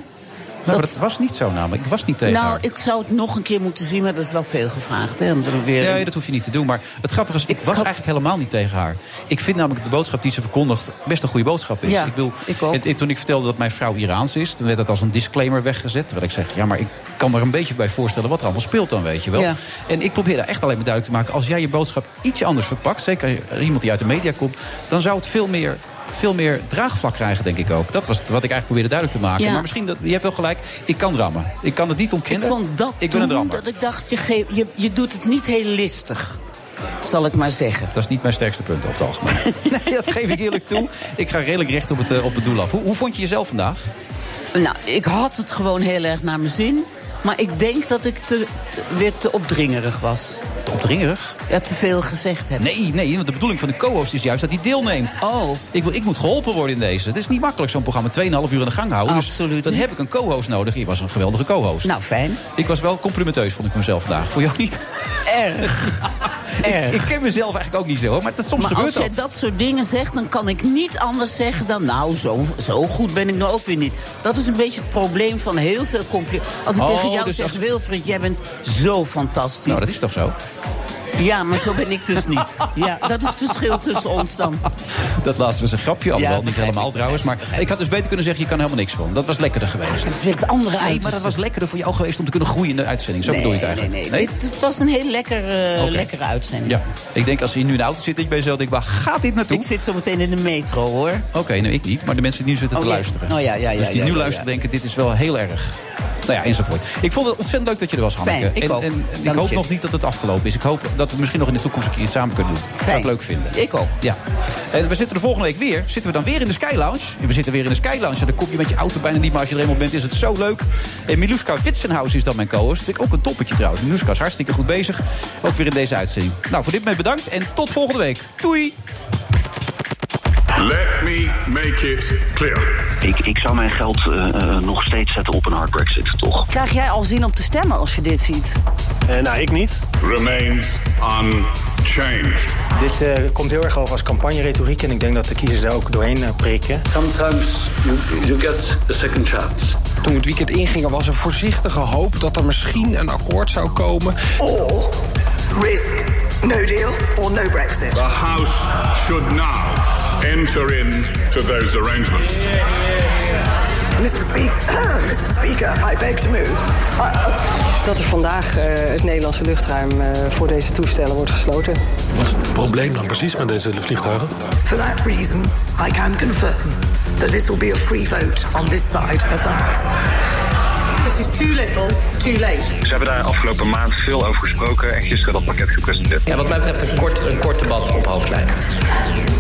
[SPEAKER 7] Nou, maar dat was niet zo namelijk. Ik was niet tegen
[SPEAKER 8] nou,
[SPEAKER 7] haar.
[SPEAKER 8] ik zou het nog een keer moeten zien, maar dat is wel veel gevraagd. Hè, om er weer
[SPEAKER 7] Nee, dat hoef je niet te doen. Maar het grappige is, ik was eigenlijk helemaal niet tegen haar. Ik vind namelijk dat de boodschap die ze verkondigt best een goede boodschap is.
[SPEAKER 8] Ja,
[SPEAKER 7] ik bedoel,
[SPEAKER 8] ik ook.
[SPEAKER 7] het- het- toen ik vertelde dat mijn vrouw Iraans is, toen werd dat als een disclaimer weggezet. Terwijl ik zeg, ja, maar ik kan me er een beetje bij voorstellen wat er allemaal speelt dan, weet je wel.
[SPEAKER 8] Ja.
[SPEAKER 7] En ik probeer daar echt alleen maar duidelijk te maken. Als jij je boodschap ietsje anders verpakt, zeker er iemand die uit de media komt, dan zou het veel meer, veel meer draagvlak krijgen, denk ik ook. Dat was het wat ik eigenlijk probeerde duidelijk te maken.
[SPEAKER 8] Ja.
[SPEAKER 7] Maar misschien, dat, je hebt wel gelijk, ik kan rammen. Ik kan het niet ontkennen.
[SPEAKER 8] Ik vond dat
[SPEAKER 7] Ik ben een
[SPEAKER 8] toen
[SPEAKER 7] rammer.
[SPEAKER 8] dat ik dacht, je, geeft- je, je doet het niet heel listig. Zal ik maar zeggen.
[SPEAKER 7] Dat is niet mijn sterkste punt over het algemeen. nee, dat geef ik eerlijk toe. Ik ga redelijk recht op het, eh, op het doel af. Hoe, hoe vond je jezelf vandaag?
[SPEAKER 8] Nou, ik had het gewoon heel erg naar mijn zin. Maar ik denk dat ik te, weer te opdringerig was.
[SPEAKER 7] Te opdringerig?
[SPEAKER 8] Ja, te veel gezegd heb.
[SPEAKER 7] Nee, nee, want de bedoeling van de co-host is juist dat hij deelneemt.
[SPEAKER 8] Oh.
[SPEAKER 7] Ik, wil- ik moet geholpen worden in deze. Het is niet makkelijk zo'n programma 2,5 uur in de gang houden. dus dan
[SPEAKER 8] niet.
[SPEAKER 7] heb ik een co-host nodig. Je was een geweldige co-host.
[SPEAKER 8] Nou, fijn.
[SPEAKER 7] Ik was wel complimenteus, vond ik mezelf vandaag. Vond je ook niet?
[SPEAKER 8] Erg.
[SPEAKER 7] ik, ik ken mezelf eigenlijk ook niet zo, hoor, maar dat, soms
[SPEAKER 8] maar als
[SPEAKER 7] gebeurt
[SPEAKER 8] jij
[SPEAKER 7] dat.
[SPEAKER 8] dat soort dingen zegt, dan kan ik niet anders zeggen dan... nou, zo, zo goed ben ik nou ook weer niet. Dat is een beetje het probleem van heel veel complimenten. Als ik
[SPEAKER 7] Oh,
[SPEAKER 8] tegen jou
[SPEAKER 7] dus
[SPEAKER 8] zeg,
[SPEAKER 7] als-
[SPEAKER 8] Wilfred, jij bent zo fantastisch.
[SPEAKER 7] Nou, dat is toch zo?
[SPEAKER 8] Ja, maar zo ben ik dus niet. Ja, dat is het verschil tussen ons dan.
[SPEAKER 7] Dat laatste was een grapje, alhoewel niet
[SPEAKER 8] begrijp
[SPEAKER 7] helemaal trouwens. Maar ik had dus beter kunnen zeggen, je kan er helemaal niks van. Dat was lekkerder geweest.
[SPEAKER 8] Het is weer het andere
[SPEAKER 7] Nee, maar dat was lekkerder voor jou geweest om te kunnen groeien in de uitzending. Zo bedoel je het eigenlijk?
[SPEAKER 8] dus Nee, nee, Dit, het was een heel lekker, eh,
[SPEAKER 7] Oké.
[SPEAKER 8] lekkere uitzending.
[SPEAKER 7] Ja, ik denk als je nu in de auto zit, dat je bij jezelf denkt, waar gaat dit naartoe?
[SPEAKER 8] Ik zit zo meteen in de metro, hoor.
[SPEAKER 7] Oké, nou ik niet, maar de mensen die nu zitten
[SPEAKER 8] Oh,
[SPEAKER 7] te
[SPEAKER 8] ja.
[SPEAKER 7] luisteren.
[SPEAKER 8] Oh, ja, ja, ja,
[SPEAKER 7] dus die
[SPEAKER 8] ja,
[SPEAKER 7] nu
[SPEAKER 8] ja,
[SPEAKER 7] luisteren
[SPEAKER 8] ja.
[SPEAKER 7] denken, dit is wel heel erg. Nou ja, enzovoort. Ik vond het ontzettend leuk dat je er was, Hanneke.
[SPEAKER 8] Fijn, ik
[SPEAKER 7] en
[SPEAKER 8] ook.
[SPEAKER 7] en, en ik
[SPEAKER 8] Dank
[SPEAKER 7] hoop
[SPEAKER 8] je.
[SPEAKER 7] nog niet dat het afgelopen is. Ik hoop dat we misschien nog in de toekomst een keer iets samen kunnen doen. Dat zou ik leuk vinden.
[SPEAKER 8] Ik ook.
[SPEAKER 7] Ja. En we zitten de volgende week weer. Zitten we dan weer in de Sky Lounge? We zitten weer in de Sky Lounge. En dan kom je met je auto bijna niet, maar als je er eenmaal bent, is het zo leuk. En Miluska Witsenhuis is dan mijn co-host. Vind ik ook een toppetje trouwens. Miluska is hartstikke goed bezig. Ook weer in deze uitzending. Nou, voor dit moment bedankt en tot volgende week. Doei!
[SPEAKER 22] Let me make it clear. Ik, ik zou mijn geld eh, eh, nog steeds zetten op een hard Brexit, toch?
[SPEAKER 3] Krijg jij al zin om te stemmen als je dit ziet?
[SPEAKER 22] nou, ik niet. Remains unchanged.
[SPEAKER 23] Dit eh, komt heel erg over als campagneretoriek en ik denk dat de kiezers daar ook doorheen eh, prikken.
[SPEAKER 24] Sometimes you, you get a second chance.
[SPEAKER 25] Toen het weekend inging was er voorzichtige hoop dat er misschien een akkoord zou komen.
[SPEAKER 10] Or risk no deal or no Brexit.
[SPEAKER 22] The House should now enter into those arrangements.
[SPEAKER 10] Mr. Speaker, Mr. Speaker, I beg to move. uh,
[SPEAKER 26] Dat er vandaag eh, het Nederlandse luchtruim eh, voor deze toestellen wordt gesloten.
[SPEAKER 24] Wat is het probleem dan precies met deze vliegtuigen?
[SPEAKER 10] For that reason, I can confirm that this will be a free vote on this side of the House.
[SPEAKER 26] This is too little, too late.
[SPEAKER 27] Ze hebben daar afgelopen maand veel over gesproken en gisteren dat pakket gepresenteerd.
[SPEAKER 25] Ja, wat mij betreft een kort, een kort debat op hoofdlijn.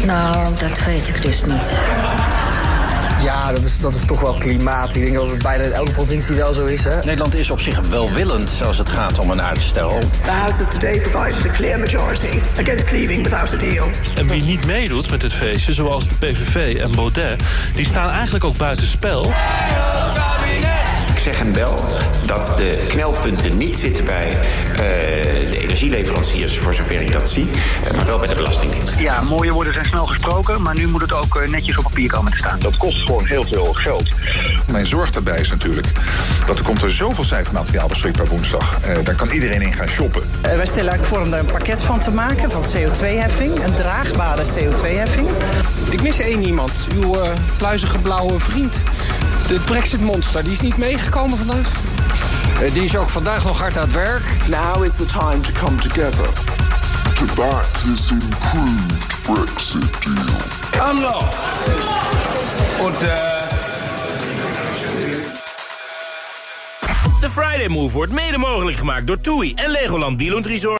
[SPEAKER 26] Nou, dat weet ik dus niet.
[SPEAKER 25] Ja, dat is, dat is toch wel klimaat. Ik denk dat het bijna in elke provincie wel zo is. Hè?
[SPEAKER 5] Nederland is op zich welwillend als het gaat om een uitstel.
[SPEAKER 10] The House has today provided a clear majority against leaving without a deal.
[SPEAKER 24] En wie niet meedoet met dit feestje, zoals de PVV en Baudet, die staan eigenlijk ook buiten spel.
[SPEAKER 28] Ik zeg hem wel dat de knelpunten niet zitten bij eh, de energieleveranciers, voor zover ik dat zie, eh, maar wel bij de Belastingdienst.
[SPEAKER 27] Ja, mooie woorden zijn snel gesproken, maar nu moet het ook eh, netjes op papier komen te staan. Dat kost gewoon heel veel geld.
[SPEAKER 29] Mijn zorg daarbij is natuurlijk dat er komt er zoveel cijfermateriaal beschikbaar woensdag. Eh dan kan iedereen in gaan shoppen.
[SPEAKER 26] Eh, wij stellen eigenlijk voor om daar een pakket van te maken, van CO2-heffing. Een draagbare CO2-heffing.
[SPEAKER 25] Ik mis één iemand, uw eh, pluizige blauwe vriend. De Brexit-monster, die is niet meegekomen vandaag.
[SPEAKER 18] Eh, Die is ook vandaag nog hard aan het werk. Now is the time to come together.
[SPEAKER 30] to back this improved Brexit deal.
[SPEAKER 11] Anloop.
[SPEAKER 2] Und, De Friday Move wordt mede mogelijk gemaakt door TUI en Legoland Bieland Resort.